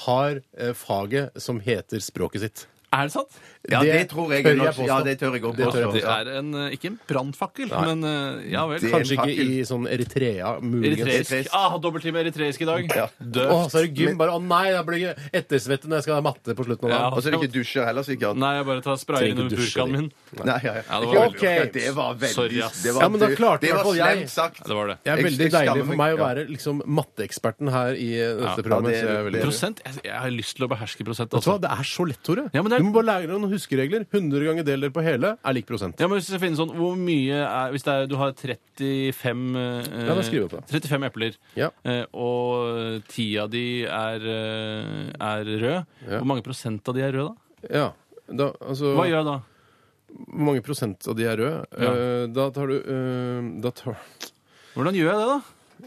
Speaker 3: har eh, faget som heter språket sitt.
Speaker 5: Er det sant?
Speaker 4: Ja,
Speaker 3: Det
Speaker 4: det, tror jeg.
Speaker 3: tør
Speaker 4: er
Speaker 3: jeg
Speaker 4: norsk. Ja,
Speaker 3: påstå.
Speaker 4: det tør jeg òg
Speaker 3: Det tør jeg
Speaker 4: påstå.
Speaker 5: Det er en, eh, ikke en brannfakkel, men eh, ja vel.
Speaker 4: Det er en
Speaker 3: Kanskje ikke
Speaker 4: fakkel.
Speaker 3: i sånn Eritrea, muligens.
Speaker 5: Eritreisk. Ah, dobbelttime eritreisk i dag.
Speaker 3: Å,
Speaker 5: Døvt.
Speaker 3: så er det gym. Bare å nei, jeg blir ikke ettersvette når jeg skal ha matte på slutten av
Speaker 5: Ja.
Speaker 3: dagen.
Speaker 4: Og så er det ikke dusjer heller, sikkert.
Speaker 5: Nei, jeg bare tar sprayer
Speaker 3: Trenger
Speaker 5: innover
Speaker 3: ikke dusje,
Speaker 5: burkaen min.
Speaker 4: Nei, ja,
Speaker 5: Ja, det
Speaker 4: ja. det
Speaker 5: var
Speaker 4: var
Speaker 5: veldig
Speaker 3: Ok.
Speaker 4: Det var veldig
Speaker 5: Sorry, ass.
Speaker 4: det var,
Speaker 3: Ja, men da
Speaker 4: det-
Speaker 3: klarte i
Speaker 4: det
Speaker 3: hvert
Speaker 4: var
Speaker 3: fall jeg.
Speaker 4: slemt sagt.
Speaker 5: Ja, det var det.
Speaker 3: Det er
Speaker 4: Jeg-
Speaker 3: veldig
Speaker 4: jeg skammer
Speaker 3: deilig for meg
Speaker 4: meg,
Speaker 3: å være liksom matteeksperten her i eh, dette programmet.
Speaker 4: ja,
Speaker 3: så
Speaker 4: det er-
Speaker 3: jeg er veldig-
Speaker 4: det er-
Speaker 5: Prosent? Jeg, jeg har lyst til å beherske prosent.
Speaker 3: Vet du hva,
Speaker 5: Altså.
Speaker 3: det er så lett, Tore.
Speaker 5: Ja, men det er-
Speaker 3: Du må bare lære deg noen huskeregler. 100 ganger deler på hele er lik prosent.
Speaker 5: Ja, men Hvis du finner sånn, hvor mye er, hvis det er, du har 35 eh,
Speaker 3: Ja, da skriver jeg på.
Speaker 5: 35 epler,
Speaker 3: Ja.
Speaker 5: eh, og 10 av de er, eh, er røde,
Speaker 3: Ja.
Speaker 5: hvor mange prosent av de er røde da?
Speaker 3: Ja. Da, altså,
Speaker 5: Hva gjør jeg da?
Speaker 3: Hvor mange prosent av de er røde?
Speaker 5: Ja.
Speaker 3: Eh, da tar du eh, da tar...
Speaker 5: Hvordan gjør jeg det, da?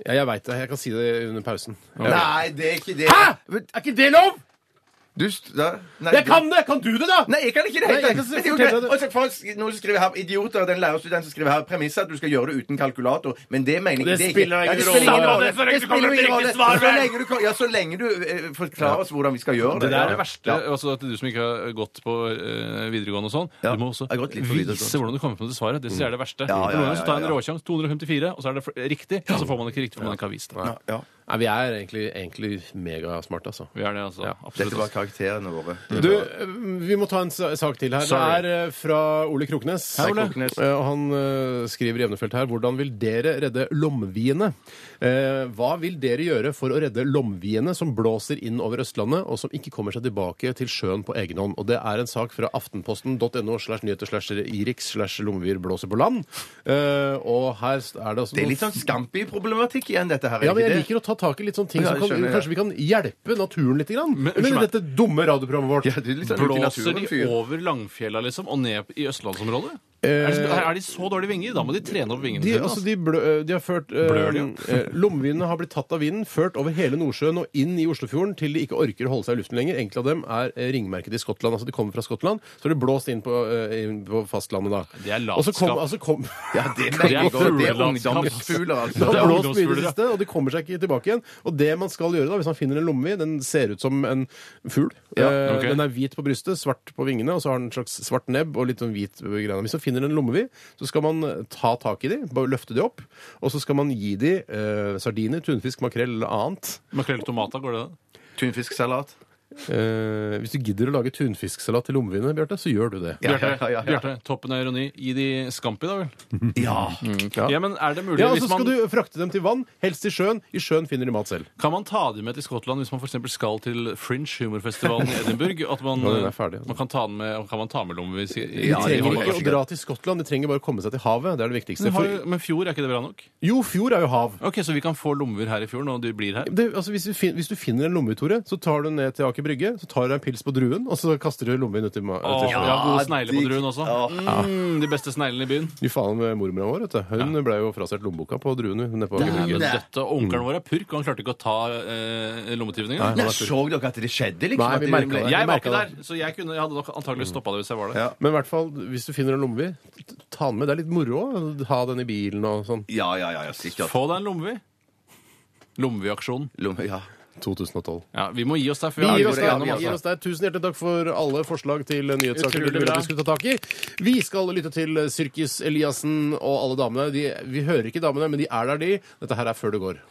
Speaker 3: Ja, jeg veit det. Jeg kan si det under pausen.
Speaker 4: Nei, det er ikke det.
Speaker 3: Er ikke det lov?!
Speaker 4: Du, st- da, nei,
Speaker 3: Jeg kan det! Kan du det, da?!
Speaker 4: Nei, jeg kan ikke det.
Speaker 3: Nei, jeg kan
Speaker 4: Men det
Speaker 3: fortelle
Speaker 4: er jo greit.
Speaker 3: deg det.
Speaker 4: Og så folk sk- noen som skriver her, idioter, den lærerstudenten som skriver her, premisset at du skal gjøre det uten kalkulator, men det mener jeg
Speaker 3: Det
Speaker 4: er
Speaker 3: spiller ingen
Speaker 4: ikke- Ja, det spiller
Speaker 3: rolle.
Speaker 5: Så lenge
Speaker 4: Det
Speaker 5: du kommer
Speaker 4: spiller
Speaker 5: til
Speaker 4: ingen rolle.
Speaker 5: riktig svar,
Speaker 4: Så
Speaker 5: vel.
Speaker 4: lenge du, kan- ja, så lenge du eh, forklarer oss hvordan vi skal gjøre
Speaker 5: Det
Speaker 4: det.
Speaker 5: er det
Speaker 4: Ja.
Speaker 5: verste. Altså, til du som ikke har gått på eh, videregående og sånn.
Speaker 4: Ja.
Speaker 5: Du må også
Speaker 4: Jeg har gått litt på
Speaker 5: vise
Speaker 4: videregående.
Speaker 5: hvordan du kommer frem til svaret. Det synes jeg er det verste.
Speaker 4: Ja, ja,
Speaker 5: For noen ganger
Speaker 4: ja,
Speaker 5: så tar jeg
Speaker 4: ja,
Speaker 5: en
Speaker 4: ja.
Speaker 5: råsjanse, 254, og så er det for- riktig, og så får man ikke riktig, for man ikke har vist det.
Speaker 4: Ja. Ja.
Speaker 3: Nei, vi er egentlig, egentlig megasmarte, altså.
Speaker 5: Vi er det, altså.
Speaker 4: Dette
Speaker 5: Absolutt.
Speaker 4: var karakterene våre.
Speaker 3: Du, eh, vi må ta en sa- sak til her.
Speaker 5: Sorry.
Speaker 3: Det er eh, fra Ole Kroknes.
Speaker 4: Hei, Ole. Kroknes.
Speaker 3: Eh, og Han eh, skriver i Evnefelt her Hvordan vil dere redde lomviene? Eh, Hva vil dere gjøre for å redde lomviene som blåser inn over Østlandet, og som ikke kommer seg tilbake til sjøen på egen hånd? Og det er en sak fra aftenposten.no slash nyheter slash irix slash lomvier blåser på land. Eh, Og her er det altså
Speaker 4: Det er
Speaker 3: noen-
Speaker 4: litt sånn Scampi-problematikk igjen, dette her. er
Speaker 3: ja, men
Speaker 4: ikke
Speaker 3: jeg
Speaker 4: det?
Speaker 3: liker å ta tak i litt sånne ting
Speaker 4: Ja,
Speaker 3: som kan,
Speaker 4: jeg skjønner, ja.
Speaker 3: Kanskje vi kan hjelpe naturen litt? Grann,
Speaker 5: Men-
Speaker 3: med
Speaker 5: unnskyld meg.
Speaker 3: dette dumme radioprogrammet vårt.
Speaker 4: Ja, det er litt sånn ute i
Speaker 5: Blåser
Speaker 4: naturen,
Speaker 5: de
Speaker 4: fyr.
Speaker 5: over Langfjella liksom, og ned i østlandsområdet?
Speaker 3: Eh,
Speaker 5: Er, de, er de så dårlige vinger? Da må de trene opp vingene
Speaker 3: De,
Speaker 5: sine.
Speaker 3: altså,
Speaker 5: altså.
Speaker 3: de, blø, de har ført eh,
Speaker 5: Blør de, ja?
Speaker 3: eh, Lommevinene har blitt tatt av vinden, ført over hele Nordsjøen og inn i Oslofjorden til de ikke orker å holde seg i luften lenger. Enkelte av dem er eh, ringmerket i Skottland. Altså de kommer fra Skottland, så er de blåst inn på, eh, inn på fastlandet da.
Speaker 5: Det er
Speaker 3: Og så kom,
Speaker 5: latskap.
Speaker 3: altså kom,
Speaker 4: Ja,
Speaker 5: Det
Speaker 4: det er,
Speaker 5: er
Speaker 4: veldig godt. det er
Speaker 5: fuglelandskap.
Speaker 4: ungdomsfugler,
Speaker 3: Det
Speaker 4: altså.
Speaker 5: Det
Speaker 3: har blåst mye
Speaker 5: er
Speaker 3: i det
Speaker 5: ungdomsfugler, ja.
Speaker 3: siste, og de kommer seg ikke tilbake igjen. Og det man skal gjøre da, hvis man finner en lommevi, den ser ut som en fugl. Eh,
Speaker 5: ok.
Speaker 3: Den er hvit på brystet, svart på vingene, og så har den en slags svart nebb og litt sånn hvit eh, greie. Hvis man finner en lommevi, så skal man eh, ta tak i de, bare løfte de opp, og så skal man gi de eh, sardiner, tunfisk, makrell eller annet.
Speaker 5: Makrell og tomater, går det da?
Speaker 4: Tunfisksalat.
Speaker 3: Eh, hvis du gidder å lage tunfisksalat til lommeviene, Bjarte, så gjør du det.
Speaker 4: Ja, ja, ja, ja.
Speaker 5: Bjarte, toppen av ironi. Gi de scampi, da vel? Mm,
Speaker 4: Ja. altså,
Speaker 5: Ja, men er det mulig
Speaker 3: Ja, og så
Speaker 5: hvis
Speaker 3: skal
Speaker 5: man,
Speaker 3: du frakte dem til vann, helst i sjøen. I sjøen finner de mat selv.
Speaker 5: Kan man ta dem med til Skottland hvis man for eksempel skal til Fringe Humorfestivalen i Edinburgh? At man,
Speaker 3: Når den er ferdig, altså.
Speaker 5: man kan ta den med, kan man ta med lommevis i, i,
Speaker 3: De
Speaker 4: Ja,
Speaker 3: trenger
Speaker 5: i
Speaker 4: håper
Speaker 3: ikke
Speaker 4: jeg
Speaker 3: å
Speaker 5: håndbagasjen?
Speaker 4: ikke.
Speaker 3: dra til Skottland, de trenger bare å komme seg til havet. Det er det viktigste.
Speaker 5: Men, har,
Speaker 3: For,
Speaker 5: men fjord, er ikke det bra nok?
Speaker 3: jo, fjord er jo hav.
Speaker 5: Ok, Så vi kan få lommer her i fjorden, og de blir her?
Speaker 3: Det, altså, hvis, du fin, hvis du finner en lomme, Tore, så tar du den ned til Aker Brygge, så tar du deg en pils på druen, og så kaster du lommen uti ma-
Speaker 5: Åh,
Speaker 3: uti
Speaker 5: ja,
Speaker 3: sjøen.
Speaker 5: gode snegler på
Speaker 4: digg.
Speaker 5: druen også. Mm, de beste sneglene i byen.
Speaker 3: Fy faen med mormora vår, vet du. Hun ble jo frastjålet lommeboka på druen hun, nede på Aker
Speaker 5: Dæven
Speaker 3: Brygge.
Speaker 5: døtte. og Onkelen vår er purk, og han klarte ikke å ta eh, lommetyven engang.
Speaker 4: Nei, så dere at det skjedde, liksom?
Speaker 3: Nei,
Speaker 4: at
Speaker 3: vi
Speaker 4: det
Speaker 3: merket
Speaker 4: ble-
Speaker 3: det.
Speaker 5: Jeg var
Speaker 3: merket
Speaker 5: ikke der, så jeg, kunne, jeg hadde nok
Speaker 3: Mm.
Speaker 5: antagelig stoppa det hvis jeg var der.
Speaker 4: Ja.
Speaker 3: Men i hvert fall, hvis du finner en lommevi, t- ta den med. Det er litt moro òg. Ha den i bilen og sånn.
Speaker 4: Ja, ja, ja, ja sikkert.
Speaker 5: Få deg en lommevi. Lommeviaksjonen.
Speaker 4: Lomme, ja.
Speaker 3: 2012.
Speaker 5: Ja, vi må gi oss der. For
Speaker 3: Vi
Speaker 5: har
Speaker 3: gir oss
Speaker 5: gått
Speaker 3: der.
Speaker 5: gjennom,
Speaker 3: vi
Speaker 5: altså.
Speaker 3: gir oss der. Tusen hjertelig takk for alle forslag til nyhetssaker
Speaker 5: Utrolig
Speaker 3: du ville at
Speaker 5: bra.
Speaker 3: vi skulle ta tak i. Vi skal lytte til Syrkis Eliassen og alle damene. De, vi hører ikke damene, men de er der, de. Dette her er før det går.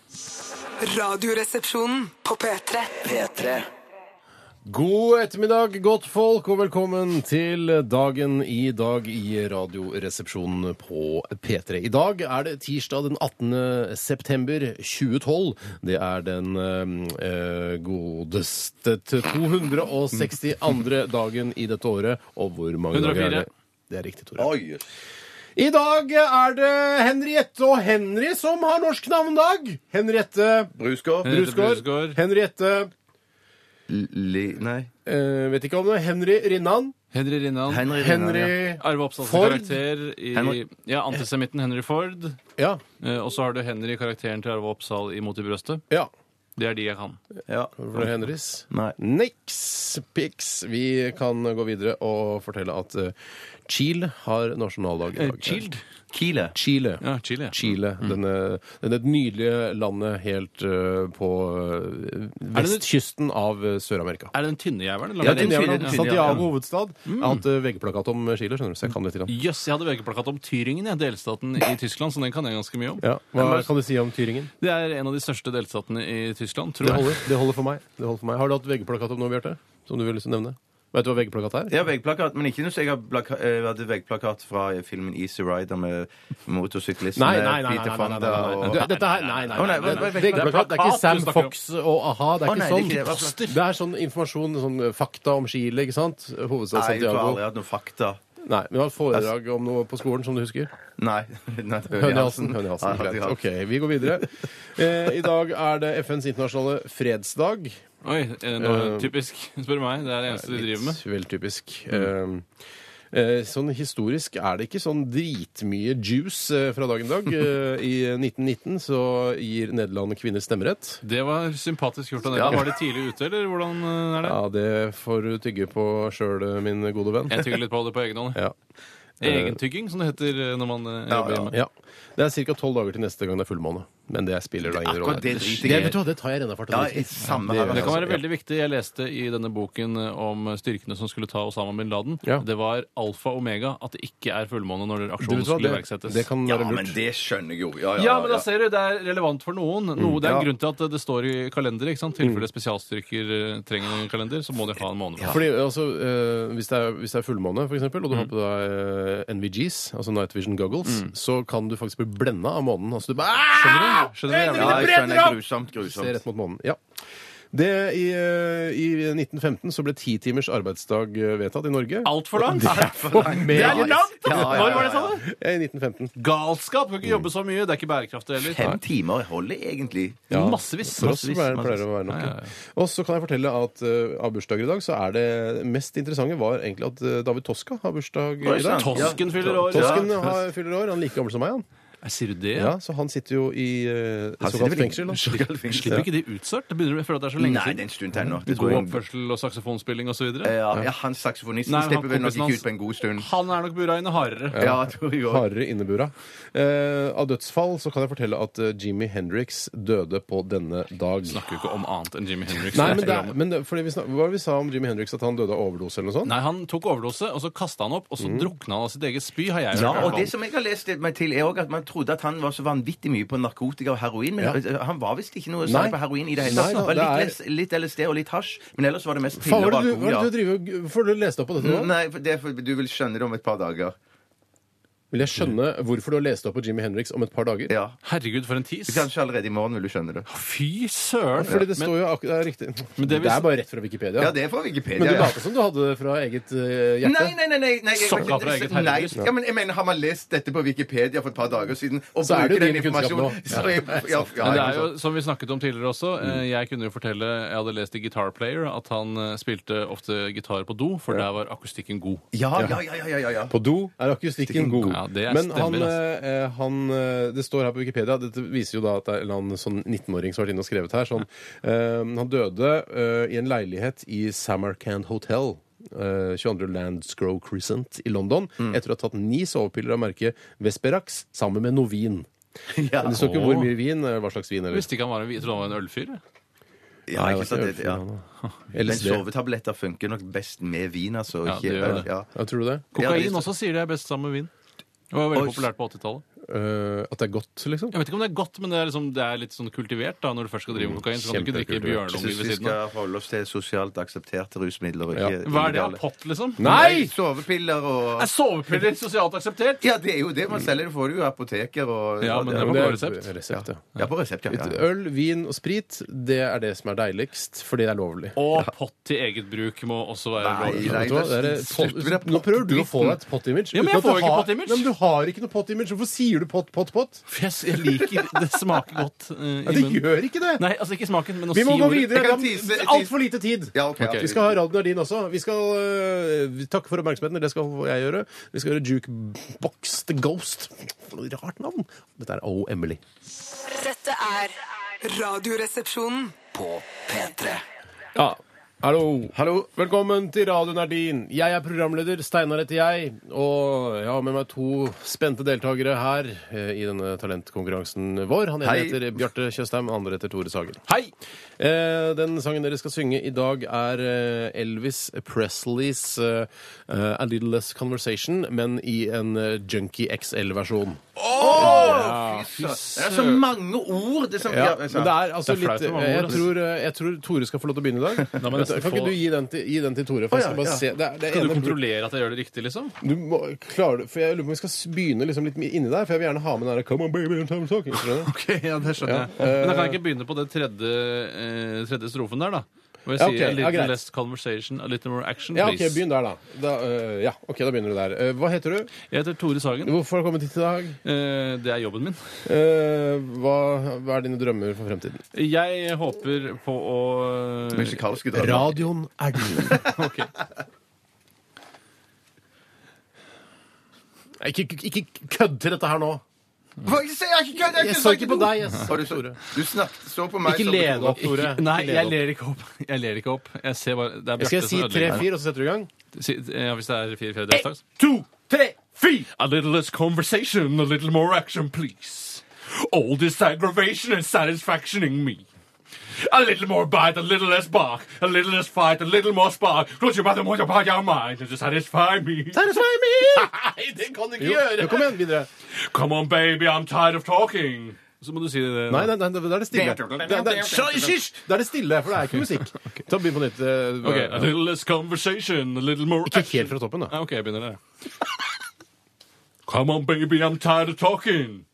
Speaker 6: Radioresepsjonen på P3.
Speaker 2: P3
Speaker 3: God ettermiddag, godt folk, og velkommen til dagen i dag i Radioresepsjonen på P3. I dag er det tirsdag den 18. september 2012. Det er den eh, godeste til 262. dagen i dette året. Og hvor mange dager er
Speaker 5: 104.
Speaker 3: det? Det er riktig, Tore.
Speaker 4: Oi.
Speaker 3: I dag er det Henriette og Henry som har norsk navnedag. Henriette
Speaker 4: Brusgård.
Speaker 5: Henriette
Speaker 3: Brusgaard.
Speaker 5: Brusgaard.
Speaker 3: Henriette
Speaker 4: Li... Nei.
Speaker 3: Eh, vet ikke om det. Henry Rinnan.
Speaker 5: Henry Rinnan.
Speaker 4: Henry Rinnan,
Speaker 3: Henry
Speaker 4: ja.
Speaker 5: Arve Oppsals
Speaker 3: Ford.
Speaker 5: karakter i
Speaker 4: Henry-
Speaker 5: ja, antisemitten Henry Ford.
Speaker 3: Ja.
Speaker 5: Eh, og så har du Henry, karakteren til Arve Oppsal i Mot i brøstet.
Speaker 3: ja.
Speaker 5: Det er de jeg kan.
Speaker 4: Ja.
Speaker 3: Var det Henrys?
Speaker 4: Nei.
Speaker 3: Niks piks. Vi kan gå videre og fortelle at eh, Chile har nasjonaldag i dag.
Speaker 5: Chilled.
Speaker 4: Kile.
Speaker 3: Chile.
Speaker 5: Eh, Ja, Chile. Mm.
Speaker 3: Chile. Denne, denne nydelige landet helt eh, på eh, vestkysten av eh, Sør-Amerika.
Speaker 5: Er det den tynne jævelen?
Speaker 3: Ja,
Speaker 5: Jøss,
Speaker 4: den
Speaker 3: den jævla-
Speaker 4: tynne- den tynne, ja.
Speaker 3: Santiago hovedstad.
Speaker 5: Mm.
Speaker 3: Jeg har hatt eh, VG-plakat om Chile, skjønner du, så jeg kan litt. Grann.
Speaker 5: yes, jeg hadde VG-plakat om Tyringen, jeg, delstaten i Tyskland, så den kan jeg ganske mye om.
Speaker 3: Ja. Hva kan du si om Tyringen?
Speaker 5: Det er en av de største delstatene i Tyskland, tror
Speaker 3: Det
Speaker 5: jeg.
Speaker 3: holder, det holder for meg. Det holder for meg. Har du hatt VG-plakat om noe, Bjarte? Som du vil liksom nevne? Vet du hva VG-plakat er?
Speaker 4: Jeg har veggplakat, men ikke noe så jeg har plaka- eh, hadde veggplakat fra filmen Easy Rider med motorsyklisten
Speaker 3: Nei, nei, nei.
Speaker 4: Peter
Speaker 3: nei, nei, nei,
Speaker 4: Fonda
Speaker 3: nei, nei.
Speaker 4: og
Speaker 3: Du, Dette her, nei, nei.
Speaker 4: Å, nei,
Speaker 3: nei,
Speaker 4: vent, vent,
Speaker 3: nei.
Speaker 4: vent.
Speaker 3: Det er ikke- det er ikke
Speaker 5: Plakat
Speaker 3: Sam
Speaker 5: du snakker om.
Speaker 3: Fox og a-ha. Det er ikke
Speaker 4: Å, nei, det er ikke det. Hva
Speaker 3: sånn.
Speaker 4: slags-
Speaker 3: Det er sånn informasjon, sånn fakta om Chile, ikke sant? Hovedstad
Speaker 4: Nei, du har aldri
Speaker 3: Santiago.
Speaker 4: hatt noe fakta.
Speaker 3: Nei, men det var et foredrag om noe på skolen som du husker.
Speaker 4: Nei. nei
Speaker 3: Hønehalsen.
Speaker 4: Ja,
Speaker 3: Hønehalsen,
Speaker 4: Hønehalsen.
Speaker 3: greit. OK, vi går videre. Eh, I dag er det FNs internasjonale fredsdag.
Speaker 5: Oi, eh, nå, typisk. Spør meg. Det er det eneste de
Speaker 3: Litt
Speaker 5: driver med.
Speaker 3: vel typisk. Eh, eh, Sånn historisk er det ikke sånn dritmye juice eh, fra dagen i dag. Eh, I 1919 så gir Nederland kvinner stemmerett.
Speaker 5: Det var sympatisk gjort av dere. Var de tidlig ute, eller hvordan eh, er det?
Speaker 3: Ja, det får du tygge på sjøl, min gode venn.
Speaker 5: Jeg tygger litt på det på egen hånd.
Speaker 3: Ja.
Speaker 5: Egentygging, som det heter eh, når man eh, jobber hjemme.
Speaker 3: Eh, ja. Det er ca. tolv dager til neste gang det er fullmåne. Men det spiller da ingen rolle.
Speaker 4: Akkurat det driter
Speaker 3: Det,
Speaker 4: jeg
Speaker 3: vet
Speaker 4: i.
Speaker 3: du hva, det tar jeg rennafart.
Speaker 4: Ja,
Speaker 3: og drikker.
Speaker 4: i samme
Speaker 3: det
Speaker 4: her.
Speaker 3: gjør
Speaker 5: Det
Speaker 3: jeg.
Speaker 5: kan være
Speaker 3: Altså,
Speaker 5: veldig viktig. Jeg leste i denne boken eh, om styrkene som skulle ta Osama bin Laden.
Speaker 3: Ja.
Speaker 5: Det var alfa og omega at det ikke er fullmåne når
Speaker 3: Du
Speaker 5: aksjonen
Speaker 3: vet hva,
Speaker 5: skulle
Speaker 3: det,
Speaker 5: iverksettes.
Speaker 3: det kan
Speaker 4: Ja,
Speaker 3: være
Speaker 4: men
Speaker 3: lurt.
Speaker 4: det skjønner jeg jo. Ja, ja,
Speaker 5: Ja, men da ser du, det er relevant for noen. Noe, det er en grunn til at det står i kalenderet. ikke sant? tilfelle spesialstyrker eh, trenger en kalender, så må de ha en måned. for det.
Speaker 3: Fordi altså, eh, hvis, det er, hvis det er fullmåne, for eksempel, og du
Speaker 5: Mm.
Speaker 3: har på deg eh, NVGs, altså Night Vision Goggles, så kan du faktisk bli blenda av månen. Altså, du bare,
Speaker 5: Skjønner Mm. du? Skjønner du?
Speaker 4: Ja, jeg skjønner grusomt,
Speaker 3: Se
Speaker 4: grusomt.
Speaker 3: rett mot månen. Ja. Det, i, eh, I 1915 så ble ti timers arbeidsdag eh, vedtatt i Norge.
Speaker 5: Altfor langt!
Speaker 3: Og
Speaker 5: Det
Speaker 3: mer-
Speaker 5: er jo langt!
Speaker 4: Ja, ja, ja, ja.
Speaker 5: Når var det, sa du?
Speaker 3: Ja, Eh, I 1915.
Speaker 5: Galskap! Kan ikke jobbe så mye. Det er ikke bærekraftig heller.
Speaker 4: Fem timer holder egentlig.
Speaker 5: Ja. Massevis.
Speaker 3: For oss
Speaker 4: Massevis,
Speaker 3: pleier pleier
Speaker 4: massevis.
Speaker 3: det å være nok.
Speaker 5: Ja, ja, ja.
Speaker 3: ja. Og så kan jeg fortelle at eh, av bursdager i dag, så er det det mest interessante var egentlig at eh, David Toska har bursdag i dag.
Speaker 5: Tosken fyller år.
Speaker 3: Tosken har, fyller år. Han er like gammel som meg, han.
Speaker 5: Ja. Sier du det?
Speaker 3: Ja, Så han sitter jo i eh,
Speaker 4: Han
Speaker 3: såkalt
Speaker 4: sitter vel i
Speaker 3: fengsel. da.
Speaker 4: såkalt fengsel,
Speaker 5: Slipper
Speaker 4: ja.
Speaker 5: ikke de ut snart? Det begynner å føle at det er så lenge
Speaker 4: Nei, det er
Speaker 5: siden.
Speaker 4: en stund til nå. Det går
Speaker 5: God
Speaker 4: en-
Speaker 5: oppførsel og saksofonspilling osv.
Speaker 4: Ja, ja, han saksofonisten
Speaker 5: Nei, han
Speaker 4: slipper vel nok
Speaker 5: kompisen
Speaker 4: ikke
Speaker 5: hans.
Speaker 4: ut på en god stund.
Speaker 5: Han er nok bura inne hardere.
Speaker 4: Ja, jeg tror jeg også.
Speaker 3: Hardere innebura. Eh, av dødsfall så kan jeg fortelle at eh, Jimmy Hendrix døde på denne dag.
Speaker 5: Snakker jo ikke om annet enn Jimmy Henrik.
Speaker 3: Nei, men, det, er- men det, fordi vi snak, Hva var det vi sa om Jimmy Hendrix? At han døde av overdose eller noe sånt?
Speaker 5: Nei, han tok overdose, og så kasta han opp, og så
Speaker 3: Mm.
Speaker 5: drukna han av sitt eget spy, har jeg
Speaker 4: Ja,
Speaker 5: hørt. i hvert
Speaker 4: og det
Speaker 5: fall.
Speaker 4: som jeg har lest meg til, er også at man trodde at han var så vanvittig mye på narkotika og heroin, men altså,
Speaker 3: Ja.
Speaker 4: han var visst ikke noe
Speaker 3: Nei.
Speaker 4: særlig på heroin i det hele
Speaker 3: Nei,
Speaker 4: tatt. Det
Speaker 3: da,
Speaker 4: var litt,
Speaker 3: det
Speaker 4: les- litt LSD og litt hasj, men ellers var det mest
Speaker 3: Faen,
Speaker 4: piller og
Speaker 3: hva er det du, hva er det du
Speaker 4: alkohol.
Speaker 3: driver og- Får du lese det opp på dette
Speaker 4: Ja.
Speaker 3: nå?
Speaker 4: Nei, for det, er for, du vil skjønne det om et par dager.
Speaker 3: Vil jeg skjønne hvorfor du har lest det opp på Jimmy Hendrix om et par dager?
Speaker 4: Ja.
Speaker 5: Herregud, for en tis.
Speaker 4: Kanskje allerede i morgen vil du skjønne det.
Speaker 5: Fy søren!
Speaker 3: Fordi det
Speaker 5: Men-
Speaker 3: står jo akkurat Det er riktig.
Speaker 5: Men
Speaker 3: det,
Speaker 5: det vil-
Speaker 3: er bare rett fra Wikipedia.
Speaker 4: Ja, det er fra
Speaker 3: Men
Speaker 4: Wikipedia.
Speaker 3: du
Speaker 4: ja.
Speaker 3: later som du hadde det fra eget eh, hjerte. Sånn
Speaker 4: Nei, nei, nei, nei, nei, jeg,
Speaker 5: Sokka fra eget
Speaker 4: nei.
Speaker 5: helvete.
Speaker 4: Ja, men jeg mener, Har man lest dette på Wikipedia for et par dager siden og
Speaker 3: Så er det jo
Speaker 4: bruker den
Speaker 3: din kunnskap nå.
Speaker 4: informasjonen så jeg- ja, ja,
Speaker 5: Men det
Speaker 4: ja,
Speaker 5: er jo, som vi snakket om tidligere også, eh,
Speaker 3: Mm.
Speaker 5: jeg kunne jo fortelle, jeg hadde lest i Guitar Player at han eh, spilte ofte gitar på do, for der var akustikken god.
Speaker 4: ja, ja, ja, ja, ja, ja.
Speaker 3: På do er akustikken god.
Speaker 5: Ja, det er
Speaker 3: Men
Speaker 5: stemmer,
Speaker 3: han,
Speaker 5: altså.
Speaker 3: eh, han eh, Det står her på Wikipedia, dette viser jo da at det er en eller annen sånn 19-åring som har vært inne og skrevet her. Sånn, eh, han døde eh, i en leilighet i Samarkand Hotel. eh, 22. Landscrow Crescent i London
Speaker 5: Mm.
Speaker 3: etter å ha tatt ni sovepiller av merket Vesperax sammen med noe vin.
Speaker 4: Ja.
Speaker 3: Men Det står ikke hvor mye vin, eh, hva slags vin.
Speaker 5: Jeg
Speaker 3: Eller.
Speaker 5: visste ikke han var en, jeg trodde han var en ølfyr. jeg.
Speaker 4: Ja, ikke sant, det, ja. Men
Speaker 3: LSD.
Speaker 4: sovetabletter funker nok best med vin, altså.
Speaker 5: Ja,
Speaker 4: ikke
Speaker 5: det gjør
Speaker 4: øl,
Speaker 5: det.
Speaker 4: Ja.
Speaker 3: Ja, tror du det?
Speaker 4: Ja, det
Speaker 5: Kokain
Speaker 4: er-
Speaker 5: også sier det er best sammen med vin. Det var
Speaker 4: Oi.
Speaker 5: veldig populært på 80-tallet.
Speaker 3: Eh, at det er godt, liksom?
Speaker 5: Jeg vet ikke om det er godt, men det er, liksom, det er litt sånn kultivert da, når du først skal drive med kokain. Så kan du ikke drikke
Speaker 3: kjempekultivert.
Speaker 4: Jeg
Speaker 5: bjørnunge ved
Speaker 4: syns vi
Speaker 5: siden av.
Speaker 4: skal holde oss til sosialt aksepterte rusmidler. og Ikke
Speaker 5: Hva er det av
Speaker 4: illegale.
Speaker 5: pott, liksom?
Speaker 4: Nei! Sovepiller og
Speaker 5: Er sovepiller sosialt akseptert?
Speaker 4: Ja, det er jo det man selger. Du får det jo i apoteker og
Speaker 5: Ja, men
Speaker 4: og-
Speaker 5: det var
Speaker 3: Men
Speaker 5: på
Speaker 3: det er-
Speaker 5: resept.
Speaker 3: resept ja.
Speaker 4: ja, på resept, ja. ja, ja.
Speaker 3: Øl, vin og sprit, det er det som er deiligst, fordi det er lovlig.
Speaker 5: Og pott til eget bruk må også være
Speaker 4: Nei,
Speaker 5: lov.
Speaker 4: nei,
Speaker 3: Vet du hva, det er
Speaker 4: det-
Speaker 3: pot-
Speaker 4: slutt med det
Speaker 3: Nå prøver du å få deg et pot-image.
Speaker 5: Ja, men jeg
Speaker 3: uten at
Speaker 5: får
Speaker 3: du
Speaker 5: ikke
Speaker 3: har-
Speaker 5: pot-image.
Speaker 3: Nei, Men du har ikke noe pot-image. Hvorfor sier du pott, pott, pott?
Speaker 5: Jeg, jeg liker Det smaker godt eh,
Speaker 3: Ja,
Speaker 5: i
Speaker 3: det
Speaker 5: munnen.
Speaker 3: gjør ikke det!
Speaker 5: Nei, altså ikke smaken, men å
Speaker 3: Vi må gå
Speaker 5: si ordet.
Speaker 3: videre.
Speaker 4: Jeg kan
Speaker 3: Det
Speaker 4: tise-
Speaker 3: er
Speaker 4: tise-
Speaker 3: altfor lite tid.
Speaker 4: Ja, ok, ok.
Speaker 3: Vi skal ha radioen er din også. Vi skal øh, takke for oppmerksomheten. Det skal jeg gjøre. Vi skal gjøre Jukebox The Ghost. For noe rart navn. Dette er O. Emily.
Speaker 6: Dette er Radioresepsjonen.
Speaker 2: På P3.
Speaker 3: Ja. Hallo. Velkommen til Radioen er din. Jeg er programleder. Steinar heter jeg. Og jeg har med meg to spente deltakere her eh, i denne talentkonkurransen vår. Han ene
Speaker 4: Hei.
Speaker 3: heter Bjarte Tjøstheim, han andre heter Tore Sagen.
Speaker 5: Hei!
Speaker 3: Eh, den sangen dere skal synge i dag, er eh, Elvis Presleys eh, eh, A Little Less Conversation, men i en eh, Junkie XL-versjon.
Speaker 4: Å, fy søren. Det er så mange ord! Det som,
Speaker 3: Ja,
Speaker 4: ja,
Speaker 3: men
Speaker 4: altså.
Speaker 3: det er altså
Speaker 5: Det er flaut
Speaker 3: litt
Speaker 5: med mange
Speaker 3: jeg
Speaker 5: ord, altså.
Speaker 3: tror, eh, jeg tror Tore skal få lov til å begynne i dag.
Speaker 5: Da må jeg nesten
Speaker 3: kan ikke
Speaker 5: få-
Speaker 3: du gi den til, gi den til Tore? For jeg skal
Speaker 4: ja,
Speaker 3: bare
Speaker 4: ja.
Speaker 3: se. Det er, det
Speaker 5: Kan du
Speaker 3: ene-
Speaker 5: kontrollere at jeg gjør det riktig, liksom?
Speaker 3: Du må, klarer, du- for Jeg lurer på om vi skal s- begynne liksom litt inni der, for jeg vil gjerne ha med den der Come on, baby, and time talking. skjønner Eh, du?
Speaker 5: Ok, ja, det skjønner jeg. Men da kan jeg ikke begynne på den tredje, eh, tredje strofen der, da. Hvor jeg
Speaker 3: Ja,
Speaker 5: sier
Speaker 3: ok,
Speaker 5: a
Speaker 3: ja,
Speaker 5: little
Speaker 3: greit.
Speaker 5: less conversation, a little more action,
Speaker 3: Ja,
Speaker 5: please.
Speaker 3: OK, begynn der, da. da øh, ja, ok, da begynner du der. Eh, hva heter du?
Speaker 5: Jeg heter Tore Sagen.
Speaker 3: Hvorfor har du kommet hit i dag?
Speaker 5: Eh, det er jobben min.
Speaker 3: Eh, hva, hva er dine drømmer for fremtiden?
Speaker 5: Jeg håper på å
Speaker 4: Musikalske drømmer.
Speaker 3: Radioen er din.
Speaker 5: Ok.
Speaker 3: Ikke, ikke, ikke kødd til dette her nå!
Speaker 4: Hva, jeg sier ikke kødd!
Speaker 3: Jeg så ikke på deg. Jeg så
Speaker 4: Har du,
Speaker 3: på Tore.
Speaker 4: du snakket så på meg
Speaker 3: Ikke
Speaker 4: så på
Speaker 3: lede
Speaker 4: Tore.
Speaker 3: opp, Tore.
Speaker 5: Nei,
Speaker 3: Ikke lede
Speaker 5: jeg
Speaker 3: opp.
Speaker 5: ler ikke opp. Jeg ler ikke opp. Jeg ser bare Det
Speaker 3: Skal
Speaker 5: er
Speaker 3: jeg
Speaker 5: Bjarte
Speaker 3: si
Speaker 5: som ødelegger.
Speaker 3: tre-fire, og så setter du i gang?
Speaker 5: Si- Ja, hvis det er fire-fire deltakere.
Speaker 3: To, tre, fire!
Speaker 5: A little less conversation, a little more action, please. All this aggravation is satisfactioning me. A little more bite, a little less bark, a little less fight, a little more spark. Don't you matter what about your mind, to satisfy me.
Speaker 3: Satisfy me!
Speaker 5: Nei, det kan du ikke
Speaker 3: Jo, jo, kom igjen, videre.
Speaker 5: Come on, baby, I'm tired of talking. Så må du si det.
Speaker 3: Nei, nei, nei, da er det stille. Det- det- det- Hysj! Da er det stille, for det er ikke musikk. Ta Begynn på nytt. eh,
Speaker 5: Ok, a little less conversation, a little more
Speaker 3: Ikke helt fra toppen, da.
Speaker 5: Ah, ok, jeg begynner der. Come on, baby, I'm tired of talking.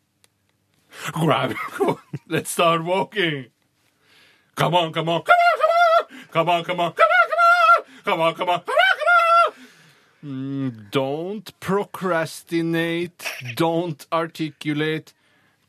Speaker 5: Grab Let's start walking. Come on, come on, come on, come on! Come on, come on, come on, come on! Come on, come on, come on, come on! Mm, don't procrastinate. Don't articulate.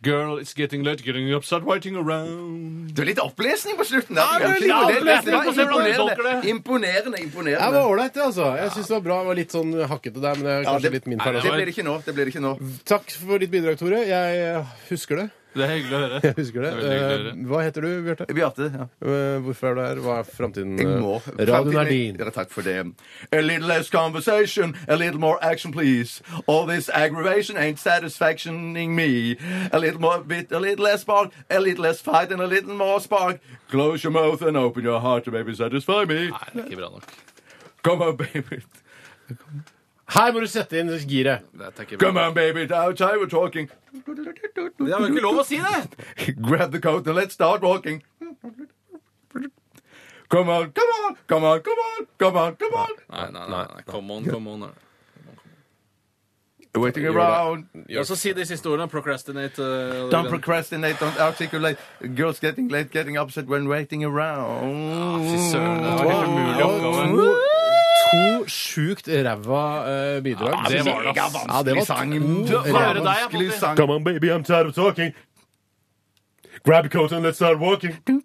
Speaker 5: Girl, it's getting late. Getting up, start waiting around.
Speaker 4: Det er litt opplesning på slutten. da.
Speaker 5: Ja, det er litt opplesning
Speaker 4: Det var
Speaker 5: på slutten, hvordan du tolker
Speaker 4: Imponerende.
Speaker 5: det.
Speaker 4: Imponerende.
Speaker 3: Jeg var
Speaker 4: imponerende.
Speaker 3: ålreit, det, altså. Jeg syns det var bra. Det var litt sånn hakkete der, men det er
Speaker 4: Ja,
Speaker 3: kanskje litt min feil.
Speaker 4: det
Speaker 3: også.
Speaker 4: blir det ikke nå. Det blir det ikke nå.
Speaker 3: Takk for ditt bidrag, Tore. Jeg eh, husker det.
Speaker 5: Det er hyggelig å høre.
Speaker 3: Jeg husker det.
Speaker 5: Det er veldig hyggelig å
Speaker 3: Eh, Hva heter du, Bjarte?
Speaker 4: Bjarte. Ja.
Speaker 3: Eh, Hvorfor er du her? Hva er framtiden?
Speaker 4: Jeg må.
Speaker 3: Eh, Radioen er din.
Speaker 4: Ja, takk for det. A little less conversation, a little more action, please. All this aggravation ain't satisfactioning me. A little more bit, a little less spark, a little less fight and a little more spark. Close your mouth and open your heart to maybe satisfy me.
Speaker 3: Ah.
Speaker 5: Nei, det er ikke bra nok.
Speaker 4: Come on, baby.
Speaker 3: Her må du sette inn giret!
Speaker 5: Dette er ikke bra.
Speaker 4: Come on, baby. Now time we're talking.
Speaker 5: Det var jo ikke lov å si det!
Speaker 4: Grab the coat and let's start walking. Come on, come on, come on, come on, come on, come on.
Speaker 5: Nei, nei, nei. nei. Come on, come on.
Speaker 4: Waiting around.
Speaker 5: Og så si de siste ordene. Procrastinate. eh,
Speaker 4: Don't
Speaker 5: den-
Speaker 4: procrastinate, don't articulate. Girls getting late, getting upset when waiting around.
Speaker 5: Ah, Fy søren, det var helt umulig oppgave.
Speaker 3: To, to sjukt ræva eh, bidrag.
Speaker 5: Ja, det var det, ass.
Speaker 3: Ja, det var to
Speaker 5: Du, hva er det
Speaker 3: ræva.
Speaker 5: deg,
Speaker 4: Vanskelig
Speaker 5: Poppy?
Speaker 4: sang.
Speaker 3: Come on, baby, I'm tired of talking. Grab a coat and let's start walking. Come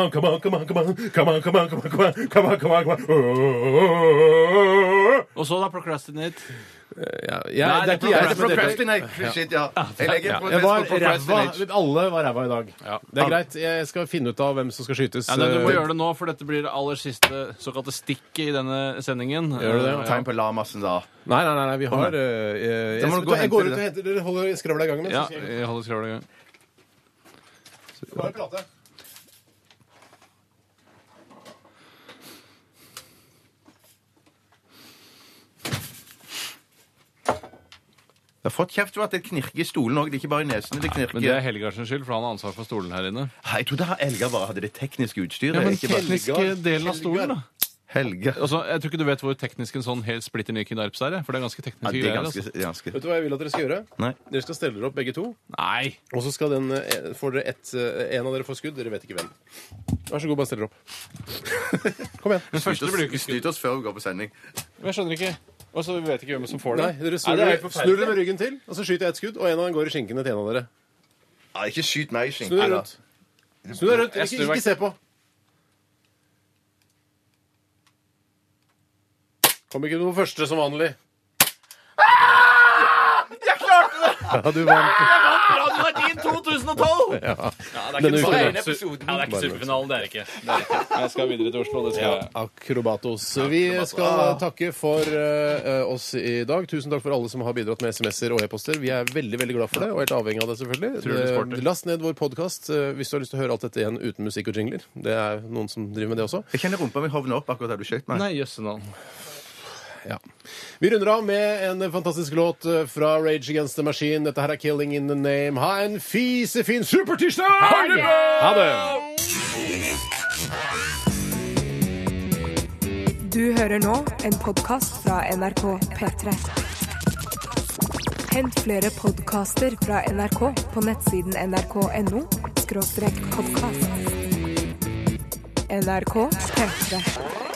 Speaker 3: on, come on, come on, come on. Come on, come on, come on, come on. Come on, come on, come on. Oh.
Speaker 5: Og så da procrastinate.
Speaker 3: Ja,
Speaker 5: Nei,
Speaker 3: jeg, det er ikke
Speaker 5: det er
Speaker 3: jeg
Speaker 4: Nei,
Speaker 3: som er dette.
Speaker 4: Procrastinate. Shit, ja. Jeg legger
Speaker 5: Ja.
Speaker 4: på
Speaker 3: Jeg var
Speaker 4: Facebook
Speaker 3: ræva.
Speaker 4: procrastinate.
Speaker 3: Alle var ræva i dag.
Speaker 5: Ja.
Speaker 3: Det er greit. Jeg skal finne ut av hvem som skal skytes.
Speaker 5: Ja, nei, du må
Speaker 3: Eh,
Speaker 5: gjøre det nå, for dette blir det aller siste såkalte stikket i denne sendingen.
Speaker 3: Gjør du det?
Speaker 5: Eh,
Speaker 4: Tegn på lamasen, da.
Speaker 3: Nei, nei, nei, nei, vi har eh, eh,
Speaker 4: Da
Speaker 3: jeg,
Speaker 4: må
Speaker 3: skal-
Speaker 4: du gå og
Speaker 3: jeg går
Speaker 4: hente
Speaker 3: ut og
Speaker 4: det.
Speaker 3: henter Dere holder skravla i gang.
Speaker 5: Eh, Ja, jeg holder skravla i gang.
Speaker 3: Bare prate.
Speaker 4: Jeg har fått kjeft for at det knirker i stolen òg. Det er ikke bare i nesene. det knirker.
Speaker 5: Men det er Helgardsens skyld, for han har ansvar for stolen her inne.
Speaker 4: Nei, Jeg trodde Elga bare hadde det tekniske utstyret.
Speaker 5: Ja, men
Speaker 4: ikke bare...
Speaker 5: tekniske delen av stolen, da.
Speaker 4: Helga.
Speaker 5: Altså, jeg tror ikke du vet hvor teknisk en sånn helt splitter ny Knarps er, jeg, for det er ganske
Speaker 4: Ja,
Speaker 5: tekniske
Speaker 4: det er
Speaker 5: greier.
Speaker 4: ganske,
Speaker 5: Altså.
Speaker 4: ganske.
Speaker 3: Vet du hva jeg vil at dere skal gjøre?
Speaker 4: Nei.
Speaker 3: Dere skal stelle dere opp begge to.
Speaker 5: Nei!
Speaker 3: Og så skal den, eh, får dere ett, eh, en av dere får skudd. Dere vet ikke hvem. Vær så god, bare stell dere opp. Kom igjen.
Speaker 5: Første blir jo ikke skutt.
Speaker 4: Snyt oss før vi går på sending.
Speaker 5: Jeg skjønner ikke. Og så vet ikke hvem som får det.
Speaker 3: Nei, dere
Speaker 5: Nei,
Speaker 3: snur,
Speaker 5: det er
Speaker 3: dere-
Speaker 5: helt
Speaker 3: snur
Speaker 5: forferdelig.
Speaker 3: dere med ryggen til, og så skyter jeg et skudd, og en av dem går i skinken til en av dere.
Speaker 4: Nei, ikke skyt meg i
Speaker 3: Snu dere
Speaker 4: skinken.
Speaker 3: rundt. Snu dere rundt.
Speaker 5: Jeg
Speaker 3: Ikke,
Speaker 5: snur meg.
Speaker 3: ikke se på. Kom ikke på første, som vanlig. Ah! Jeg klarte det! Ja, du vant.
Speaker 5: Radiovertin 2012! Ja,
Speaker 3: Denne
Speaker 5: det er ikke
Speaker 3: uken, ja.
Speaker 5: så- det er ikke- ja, det er ikke superfinalen, det er det ikke. Det er det ikke. Jeg skal videre til Oslo, det skal jeg. Ah.
Speaker 3: Akrobatos. Vi skal takke for eh, oss i dag. Tusen takk for alle som har bidratt med SMS-er og e-poster. Vi er veldig veldig glad for det, og helt avhengig av det, selvfølgelig.
Speaker 5: Utrolig sporty.
Speaker 3: Eh, Last ned vår podkast hvis du har lyst til å høre alt dette igjen uten musikk og jingler. Det er noen som driver med det også.
Speaker 4: Jeg kjenner rumpa mi hovne opp akkurat der du skjøt meg.
Speaker 5: Nei, jøsse navn.
Speaker 3: Ja. Vi runder av med en fantastisk låt eh, fra Rage Against the Machine. Dette her er 'Killing In The Name'. Ha en fisefin supertirsdag! Ha det!
Speaker 1: Du hører nå en podkast fra NRK P3. Hent flere podkaster fra NRK på nettsiden nrk.no podkast. NRK P3.